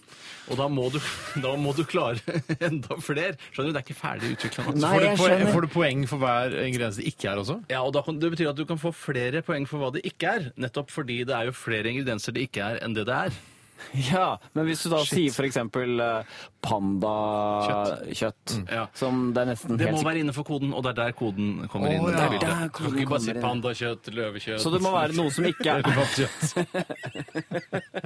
[SPEAKER 4] Og da må du, <laughs> da må du klare <laughs> enda flere. Skjønner du, det er ikke ferdig utvikla.
[SPEAKER 2] Så får, du poeng, får du poeng for hver ingrediens det ikke er <laughs> også?
[SPEAKER 4] Ja, og da kan, Det betyr at du kan få flere poeng for hva det ikke er, nettopp fordi det er jo flere ingredienser det ikke er, enn det det er.
[SPEAKER 3] Ja, men hvis du da sier for eksempel pandakjøtt, kjøtt, Mm. som det er nesten
[SPEAKER 4] Det
[SPEAKER 3] helt
[SPEAKER 4] må
[SPEAKER 3] sikkert-
[SPEAKER 4] være innenfor koden, og det er der koden kommer
[SPEAKER 3] Å,
[SPEAKER 4] inn.
[SPEAKER 3] ja.
[SPEAKER 4] i bildet.
[SPEAKER 3] Det er der
[SPEAKER 4] Du kan
[SPEAKER 3] koden
[SPEAKER 4] ikke bare si
[SPEAKER 3] kommer inn.
[SPEAKER 4] pandakjøtt, løvekjøtt
[SPEAKER 3] Så det må være noe som ikke er- <laughs>
[SPEAKER 4] Elefantskjøtt.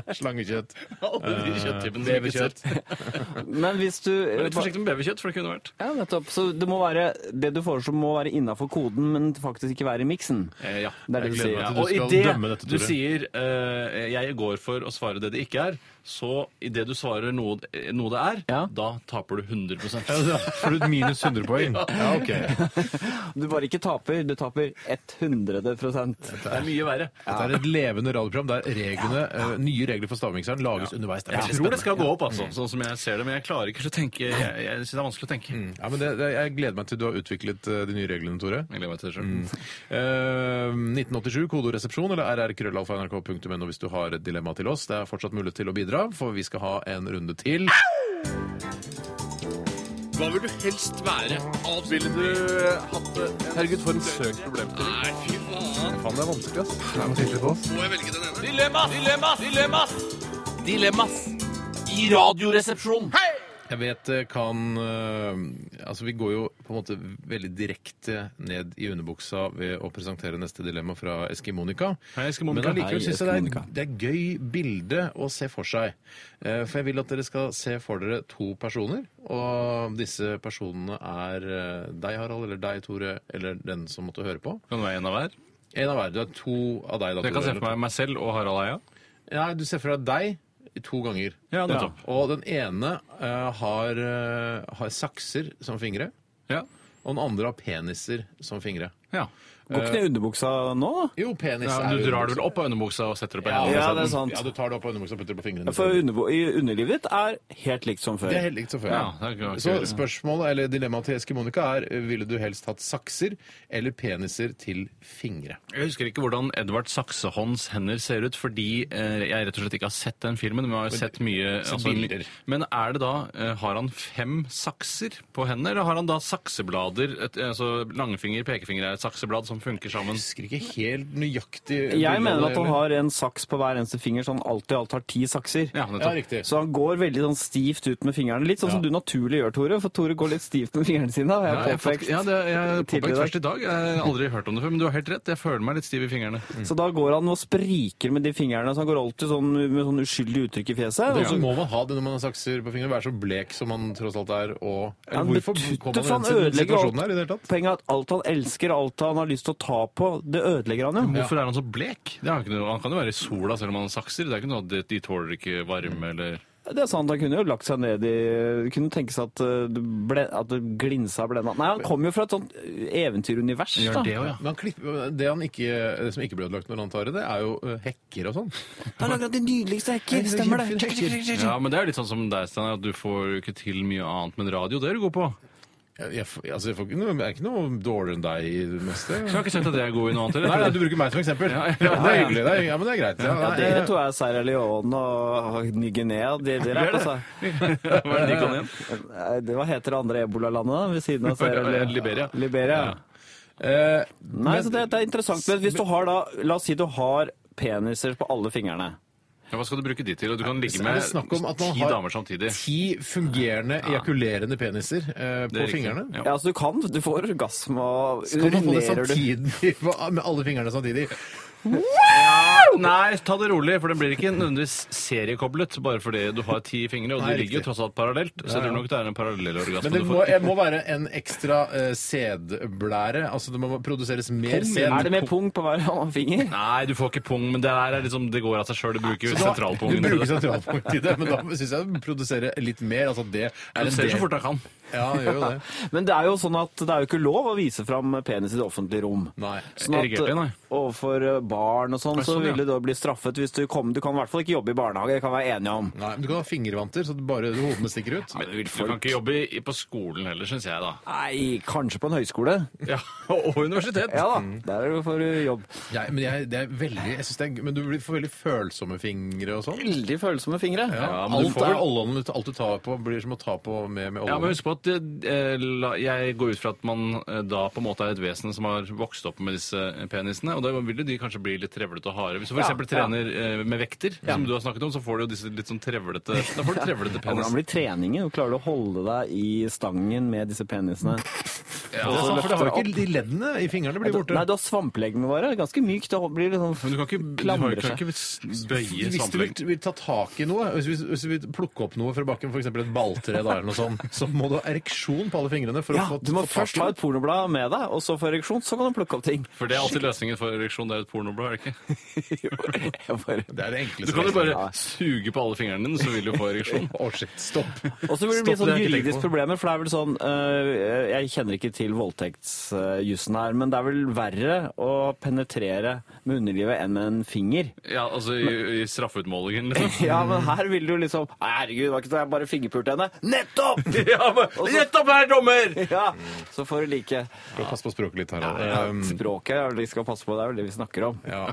[SPEAKER 2] <laughs> Slangekjøtt.
[SPEAKER 4] Alle de <laughs>
[SPEAKER 2] Eh,
[SPEAKER 4] kjøtttypene som vi ikke
[SPEAKER 2] Leverkjøtt.
[SPEAKER 3] Men hvis du
[SPEAKER 4] er litt forsiktig med beverkjøtt, for det kunne vært.
[SPEAKER 3] Ja, nettopp. Så det, må være, det du foreslår må være innafor koden, men faktisk ikke være i miksen.
[SPEAKER 4] Eh, Ja,
[SPEAKER 3] Det er det
[SPEAKER 4] Jeg
[SPEAKER 3] du
[SPEAKER 4] gleder
[SPEAKER 3] sier.
[SPEAKER 4] meg
[SPEAKER 3] Ja,
[SPEAKER 4] til
[SPEAKER 3] og i
[SPEAKER 4] skal
[SPEAKER 3] det-
[SPEAKER 4] dømme dette, Tore. Du sier eh, jeg går for å svare det det ikke er, så idet du svarer noe, eh, noe det er, da taper du 100
[SPEAKER 2] Ja, da får du et minus 100 poeng. Ja,
[SPEAKER 3] <laughs> Du bare ikke taper, du taper 100 Det
[SPEAKER 4] er mye verre.
[SPEAKER 2] Dette er et levende radioprogram der reglene, eh, nye regler for stavmikseren lages underveis. Det er veldig
[SPEAKER 4] Jeg tror det skal
[SPEAKER 2] spennende.
[SPEAKER 4] gå opp, altså,
[SPEAKER 2] Mm.
[SPEAKER 4] sånn som jeg ser det, men jeg klarer ikke å tenke Jeg, jeg synes det er vanskelig å tenke.
[SPEAKER 2] Ja, men det, det, jeg gleder meg til du har utviklet eh, de nye reglene, Tore.
[SPEAKER 4] Jeg gleder meg til det selv.
[SPEAKER 2] Mm. Eh, 1987, kodoresepsjon eller rrkrøllalfa.nrk.no hvis du har et dilemma til oss. Det er fortsatt mulighet til å bidra, for vi skal ha en runde til.
[SPEAKER 9] Hva vil du helst være? Ville du hatt det? Herregud, for en søkt problemstilling. Nei, fy faen.
[SPEAKER 2] Faen, det er vanskelig, ass.
[SPEAKER 9] Må jeg velge den ene?
[SPEAKER 10] Dilemmas! Dilemmas! Dilemmas! Dilemmas i Radioresepsjonen.
[SPEAKER 2] Jeg vet det kan eh, Altså, vi går jo på en måte veldig direkte ned i underbuksa ved å presentere neste dilemma fra Eskimonika.
[SPEAKER 4] Hei,
[SPEAKER 2] Men
[SPEAKER 4] Eskimonika.
[SPEAKER 2] allikevel
[SPEAKER 4] Hei,
[SPEAKER 2] syns jeg det er,
[SPEAKER 4] Eskimonika.
[SPEAKER 2] det er gøy bilde å se for seg. Eh, For jeg vil at dere skal se for dere to personer, og disse personene er eh, deg, Harald, eller deg, Tore, eller den som måtte høre på.
[SPEAKER 4] Kan det være en av hver?
[SPEAKER 2] En av hver. Det er to av deg, da,
[SPEAKER 4] Jeg kan se for meg meg selv og Harald Eia.
[SPEAKER 2] Nei, du ser for deg deg to ganger.
[SPEAKER 4] Ja, nettopp.
[SPEAKER 2] Og den ene eh, har, eh, har sakser som fingre. Og den andre har peniser som fingre.
[SPEAKER 3] Går ikke ned i underbuksa nå, da?
[SPEAKER 2] Jo, penis
[SPEAKER 4] Ja,
[SPEAKER 2] er
[SPEAKER 4] du
[SPEAKER 2] jo
[SPEAKER 4] drar det
[SPEAKER 2] underbuksa.
[SPEAKER 4] vel opp av underbuksa og setter det på
[SPEAKER 2] Ja,
[SPEAKER 4] hendene. liksom?
[SPEAKER 3] ja, det er sant.
[SPEAKER 2] Ja, du tar det opp av underbuksa og putter det på fingrene.
[SPEAKER 3] For underbo- i underlivet ditt er helt likt som før.
[SPEAKER 2] Det er helt likt som før.
[SPEAKER 3] Ja, det er
[SPEAKER 4] ikke-
[SPEAKER 2] Så spørsmålet eller dilemmaet til Eske-Monica er eh, ville du helst hatt sakser eller peniser til fingre?
[SPEAKER 4] Jeg husker ikke hvordan Edvard Saksehånds hender ser ut, fordi eh, jeg rett og slett ikke har sett den filmen. Men jeg har jo
[SPEAKER 2] Men-
[SPEAKER 4] sett mye altså,
[SPEAKER 2] sett bilder.
[SPEAKER 4] Men er det da eh, Har han fem sakser på hendene, eller har han da sakseblader? Et, altså langfinger, pekefinger er et sakseblad som funker sammen. Jeg
[SPEAKER 2] husker ikke helt nøyaktig
[SPEAKER 3] Jeg mener at han har en saks på hver eneste finger, så han alltid i alt har ti sakser.
[SPEAKER 4] nettopp. Ja, riktig.
[SPEAKER 3] så han går veldig sånn stivt ut med fingrene. Litt sånn som du naturlig gjør, Tore, for Tore går litt stivt med fingrene sine. har
[SPEAKER 4] Ja, jeg
[SPEAKER 3] Jeg påpekt
[SPEAKER 4] faktisk- ja, det, jeg
[SPEAKER 3] tidligere i
[SPEAKER 4] påpekte
[SPEAKER 3] dag.
[SPEAKER 4] først i dag. Jeg har aldri hørt om det før, men du har helt rett. Jeg føler meg litt stiv i fingrene.
[SPEAKER 3] Så da går han og spriker med de fingrene, så han går alltid sånn, med sånn uskyldig uttrykk i fjeset.
[SPEAKER 2] Og så
[SPEAKER 3] og
[SPEAKER 2] Altså,
[SPEAKER 3] så-
[SPEAKER 2] må man ha det når man har sakser på fingrene. Være så blek som man tross alt er. Og
[SPEAKER 3] Ja,
[SPEAKER 2] Eller
[SPEAKER 3] men
[SPEAKER 2] hvorfor
[SPEAKER 3] betuttet,
[SPEAKER 2] kom
[SPEAKER 3] for
[SPEAKER 2] man i
[SPEAKER 3] han
[SPEAKER 2] den
[SPEAKER 3] ødelegger
[SPEAKER 2] situasjonen her? i det hele
[SPEAKER 3] alt. Poenget er at alt han elsker, alt han har lyst til å ta på, det ødelegger han jo.
[SPEAKER 4] Hvorfor er han så blek? Det har ikke noe, han kan jo være i sola selv om han har sakser. Det er ikke noe at de, de tåler ikke varme eller
[SPEAKER 3] Det er sant, han kunne jo lagt seg ned i Kunne tenke seg at eh, det, ble, at det glinsa og blenda. Nei, han kommer jo fra et sånt eventyrunivers. da.
[SPEAKER 2] Men han klipper, det, han ikke, det som ikke blir ødelagt når han tar i det, er jo eh, hekker og sånn.
[SPEAKER 3] Han lager de nydeligste
[SPEAKER 2] Ja,
[SPEAKER 3] hekker,
[SPEAKER 2] det er
[SPEAKER 3] stemmer det?
[SPEAKER 2] kjempefine hekker.
[SPEAKER 4] Ja, men det er litt sånn som deg, Steinar, at du får jo ikke til mye annet, men radio, det er du god på.
[SPEAKER 2] Jeg, jeg, får- altså, jeg, får, ikke noe- jeg er ikke noe dårligere enn deg i det meste.
[SPEAKER 3] <laughs>
[SPEAKER 4] Jeg har ikke sagt at jeg er god i noe annet. eller?
[SPEAKER 2] Nei, nei, du bruker meg som eksempel.
[SPEAKER 4] Ja, ja,
[SPEAKER 2] Ja, det er
[SPEAKER 4] ja.
[SPEAKER 2] hyggelig. Det er, ja, men det er greit. Ja,
[SPEAKER 3] Ja,
[SPEAKER 2] nei,
[SPEAKER 3] dere
[SPEAKER 2] jeg-
[SPEAKER 3] to er Sierra Leone og Ny-Guinea. De, dere er
[SPEAKER 4] Vi er det.
[SPEAKER 3] altså
[SPEAKER 4] <laughs> Hva er det de kan igjen?
[SPEAKER 3] Nei, det- Hva heter det andre ebolalandet da, ved
[SPEAKER 2] <laughs>
[SPEAKER 3] siden av Sierra Leone?
[SPEAKER 4] Liberia.
[SPEAKER 3] Liberia.
[SPEAKER 2] eh,
[SPEAKER 3] Nei,
[SPEAKER 4] men-
[SPEAKER 3] så det, det er interessant. Men hvis du har da La oss si du har peniser på alle fingrene.
[SPEAKER 4] Ja, hva skal du bruke de til? Og Du kan ligge
[SPEAKER 2] Er
[SPEAKER 4] med
[SPEAKER 2] det snakk om at man
[SPEAKER 4] ti
[SPEAKER 2] har
[SPEAKER 4] damer samtidig.
[SPEAKER 2] Ti fungerende, ejakulerende peniser eh,
[SPEAKER 4] Det er
[SPEAKER 2] på
[SPEAKER 4] riktig.
[SPEAKER 2] fingrene.
[SPEAKER 3] Ja. altså du kan. Du får orgasme og
[SPEAKER 2] Skal man få det
[SPEAKER 3] urinerer du.
[SPEAKER 2] samtidig <laughs> på- med alle fingrene samtidig?
[SPEAKER 4] Nei, ta det rolig, for den blir ikke nødvendigvis seriekoblet bare fordi du har ti fingre, og
[SPEAKER 2] Nei,
[SPEAKER 4] de ligger jo
[SPEAKER 2] riktig.
[SPEAKER 4] tross alt parallelt. Så
[SPEAKER 2] Ja,
[SPEAKER 4] jeg
[SPEAKER 2] ja.
[SPEAKER 4] tror nok det er en parallell orgasme
[SPEAKER 2] Men det
[SPEAKER 4] du
[SPEAKER 2] må,
[SPEAKER 4] får.
[SPEAKER 2] jeg må være en ekstra eh, sædblære. Altså det må produseres mer
[SPEAKER 3] Pung?
[SPEAKER 2] sæd.
[SPEAKER 3] Er det med pung på hver finger?
[SPEAKER 4] Nei, du får ikke pung, men det her er liksom, det går av seg sjøl. Du bruker
[SPEAKER 2] Så
[SPEAKER 4] jo
[SPEAKER 2] da-
[SPEAKER 4] sentralpungen.
[SPEAKER 2] Du bruker sentralpungen til det, <laughs> men da syns jeg du produserer litt mer. Altså det er
[SPEAKER 4] Du
[SPEAKER 2] en
[SPEAKER 4] ser
[SPEAKER 2] del-
[SPEAKER 4] så fort jeg kan.
[SPEAKER 2] Ja, jeg gjør jo det.
[SPEAKER 3] Men det er jo sånn at det er jo ikke lov å vise fram penis i det offentlige rom.
[SPEAKER 2] Nei.
[SPEAKER 3] Sånn at
[SPEAKER 4] Erigert, nei.
[SPEAKER 3] eh, Overfor eh, barn og sånn,
[SPEAKER 4] Nei,
[SPEAKER 3] så
[SPEAKER 4] sånn, ja.
[SPEAKER 3] vil du da bli straffet hvis du kommer Du kan i hvert fall ikke jobbe i barnehage, det kan vi være enige om.
[SPEAKER 2] Nei, men Du kan ha fingervanter, så bare hodene stikker ut.
[SPEAKER 4] Men du kan ikke jobbe i- i- på skolen heller, syns jeg, da.
[SPEAKER 3] Nei, kanskje på en høyskole.
[SPEAKER 4] Ja, <laughs> Og universitet.
[SPEAKER 3] Ja da, der får du jobb.
[SPEAKER 2] Jeg, men jeg, det er veldig, jeg synes det er, men du blir- får veldig følsomme fingre og sånn.
[SPEAKER 3] Veldig følsomme fingre.
[SPEAKER 2] Ja,
[SPEAKER 4] Ja, men du
[SPEAKER 2] alt,
[SPEAKER 4] får
[SPEAKER 2] er
[SPEAKER 4] vel-
[SPEAKER 2] ollene, alt du tar på, blir som å ta på med, med
[SPEAKER 4] Ja, men
[SPEAKER 2] ollene.
[SPEAKER 4] husk på at eh, la- jeg går ut fra at man eh, da på en måte er et vesen som har vokst opp med disse penisene, og da vil jo de kanskje bli litt trevlete og harde. Hvis du for
[SPEAKER 3] Ja,
[SPEAKER 4] eksempel
[SPEAKER 3] ja.
[SPEAKER 4] trener eh, med vekter, som du har snakket om, så får du jo disse litt sånn trevlete Da får du trevlete
[SPEAKER 3] Ja, Hvordan
[SPEAKER 4] penis.
[SPEAKER 3] blir treningen? Hvordan Klarer du å holde deg i stangen med disse penisene?
[SPEAKER 4] Ja,
[SPEAKER 2] Det er sant, for det har jo ikke
[SPEAKER 3] Løfter
[SPEAKER 2] de leddene i fingrene
[SPEAKER 3] Nei,
[SPEAKER 2] blir
[SPEAKER 3] du
[SPEAKER 2] borte.
[SPEAKER 3] har svampeleggene våre. Ganske mykt. Det blir litt sånn
[SPEAKER 4] Men du kan ikke, du har,
[SPEAKER 3] Klamrer
[SPEAKER 4] kan
[SPEAKER 3] seg.
[SPEAKER 4] ikke bøye
[SPEAKER 2] Hvis du vil,
[SPEAKER 4] sammenhengen.
[SPEAKER 2] vil ta tak i noe, hvis, hvis, hvis du vil plukke opp noe fra bakken, f.eks. et balltre, da, eller noe
[SPEAKER 3] <laughs>
[SPEAKER 2] sånt, så må du ha ereksjon på alle fingrene for
[SPEAKER 3] Ja,
[SPEAKER 2] å få
[SPEAKER 3] du må
[SPEAKER 2] få tak
[SPEAKER 3] først
[SPEAKER 2] i
[SPEAKER 3] ha
[SPEAKER 2] det.
[SPEAKER 3] et pornoblad med deg, og så få ereksjon, så kan du plukke opp ting. <laughs>
[SPEAKER 4] For det er alltid løsningen for ereksjon, det er et pornoblad, er det ikke?
[SPEAKER 3] Jeg bare-
[SPEAKER 2] Det er det
[SPEAKER 4] Du
[SPEAKER 2] enkleste.
[SPEAKER 4] kan jo
[SPEAKER 3] Ja.
[SPEAKER 4] bare suge på alle fingrene dine, så vil du få
[SPEAKER 2] <laughs>
[SPEAKER 4] ereksjon.
[SPEAKER 2] Å, shit. Stopp.
[SPEAKER 3] Og så vil det bli
[SPEAKER 4] Stopp, det
[SPEAKER 3] sånn
[SPEAKER 4] har jeg ikke tenkt
[SPEAKER 3] juridisk
[SPEAKER 4] på.
[SPEAKER 3] problemer, for det er vel sånn øh, Jeg kjenner ikke til voldtektsjussen her, men det er vel verre å penetrere med underlivet enn med en finger.
[SPEAKER 4] Ja, altså i, i straffeutmålingen, liksom.
[SPEAKER 3] <laughs> Ja, men her vil du liksom «Nei, Herregud, det var ikke det, jeg bare fingerpulte henne. Nettopp!
[SPEAKER 4] <laughs> <laughs> Ja, men rett opp her, dommer!
[SPEAKER 3] <laughs> Ja, så får du like
[SPEAKER 2] Pass på språket litt, Harald.
[SPEAKER 3] ja,
[SPEAKER 2] Um,
[SPEAKER 3] <laughs> Språket er det vi skal passe på, det er vel det vi snakker om. <laughs>
[SPEAKER 2] ja.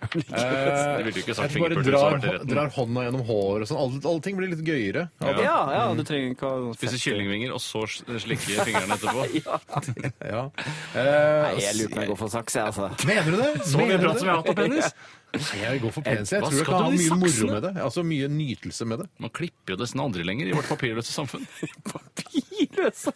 [SPEAKER 2] Eh,
[SPEAKER 4] Det ville
[SPEAKER 3] Sånn
[SPEAKER 4] du ikke
[SPEAKER 2] Jeg bare
[SPEAKER 4] sagt fingerpulte, så
[SPEAKER 2] drar,
[SPEAKER 4] var det retten.
[SPEAKER 2] drar hånda gjennom håret og sånn. Alle, alle ting blir litt gøyere.
[SPEAKER 3] Ja, ja,
[SPEAKER 4] Mm.
[SPEAKER 3] du trenger ikke å
[SPEAKER 4] Spise kyllingvinger og så slikke
[SPEAKER 3] <laughs>
[SPEAKER 4] fingrene etterpå.
[SPEAKER 3] Ja.
[SPEAKER 2] Ja.
[SPEAKER 3] Nei,
[SPEAKER 2] Eh,
[SPEAKER 3] jeg lurer på om jeg går for saks, jeg, <laughs> altså.
[SPEAKER 2] Mener du det?
[SPEAKER 4] <laughs> Så mye
[SPEAKER 2] Mener du
[SPEAKER 4] prat
[SPEAKER 2] det?
[SPEAKER 4] som jeg har hatt om penis.
[SPEAKER 2] Nei, Jeg
[SPEAKER 3] Eh,
[SPEAKER 2] går for penis. Jeg
[SPEAKER 4] Hva
[SPEAKER 2] tror jeg
[SPEAKER 4] skal
[SPEAKER 2] kan
[SPEAKER 4] du
[SPEAKER 2] ha
[SPEAKER 4] med de
[SPEAKER 2] mye moro
[SPEAKER 4] saksene?
[SPEAKER 2] med det. Altså mye nytelse med det.
[SPEAKER 4] <laughs> Man klipper jo nesten aldri lenger i vårt papirløse samfunn.
[SPEAKER 3] Papirløse!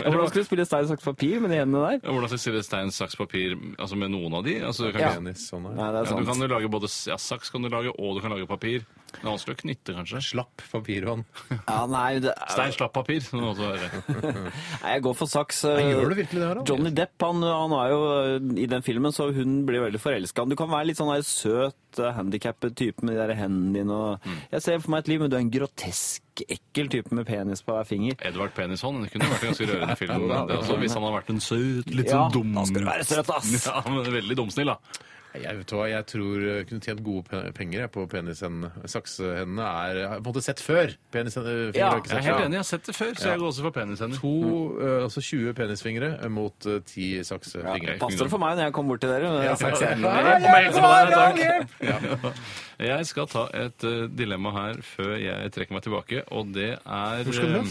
[SPEAKER 3] Ja, hvordan skulle du spille stein, saks, papir med de hendene der?
[SPEAKER 4] Ja, Hvordan skal jeg stille stein, saks, papir altså med noen av de? Altså, du, kan, ja.
[SPEAKER 2] Penis, sånn her.
[SPEAKER 3] Nei, det er
[SPEAKER 4] du
[SPEAKER 3] sant.
[SPEAKER 4] kan jo lage både s- ja, saks kan du lage, og du kan lage papir. Det er vanskelig å knytte, kanskje.
[SPEAKER 2] Slapp papirhånd.
[SPEAKER 3] Ja, nei, det er...
[SPEAKER 4] Stein, slapp papir. som det også er.
[SPEAKER 3] nei, jeg går for saks. øh,
[SPEAKER 2] Gjør du virkelig det, Harald?
[SPEAKER 3] Johnny Depp han, han er jo eh, i den filmen, så hun blir veldig forelska. Du kan være litt sånn der søt, eh, handikappet type med de der hendene dine. Og...
[SPEAKER 4] Mm.
[SPEAKER 3] Jeg ser for meg et liv, men du er en grotesk, ekkel type med penis på hver finger.
[SPEAKER 4] Edvard Penishånd. Det kunne vært en ganske rørende film.
[SPEAKER 3] Ja, det
[SPEAKER 4] Det, altså, hvis han hadde vært en søt, litt
[SPEAKER 3] Ja,
[SPEAKER 4] sånn dum
[SPEAKER 3] da skal du være søt, ass.
[SPEAKER 4] <laughs> Ja, men Veldig dumsnill, da.
[SPEAKER 2] Nei, Jeg, vet du hva, jeg tror jeg kunne tjent gode pe- penger jeg, på penishendene. Saksehendene er jeg har på en måte sett før. Penishendene eh, fingre
[SPEAKER 3] Ja,
[SPEAKER 2] har jeg ikke
[SPEAKER 4] Jeg
[SPEAKER 2] sett
[SPEAKER 4] er helt
[SPEAKER 2] før.
[SPEAKER 4] enig, jeg har sett det før, så jeg går også for penishender.
[SPEAKER 2] To, eh, altså 20 penisfingre mot eh, 10 saksefingre.
[SPEAKER 3] Passer det for meg når jeg kommer bort til dere? Med saks i hendene?
[SPEAKER 4] Nei, jeg må hjelpe deg, takk. Jeg skal ta et eh, dilemma her før jeg trekker meg tilbake, og det er Hvor <laughs>
[SPEAKER 2] skal du hen?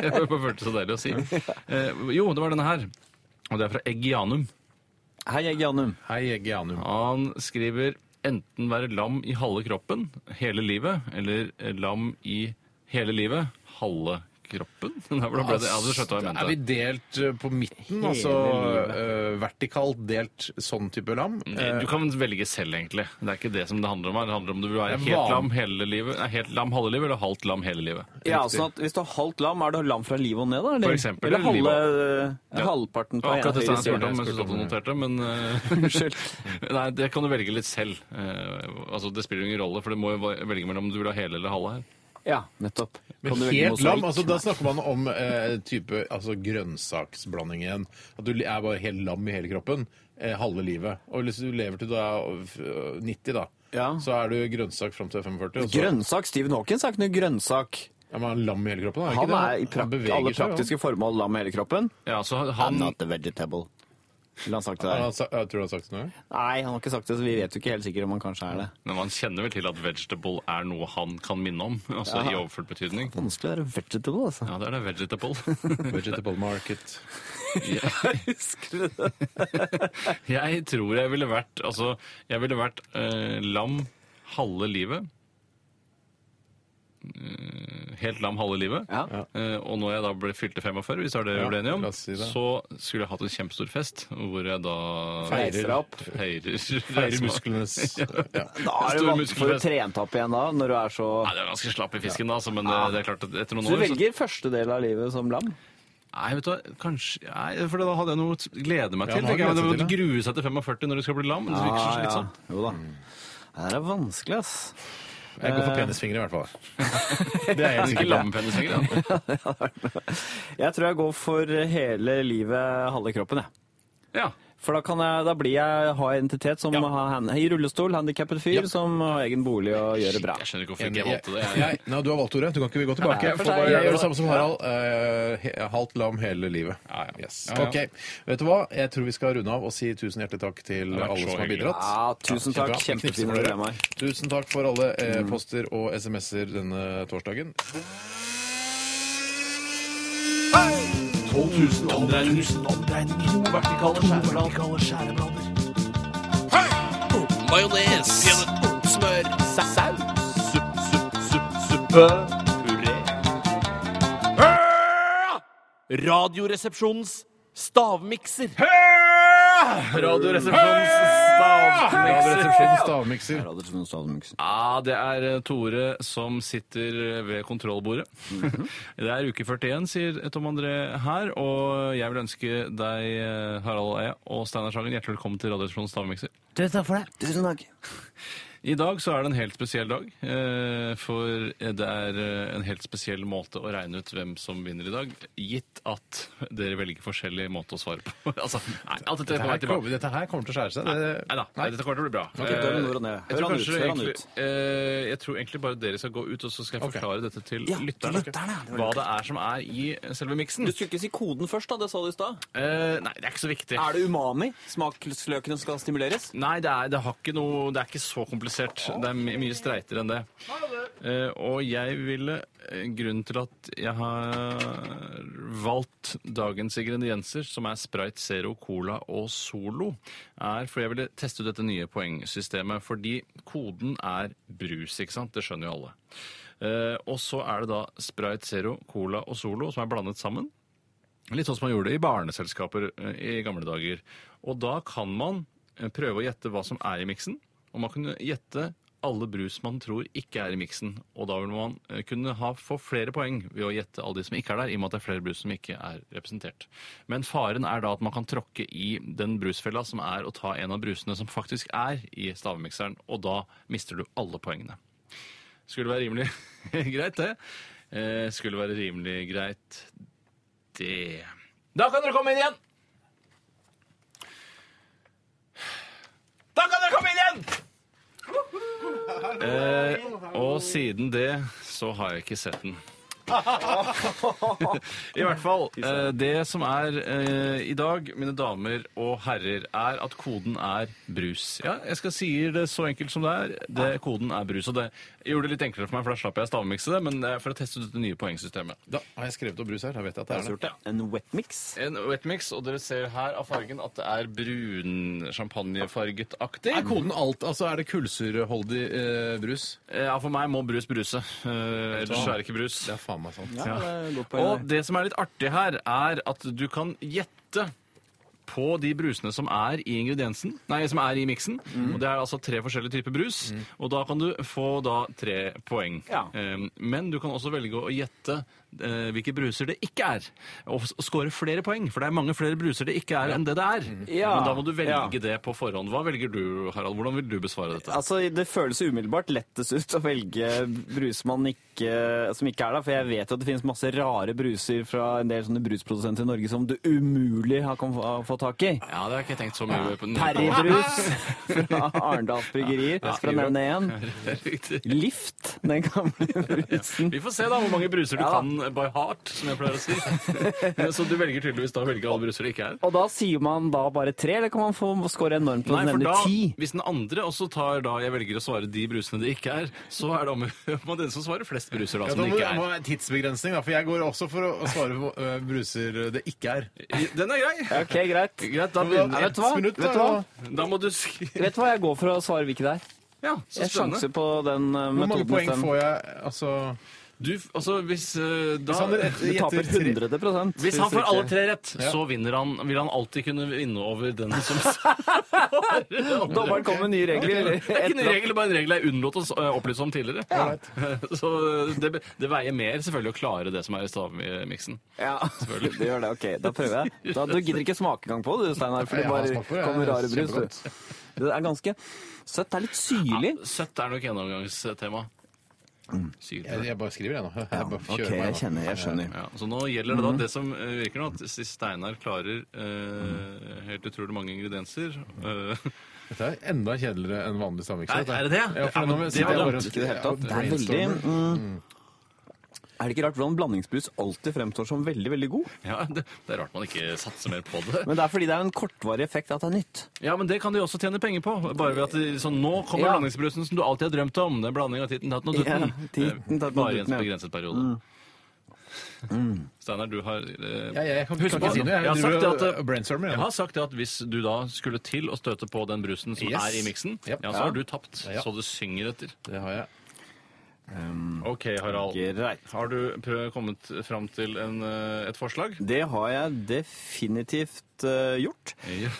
[SPEAKER 4] det føltes så deilig å si. Eh, jo, det Eh, var denne her. Og det er fra Eggianum.
[SPEAKER 3] Hei, Eggianum.
[SPEAKER 4] Han skriver enten være lam i halve kroppen hele livet, eller lam i hele livet halve kroppen. <laughs> Der ble det, ja, du skjønte hva jeg mente.
[SPEAKER 2] Er vi delt eh, på midten,
[SPEAKER 4] Hele
[SPEAKER 2] altså
[SPEAKER 4] livet.
[SPEAKER 2] eh, vertikalt delt sånn type lam?
[SPEAKER 4] Eh, Du kan velge selv, egentlig. Det er ikke det som det handler om. her. Det handler om du vil være
[SPEAKER 2] Det er
[SPEAKER 4] helt
[SPEAKER 2] van-
[SPEAKER 4] lam hele livet, nei, helt lam halve livet, eller halvt lam hele livet.
[SPEAKER 3] Ja, sånn at Hvis du har halvt lam, er det lam fra livet og ned? da? Eller,
[SPEAKER 4] For eksempel,
[SPEAKER 3] eller
[SPEAKER 4] livet.
[SPEAKER 3] halve,
[SPEAKER 4] Ja.
[SPEAKER 3] halvparten
[SPEAKER 4] Det var
[SPEAKER 3] fra
[SPEAKER 4] akkurat det
[SPEAKER 3] høyre
[SPEAKER 4] Steinar spurte
[SPEAKER 3] side?
[SPEAKER 4] om, mens du satt og noterte, men <laughs> eh, Nei, det kan du velge litt selv. Eh, altså, Det spiller jo ingen rolle, for du må jo velge mellom om du vil ha hele eller halve her.
[SPEAKER 3] Ja, nettopp.
[SPEAKER 2] Men helt lam, altså Da snakker man om eh, type altså, grønnsaksblanding igjen. At du li- er bare helt lam i hele kroppen eh, halve livet. Og hvis du lever til du er eh, 90, da, så er du grønnsak fram til 45. og så-
[SPEAKER 3] Grønnsak? Stephen Hawkins er ikke noe grønnsak.
[SPEAKER 2] Ja, men han er lam i hele kroppen, er
[SPEAKER 3] han
[SPEAKER 2] ikke det?
[SPEAKER 3] er i
[SPEAKER 2] Han
[SPEAKER 3] prak
[SPEAKER 2] beveger
[SPEAKER 3] alle
[SPEAKER 2] seg, ja.
[SPEAKER 3] praktiske formål lam i hele kroppen.
[SPEAKER 4] Ja, så
[SPEAKER 3] han... I'm not a vegetable. Ville han sagt det
[SPEAKER 2] Har
[SPEAKER 3] der?
[SPEAKER 2] han sa- jeg tror han har sagt det nå.
[SPEAKER 3] Nei, han har ikke sagt det, så vi vet jo ikke helt sikkert om han kanskje er det.
[SPEAKER 4] Men man kjenner vel til at vegetable er noe han kan minne om, <laughs> altså
[SPEAKER 3] Ja.
[SPEAKER 4] i overført betydning.
[SPEAKER 3] Vanskelig å være vegetable, <laughs> altså.
[SPEAKER 4] Ja, det er det vegetable. <laughs>
[SPEAKER 2] vegetable market.
[SPEAKER 3] Husker du det?
[SPEAKER 4] Jeg tror jeg ville vært Altså, jeg ville vært eh, lam halve livet. Eh, Helt lam halve livet. Eh, og når jeg da ble fylte 45, hvis det er det vi
[SPEAKER 2] Ja,
[SPEAKER 4] ble enige om,
[SPEAKER 2] la oss si det.
[SPEAKER 4] så skulle jeg hatt en kjempestor fest hvor jeg da
[SPEAKER 2] Feirer. Reiser deg opp.
[SPEAKER 4] Feirer,
[SPEAKER 2] Feirer
[SPEAKER 3] <laughs>
[SPEAKER 2] musklenes-
[SPEAKER 4] ja.
[SPEAKER 3] Da er det
[SPEAKER 4] Stor
[SPEAKER 3] vanskelig for å
[SPEAKER 4] muskelfest.
[SPEAKER 3] trent opp igjen da, når du er så
[SPEAKER 4] Nei, det er ganske slapp i fisken, da, altså, men eh, det er klart at etter noen
[SPEAKER 3] Så du
[SPEAKER 4] år så-
[SPEAKER 3] velger første del av livet som lam?
[SPEAKER 4] Nei, vet du hva, kanskje Nei, for da hadde jeg noe å glede meg
[SPEAKER 3] Ja,
[SPEAKER 4] til.
[SPEAKER 3] man har
[SPEAKER 4] tenker jeg,
[SPEAKER 3] gledet
[SPEAKER 4] men
[SPEAKER 3] seg
[SPEAKER 4] Du
[SPEAKER 3] til
[SPEAKER 4] grue seg til 45 når du skal bli lam. Det
[SPEAKER 3] Ah,
[SPEAKER 4] virker så
[SPEAKER 3] Ja, ja.
[SPEAKER 4] slitsomt.
[SPEAKER 3] Jo da. Det sånn. Mm. her er vanskelig, ass.
[SPEAKER 2] Jeg går for
[SPEAKER 3] Eh,
[SPEAKER 2] penisfingre, i hvert fall.
[SPEAKER 3] <laughs>
[SPEAKER 2] Det er helt
[SPEAKER 4] Ikke
[SPEAKER 2] sikkert.
[SPEAKER 4] lammepenisfingre, da.
[SPEAKER 3] Jeg tror jeg går for hele livet, halve kroppen, jeg.
[SPEAKER 4] Ja.
[SPEAKER 3] For da, kan jeg, da blir jeg, har jeg identitet som har hand, i rullestol, handikappet fyr, som har egen bolig og gjør det bra.
[SPEAKER 4] Jeg skjønner ikke
[SPEAKER 2] Enig. Jeg- jeg- Nei, du har valgt ordet. Du kan ikke gå tilbake.
[SPEAKER 3] Nei,
[SPEAKER 2] Jeg,
[SPEAKER 3] for
[SPEAKER 2] får
[SPEAKER 3] seg,
[SPEAKER 2] bare,
[SPEAKER 3] jeg
[SPEAKER 2] jeg gjør
[SPEAKER 3] gjør
[SPEAKER 2] det samme som
[SPEAKER 3] det.
[SPEAKER 2] Harald. Eh, he- halvt lam hele livet. Yes.
[SPEAKER 3] Ja, ja.
[SPEAKER 2] Ok. Vet du hva? Jeg tror vi skal runde av og si tusen hjertelig takk til
[SPEAKER 3] Det har vært
[SPEAKER 2] alle
[SPEAKER 3] så
[SPEAKER 2] som har
[SPEAKER 3] hyggelig.
[SPEAKER 2] bidratt.
[SPEAKER 3] Ja, Ah, tusen
[SPEAKER 2] Kjempebra. Vi
[SPEAKER 3] takk.
[SPEAKER 2] knipser
[SPEAKER 3] Kjempefine
[SPEAKER 2] for dere.
[SPEAKER 3] dilemmaer. Mm.
[SPEAKER 2] Tusen takk for alle eh, poster og SMS-er denne torsdagen.
[SPEAKER 10] 12 000 omdreininger. To vertikale skjæreblader. Majones. Smør. Saus. Supp, supp, supp, suppe. Puré. Radioresepsjonens stavmikser.
[SPEAKER 4] Radioresepsjonens
[SPEAKER 2] Radioresepsjonens stavmikser.
[SPEAKER 3] Radioresepsjonens stavmikser.
[SPEAKER 4] Ja, det er eh, Tore som sitter ved kontrollbordet. <laughs> Det er uke 41, sier Tom André her. Og jeg vil ønske deg, eh, Harald Eia og Steinar Sagen, hjertelig velkommen til Radioresepsjonens stavmikser.
[SPEAKER 6] Tusen takk for det.
[SPEAKER 3] Tusen takk.
[SPEAKER 4] I dag så er det en helt spesiell dag, eh, for det er eh, en helt spesiell måte å regne ut hvem som vinner i dag, gitt at dere velger forskjellig måte å svare på. <laughs> altså, nei, alt
[SPEAKER 2] Dette
[SPEAKER 4] dette er på vei
[SPEAKER 2] her,
[SPEAKER 4] tilbake.
[SPEAKER 2] kommer, dette her kommer til å skjære seg. Det,
[SPEAKER 4] Nei da, nei, dette kommer til å bli bra.
[SPEAKER 2] Ok,
[SPEAKER 4] Eh,
[SPEAKER 2] døren nord og ned.
[SPEAKER 4] jeg
[SPEAKER 2] Hør
[SPEAKER 4] tror
[SPEAKER 2] han ut,
[SPEAKER 4] kanskje
[SPEAKER 2] hør han
[SPEAKER 4] egentlig-
[SPEAKER 2] ut.
[SPEAKER 4] eh, Jeg tror egentlig bare dere skal gå ut, og så skal jeg
[SPEAKER 2] Ok.
[SPEAKER 4] forklare dette til
[SPEAKER 2] Ja, til
[SPEAKER 4] lytterne.
[SPEAKER 2] lytterne, det var
[SPEAKER 4] Hva
[SPEAKER 2] lurt.
[SPEAKER 4] det er som er i selve miksen.
[SPEAKER 3] Du skulle ikke si koden først, da. Det sa du i stad.
[SPEAKER 4] Eh, nei, det er ikke så viktig.
[SPEAKER 3] Er det umami? Smaksløkene skal stimuleres?
[SPEAKER 4] Nei, det er, det, har ikke noe, det er ikke så komplisert. Det er my- mye streitere enn det. Eh, og jeg ville eh, Grunnen til at jeg har valgt dagens ingredienser, som er Sprite Zero, Cola og Solo, er fordi jeg ville teste ut dette nye poengsystemet. Fordi koden er brus, ikke sant? Det skjønner jo alle. Eh, og så er det da Sprite Zero, Cola og Solo som er blandet sammen. Litt sånn som man gjorde det i barneselskaper eh, i gamle dager. Og da kan man eh, prøve å gjette hva som er i miksen, og man kunne gjette alle brus man tror ikke er i miksen. Og da vil man eh, kunne ha, få flere poeng ved å gjette alle de som ikke er der, i og med at det er flere brus som ikke er representert. Men faren er da at man kan tråkke i den brusfella som er å ta en av brusene som faktisk er i stavmikseren, og da mister du alle poengene. Skulle være rimelig <laughs> greit, det. Eh, Skulle være rimelig greit, det. Da kan dere komme inn igjen! Da kan dere komme inn igjen! Eh, og siden det så har jeg ikke sett den. <laughs> I hvert fall. eh, Det som er eh, i dag, mine damer og herrer, er at koden er brus. Ja, jeg skal si det så enkelt som det er. Det, koden er brus. Og det gjorde det litt enklere for meg, for da slapp jeg å stavmikse det. Men det er for å teste ut det nye poengsystemet.
[SPEAKER 2] Da har jeg skrevet opp brus her. Da vet jeg at det er det.
[SPEAKER 4] En wetmix? En wetmix, og dere ser her av fargen at det er brun champagnefarget-aktig.
[SPEAKER 2] Er koden alt? Altså er det kullsyreholdig eh, brus?
[SPEAKER 4] Ja, for meg må brus bruse. Eh, ellers
[SPEAKER 2] hva?
[SPEAKER 4] er det ikke brus.
[SPEAKER 2] Det er faen meg sant.
[SPEAKER 4] Ja.
[SPEAKER 2] det er godt poeng,
[SPEAKER 4] Og det som er litt artig her, er at du kan gjette på de brusene som er i ingrediensen, nei, som er i miksen.
[SPEAKER 3] Mm.
[SPEAKER 4] Og det er altså tre forskjellige typer brus. Og da kan du få da tre poeng. Eh, Men du kan også velge å gjette eh, hvilke bruser det ikke er, og s- score flere poeng. For det er mange flere bruser det ikke er, enn det det er.
[SPEAKER 3] Mm. Ja.
[SPEAKER 4] Men da må du velge
[SPEAKER 3] Ja.
[SPEAKER 4] det på forhånd. Hva velger du, Harald? Hvordan vil du besvare dette?
[SPEAKER 3] Altså, Det føles umiddelbart lettest ut å velge brus man ikke, som ikke er der, for jeg vet jo at det finnes masse rare bruser fra en del sånne brusprodusenter i Norge som du umulig har kan få, få tak i.
[SPEAKER 4] Ja, det har jeg ikke tenkt så mye på. <laughs>
[SPEAKER 3] Perrybrus fra Arendals Bryggerier,
[SPEAKER 4] Ja,
[SPEAKER 3] for å
[SPEAKER 4] skriver.
[SPEAKER 3] nevne én. Lift, den gamle brusen.
[SPEAKER 4] Vi får se da hvor mange bruser du
[SPEAKER 3] Ja.
[SPEAKER 4] kan by heart, som jeg pleier å si. Så du velger tydeligvis da å velge alle bruser det ikke er?
[SPEAKER 3] Og da sier man da bare tre, eller kan man få score enormt på
[SPEAKER 4] Nei,
[SPEAKER 3] den
[SPEAKER 4] for da,
[SPEAKER 3] nevne ti?
[SPEAKER 4] Hvis den andre også tar da jeg velger å svare de brusene det ikke er, så er det om å gjøre med <laughs> den som svarer flest bruser da,
[SPEAKER 2] Ja,
[SPEAKER 4] som
[SPEAKER 2] da
[SPEAKER 4] det
[SPEAKER 2] må
[SPEAKER 4] ikke
[SPEAKER 2] det må
[SPEAKER 4] er.
[SPEAKER 2] være en tidsbegrensning, da, for jeg går også for å å svare på eh, bruser det ikke er.
[SPEAKER 4] Den er grei.
[SPEAKER 3] Ok, greit.
[SPEAKER 4] Greit, da
[SPEAKER 2] Men
[SPEAKER 4] begynner
[SPEAKER 2] da-
[SPEAKER 4] jeg.
[SPEAKER 2] Vet du hva? Minutt, Vet du hva?
[SPEAKER 4] Da må du sk...
[SPEAKER 3] Vet du hva, jeg går for å svare hvilket det er.
[SPEAKER 4] <laughs> Ja, så
[SPEAKER 3] Jeg sjanser
[SPEAKER 4] spennende.
[SPEAKER 3] på den eh, metoden.
[SPEAKER 2] Hvor mange poeng
[SPEAKER 3] stemmer.
[SPEAKER 2] får jeg? Altså,
[SPEAKER 4] Du, altså, hvis eh, da
[SPEAKER 2] Hvis han er-
[SPEAKER 3] Du taper
[SPEAKER 2] Gjetter tre.
[SPEAKER 3] 100 prosent.
[SPEAKER 4] Hvis han får alle tre rett,
[SPEAKER 2] Ja.
[SPEAKER 4] så vinner han. Vil han alltid kunne vinne over den
[SPEAKER 3] <laughs>
[SPEAKER 4] som
[SPEAKER 3] Dommeren kom med nye regler. eller?
[SPEAKER 4] Det er ikke en regel, bare en regel jeg unnlot å s- eh, opplyse om tidligere. <laughs> Så eh, det, be- det veier mer selvfølgelig å klare det som er i stavmiksen.
[SPEAKER 3] <laughs> Ja,
[SPEAKER 4] Selvfølgelig.
[SPEAKER 3] det gjør det. Ok, da prøver jeg. Da, du gidder ikke smake engang på det, du, Steinar, for det
[SPEAKER 2] Jeg har
[SPEAKER 3] bare
[SPEAKER 2] smakt på det, jeg.
[SPEAKER 3] kommer rare brus.
[SPEAKER 2] Kjempegodt.
[SPEAKER 3] Du. Det er ganske søtt. Det er litt syrlig.
[SPEAKER 4] Søtt er nok gjennomgangstema.
[SPEAKER 2] jeg,
[SPEAKER 4] Mm. Syrlig.
[SPEAKER 2] jeg bare skriver, jeg nå. Jeg bare
[SPEAKER 3] Ok,
[SPEAKER 2] kjører
[SPEAKER 3] jeg
[SPEAKER 2] meg nå.
[SPEAKER 3] kjenner, jeg skjønner.
[SPEAKER 4] Ja, så nå gjelder det da det som eh, virker nå, at hvis Steinar klarer eh, helt utrolig mange ingredienser. eh, <laughs>
[SPEAKER 2] Dette er enda kjedeligere enn vanlig stavmikser.
[SPEAKER 4] Nei,
[SPEAKER 2] dette.
[SPEAKER 4] er det det?
[SPEAKER 2] Ja, for
[SPEAKER 4] Ja,
[SPEAKER 2] nå
[SPEAKER 4] men det
[SPEAKER 2] sitter jeg
[SPEAKER 4] var
[SPEAKER 2] bare
[SPEAKER 4] dumt,
[SPEAKER 2] og-
[SPEAKER 4] ikke det hele tatt.
[SPEAKER 2] ja,
[SPEAKER 3] Det er veldig
[SPEAKER 2] brainstormer.
[SPEAKER 3] mm, Er det ikke rart hvordan blandingsbrus alltid fremstår som veldig, veldig god?
[SPEAKER 4] ja, det, det er rart man ikke satser mer på det.
[SPEAKER 3] Men det er fordi det er en kortvarig effekt at det er nytt.
[SPEAKER 4] Ja, men det kan de også tjene penger på. Bare ved at de, sånn, Nå kommer
[SPEAKER 3] Ja.
[SPEAKER 4] blandingsbrusen som du alltid har drømt om. Det er blanding av titten, tatten og tutten.
[SPEAKER 3] Ja, titten,
[SPEAKER 4] Eh,
[SPEAKER 3] tatten og
[SPEAKER 4] Bare i en
[SPEAKER 3] tutten, ja. Mm.
[SPEAKER 4] begrenset periode. Steinar, du har eh,
[SPEAKER 2] Ja, jeg kan-
[SPEAKER 4] husk
[SPEAKER 2] kan
[SPEAKER 4] på-
[SPEAKER 2] ikke si noe. Jeg
[SPEAKER 4] har
[SPEAKER 2] driver
[SPEAKER 4] sagt det at, eh,
[SPEAKER 2] og- og brainstormer, ja.
[SPEAKER 4] Jeg har sagt det at hvis du da skulle til å støte på den brusen som
[SPEAKER 2] Yes.
[SPEAKER 4] er i miksen,
[SPEAKER 2] Yep.
[SPEAKER 4] ja, så har du tapt.
[SPEAKER 2] Ja.
[SPEAKER 4] Så du synger etter.
[SPEAKER 2] Det har jeg. Mm.
[SPEAKER 4] OK, Harald.
[SPEAKER 3] Greit.
[SPEAKER 4] Har du prøv, kommet fram til en, eh, et forslag?
[SPEAKER 3] Det har jeg definitivt eh, gjort.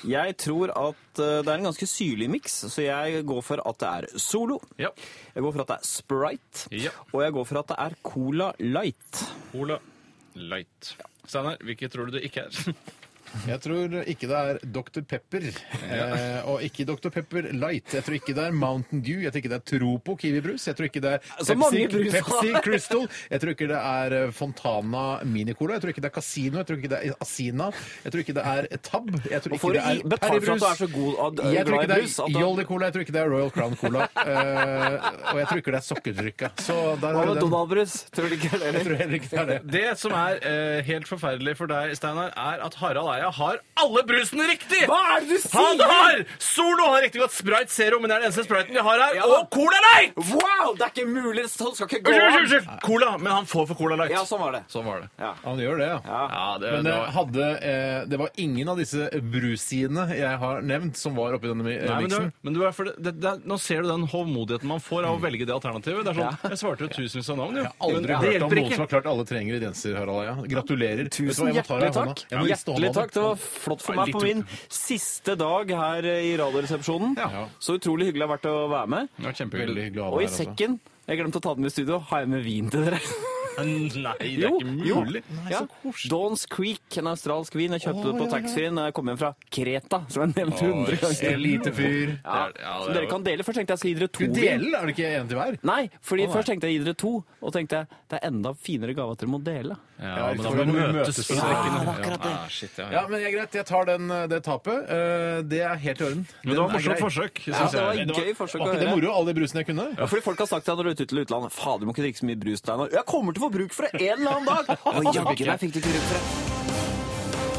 [SPEAKER 3] Jeg tror at eh, det er en ganske syrlig miks, så jeg går for at det er Solo.
[SPEAKER 4] Ja.
[SPEAKER 3] Jeg går for at det er Sprite.
[SPEAKER 4] Ja.
[SPEAKER 3] Og jeg går for at det er Cola Light.
[SPEAKER 4] Cola Light. Steinar, hvilket tror du det ikke er? <laughs>
[SPEAKER 2] Jeg tror ikke det er Dr. Pepper, eh, og ikke Dr. Pepper Light. Jeg tror ikke det er Mountain Dew, jeg tror ikke det er Tropo Kiwi-brus, jeg tror ikke det er
[SPEAKER 3] Så mange
[SPEAKER 2] Pepsi,
[SPEAKER 3] brus, da.
[SPEAKER 2] Pepsi Crystal, jeg tror ikke det er eh, Fontana Minicola, jeg tror ikke det er Casino, jeg tror ikke det er Asina, jeg tror ikke det er Tab, jeg tror
[SPEAKER 3] Og
[SPEAKER 2] ikke
[SPEAKER 3] får
[SPEAKER 2] det
[SPEAKER 3] du i-
[SPEAKER 2] er
[SPEAKER 3] betalt for at
[SPEAKER 2] Perrybrus,
[SPEAKER 3] du er så god og- og
[SPEAKER 2] jeg tror
[SPEAKER 3] glad i
[SPEAKER 2] ikke det
[SPEAKER 3] brus at
[SPEAKER 2] er
[SPEAKER 3] du-
[SPEAKER 2] Jolly Cola, jeg tror ikke det er Royal Crown Cola, eh, og jeg tror ikke det er sokkedrykka. Så der
[SPEAKER 3] Hva
[SPEAKER 2] har
[SPEAKER 3] med
[SPEAKER 2] du den.
[SPEAKER 3] Donald-brus? Tror du ikke det?
[SPEAKER 2] Jeg
[SPEAKER 3] eller?
[SPEAKER 2] tror heller ikke det er det.
[SPEAKER 4] Det som er eh, helt forferdelig for deg, Steinar, er at Harald Eia har alle brusene riktig!
[SPEAKER 3] Hva er det du
[SPEAKER 4] Han
[SPEAKER 3] sier?!
[SPEAKER 4] har Solo har riktig godt Sprite Zero, men det er den eneste spriten de har her.
[SPEAKER 3] Ja da.
[SPEAKER 4] Og Cola Light!
[SPEAKER 3] Wow! Det er ikke mulig! Sånn skal ikke gå!
[SPEAKER 4] Unnskyld,
[SPEAKER 3] an!
[SPEAKER 4] unnskyld, unnskyld! Cola, men han får for Cola Light.
[SPEAKER 3] Ja, sånn var det.
[SPEAKER 4] Sånn var det.
[SPEAKER 2] Han gjør det, ja.
[SPEAKER 4] Ja, det,
[SPEAKER 2] Men
[SPEAKER 4] Eh, det
[SPEAKER 2] det,
[SPEAKER 4] var...
[SPEAKER 2] hadde, eh, det var ingen av disse brusidene jeg har nevnt, som var oppi denne mi- eh,
[SPEAKER 4] Nei, men,
[SPEAKER 2] miksen.
[SPEAKER 4] du, men du er for det, det, det, nå ser du den hovmodigheten man får av å velge det alternativet. Det er sånn, Jeg svarte jo tusenvis av navn, jo.
[SPEAKER 2] Jeg har aldri
[SPEAKER 4] Men det
[SPEAKER 2] hørt om
[SPEAKER 4] hjelper
[SPEAKER 2] noen som
[SPEAKER 4] ikke.
[SPEAKER 2] har klart alle tre ingredienser, Harald Eia. Gratulerer. Vet du hva,
[SPEAKER 3] Tusen
[SPEAKER 2] jeg må ta deg
[SPEAKER 3] hjertelig
[SPEAKER 2] i hånda.
[SPEAKER 3] takk.
[SPEAKER 2] Jeg må riste hånda
[SPEAKER 3] Hjertelig
[SPEAKER 2] di.
[SPEAKER 3] takk. Det var flott for meg
[SPEAKER 4] Litt
[SPEAKER 3] på min siste dag her eh, i Radioresepsjonen.
[SPEAKER 2] Ja.
[SPEAKER 3] Så utrolig hyggelig det har vært å være med.
[SPEAKER 4] Det var
[SPEAKER 2] Veldig
[SPEAKER 4] kjempehyggelig.
[SPEAKER 2] hyggelig å ha
[SPEAKER 3] Og i
[SPEAKER 2] deg her. altså.
[SPEAKER 3] sekken jeg glemte å ta den med i studio. Har jeg med vin til dere?
[SPEAKER 4] Nei, det er ikke
[SPEAKER 3] jo.
[SPEAKER 4] mulig.
[SPEAKER 3] Ja. Dawns Creek, en australsk vin. Jeg kjøpte det på taxfree-en da jeg kom hjem fra Kreta, som jeg nevnte 100 ganger.
[SPEAKER 2] Elite fyr.
[SPEAKER 3] Ja,
[SPEAKER 4] Det er- ja, det
[SPEAKER 3] som
[SPEAKER 4] er
[SPEAKER 3] dere
[SPEAKER 4] jo-
[SPEAKER 3] kan dele. Først tenkte jeg skal gi dere to
[SPEAKER 2] Du
[SPEAKER 3] vin.
[SPEAKER 2] deler, er det ikke en til hver?
[SPEAKER 3] Nei, fordi
[SPEAKER 2] Å, nei.
[SPEAKER 3] først tenkte jeg gi dere to, og tenkte jeg, det er enda finere gave at dere må dele.
[SPEAKER 4] Ja, men da
[SPEAKER 2] for
[SPEAKER 4] må
[SPEAKER 2] da
[SPEAKER 4] vi
[SPEAKER 2] må vi
[SPEAKER 4] møtes
[SPEAKER 2] møtes
[SPEAKER 4] på
[SPEAKER 2] på
[SPEAKER 4] sekken.
[SPEAKER 3] Ja, det er akkurat det.
[SPEAKER 4] Ah, shit, ja, ja.
[SPEAKER 2] Ja, men det er greit. Jeg tar den, eh, det tapet. Eh, Det er helt i orden.
[SPEAKER 4] Men det var
[SPEAKER 2] Den er
[SPEAKER 4] morsomt
[SPEAKER 2] grei.
[SPEAKER 4] forsøk.
[SPEAKER 3] Ja,
[SPEAKER 4] synes
[SPEAKER 3] det var
[SPEAKER 4] jeg.
[SPEAKER 3] en gøy forsøk å
[SPEAKER 2] Var ikke det
[SPEAKER 3] høre.
[SPEAKER 2] moro, alle de brusene jeg kunne?
[SPEAKER 3] Ja, fordi folk har sagt til meg når du er ute til utlandet, faen, du må ikke drikke så mye brus, Steinar. Jeg kommer til få bruk for det en eller annen dag! Og jaggu meg fikk du ikke bruk for det.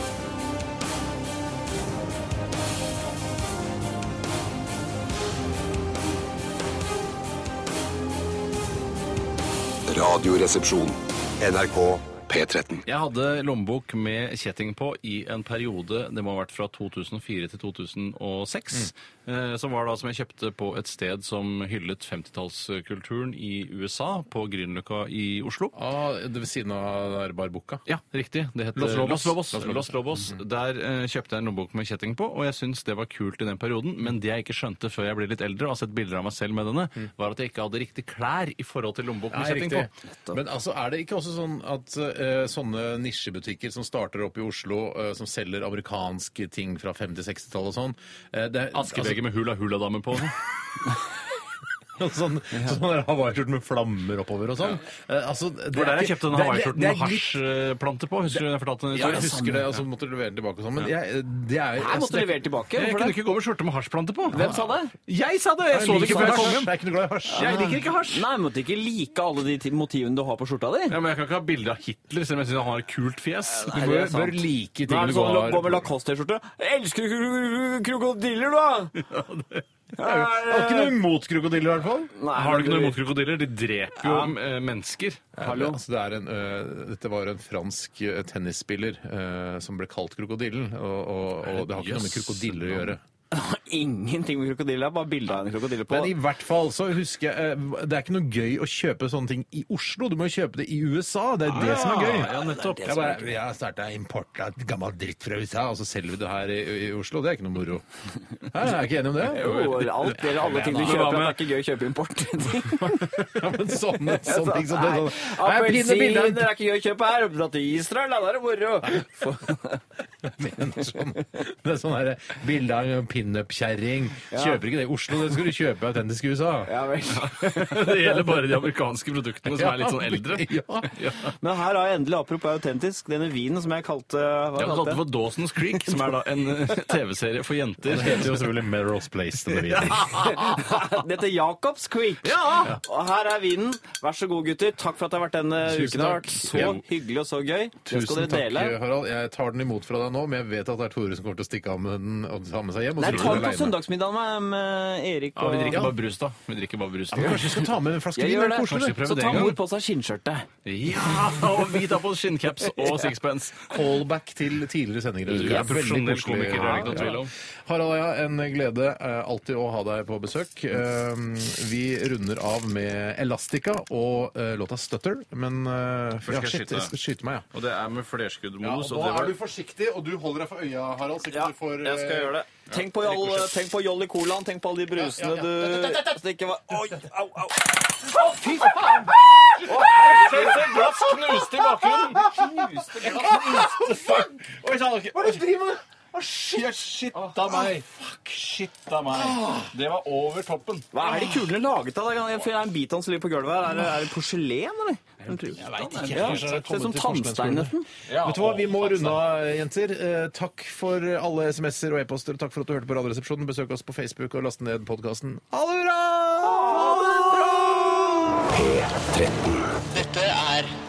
[SPEAKER 5] Radioresepsjon. NRK P13.
[SPEAKER 4] Jeg hadde lommebok med kjetting på i en periode, det må ha vært fra 2004 til 2006, eh, som var da som jeg kjøpte på et sted som hyllet 50-tallskulturen i USA, på Grünerløkka i Oslo.
[SPEAKER 2] Ah, det ved siden av der barbukka?
[SPEAKER 4] Ja, riktig. Det heter
[SPEAKER 2] Los Lobos.
[SPEAKER 4] Los Lobos.
[SPEAKER 2] Los Lobos. Mhm.
[SPEAKER 4] Los Lobos. Der eh, kjøpte jeg en lommebok med kjetting på, og jeg syntes det var kult i den perioden, men det jeg ikke skjønte før jeg ble litt eldre og har sett bilder av meg selv med denne, var at jeg ikke hadde riktig klær i forhold til lommebok med
[SPEAKER 2] Mhm. Nei,
[SPEAKER 4] kjetting
[SPEAKER 2] riktig.
[SPEAKER 4] på.
[SPEAKER 2] Men altså, er det ikke også sånn at eh, sånne nisjebutikker som starter opp i Oslo, eh, som selger amerikanske ting fra 50-60-tallet og sånn eh, det er-
[SPEAKER 4] Askebeger med hula-hula-dame på.
[SPEAKER 2] altså, Sånn, <laughs> sånn der hawaiiskjorte med flammer oppover og sånn. Eh, altså, det
[SPEAKER 4] Det
[SPEAKER 2] er
[SPEAKER 4] var der jeg
[SPEAKER 2] ikke-
[SPEAKER 4] kjøpte den
[SPEAKER 2] det er-
[SPEAKER 4] hawaiiskjorten
[SPEAKER 2] det er
[SPEAKER 4] med
[SPEAKER 2] litt-
[SPEAKER 4] hasjplante på. Husker du jeg fortalte den
[SPEAKER 2] Ja, jeg
[SPEAKER 4] historien?
[SPEAKER 2] husker det, og så måtte du levere den tilbake og sånn. Men
[SPEAKER 4] Ja.
[SPEAKER 2] jeg, det er
[SPEAKER 4] Her måtte du levere tilbake,
[SPEAKER 2] Jeg,
[SPEAKER 4] hvorfor
[SPEAKER 2] kunne
[SPEAKER 4] det?
[SPEAKER 2] ikke gå med skjorte med hasjplante på.
[SPEAKER 3] Hvem sa det?
[SPEAKER 4] Jeg sa det!
[SPEAKER 2] Jeg så det ikke før jeg kom hjem. Jeg er ikke noe glad i hasj.
[SPEAKER 4] Jeg liker ikke hasj.
[SPEAKER 3] Nei, men du ikke like alle de ti- motivene du har på skjorta di.
[SPEAKER 4] Ja, men Jeg kan ikke ha bilde av Hitler, selv om jeg syns han har et kult fjes.
[SPEAKER 3] Nei, det er sant. Nå er det sånn, Gå med Lacoste-T-skjorte. Elsker du kro- krokodiller, da?
[SPEAKER 2] Jeg har ikke noe imot krokodiller, i hvert fall.
[SPEAKER 4] Har du ikke noe imot krokodiller? De dreper jo eh, mennesker.
[SPEAKER 2] Hallo. Altså, det er en, øh, dette var en fransk øh, tennisspiller øh, som ble kalt krokodillen, og, og, og det har ikke noe med krokodiller å gjøre.
[SPEAKER 3] <laughs> Ingenting med krokodiller, bare bilde av en krokodille på.
[SPEAKER 2] Men i
[SPEAKER 3] <laughs>
[SPEAKER 2] hvert fall så husker jeg øh, Det er ikke noe gøy å kjøpe sånne ting i Oslo. Du må jo kjøpe det i USA. Det er det
[SPEAKER 4] Ah,
[SPEAKER 2] som er gøy.
[SPEAKER 4] ja, nettopp.
[SPEAKER 2] Jeg, bare, jeg har starta import av gammel dritt fra USA, og så selger vi det her i, i Oslo. Det er ikke noe moro. Hæ, jeg er ikke enig om
[SPEAKER 4] <laughs>
[SPEAKER 2] det.
[SPEAKER 3] Jo, alt gjelder alle ting du
[SPEAKER 2] Men hva
[SPEAKER 3] kjøper.
[SPEAKER 2] med-
[SPEAKER 3] at Det er ikke gøy å kjøpe
[SPEAKER 2] <laughs>
[SPEAKER 3] import.
[SPEAKER 2] Ja, men
[SPEAKER 4] <laughs>
[SPEAKER 2] sånne, sånne ting som det
[SPEAKER 3] Nei,
[SPEAKER 2] sånn. Nei, pinne
[SPEAKER 3] Appelsiner
[SPEAKER 2] bilder av- <laughs>
[SPEAKER 3] er ikke gøy å kjøpe her. Dra til Israel, da, da er det <laughs> moro.
[SPEAKER 2] mener sånn. Det er sånn her bilde av en pinup-kjerring. Kjøper ikke det i Oslo, det skal du kjøpe i autentisk USA. <laughs>
[SPEAKER 3] Ja, vel.
[SPEAKER 4] <laughs> Det gjelder bare de amerikanske produktene som er litt sånn eldre.
[SPEAKER 2] <laughs> Ja.
[SPEAKER 3] Men her har jeg endelig, apropos autentisk, denne vinen som jeg kalte hva
[SPEAKER 4] Jeg kalte det
[SPEAKER 3] <laughs>
[SPEAKER 4] for Dawson's Creek, som er da en eh, TV-serie for jenter.
[SPEAKER 2] Det heter jo selvfølgelig Melrose Place. Denne videoen.
[SPEAKER 3] Det heter Jacobs Creek.
[SPEAKER 4] Ja!
[SPEAKER 3] Og her er vinen. Vær så god, gutter. Takk for at jeg har vært denne
[SPEAKER 2] Tusen
[SPEAKER 3] uken. Det har
[SPEAKER 2] takk.
[SPEAKER 3] vært så hyggelig og så gøy. Det skal
[SPEAKER 2] Tusen
[SPEAKER 3] dere
[SPEAKER 2] takk,
[SPEAKER 3] dele.
[SPEAKER 2] Harald. Jeg tar den imot fra deg nå, men jeg vet at det er Tore som kommer til å stikke av med den og ta med seg hjem. Og
[SPEAKER 3] Nei,
[SPEAKER 2] så
[SPEAKER 3] ta
[SPEAKER 2] blir du
[SPEAKER 3] den på
[SPEAKER 2] alene.
[SPEAKER 3] søndagsmiddagen med, med Erik
[SPEAKER 4] Ja,
[SPEAKER 3] og
[SPEAKER 4] vi drikker bare brus, da. Vi drikker bare brus.
[SPEAKER 2] Ja, men Kanskje vi skal ta med en flaske
[SPEAKER 3] Jeg
[SPEAKER 2] vin?
[SPEAKER 3] gjør
[SPEAKER 2] er det
[SPEAKER 3] det.
[SPEAKER 2] koselig?
[SPEAKER 4] Kanskje vi
[SPEAKER 3] Så
[SPEAKER 4] prøver det
[SPEAKER 3] ta
[SPEAKER 4] en gang.
[SPEAKER 3] mor på seg skinnskjørtet.
[SPEAKER 4] Ja, og vi tar på oss skinncaps og sixpence.
[SPEAKER 2] Callback til tidligere sendinger.
[SPEAKER 4] Du er profesjonell komiker, det er det ikke noe tvil om.
[SPEAKER 2] Harald og jeg, en glede eh, alltid å ha deg på besøk. Eh, Vi runder av med Elastica og eh, låta Stutter, men eh,
[SPEAKER 4] Først skal
[SPEAKER 2] ja, shit,
[SPEAKER 4] jeg skyte deg.
[SPEAKER 2] jeg skal skyte meg, ja.
[SPEAKER 4] Og det er med flerskuddmodus. og
[SPEAKER 2] nå
[SPEAKER 4] det var-
[SPEAKER 2] er du forsiktig, og du holder deg for øya, Harald. Så ikke
[SPEAKER 3] Ja,
[SPEAKER 2] du får eh,
[SPEAKER 3] jeg skal gjøre det. Tenk på, all, tenk på Jolly Colaen, tenk på alle de
[SPEAKER 2] Ja,
[SPEAKER 3] brusene
[SPEAKER 2] ja,
[SPEAKER 3] du
[SPEAKER 2] ja.
[SPEAKER 3] Så det ikke var... Oi, au, au.
[SPEAKER 4] Se, glass knuste i bakgrunnen! Oi, sann,
[SPEAKER 2] Hva er
[SPEAKER 4] ok.
[SPEAKER 2] det du driver med?
[SPEAKER 4] Shit, shit av meg. Fuck, shit av meg. Det var over toppen.
[SPEAKER 3] Hva er de kulene laget av? da? For det er en bit av den som ligger på gulvet her. Er det, er det porselen, eller? Jeg veit ikke. Ja,
[SPEAKER 2] Kanskje det er
[SPEAKER 3] ser ut som
[SPEAKER 2] kommet til
[SPEAKER 3] tannsteinheten.
[SPEAKER 2] Vet du hva, Vi må runde av, jenter. Eh, takk for alle SMS-er og e-poster. og Takk for at du hørte på Radioresepsjonen. Besøk oss på Facebook og last ned podkasten. Ha det bra!
[SPEAKER 13] Dette er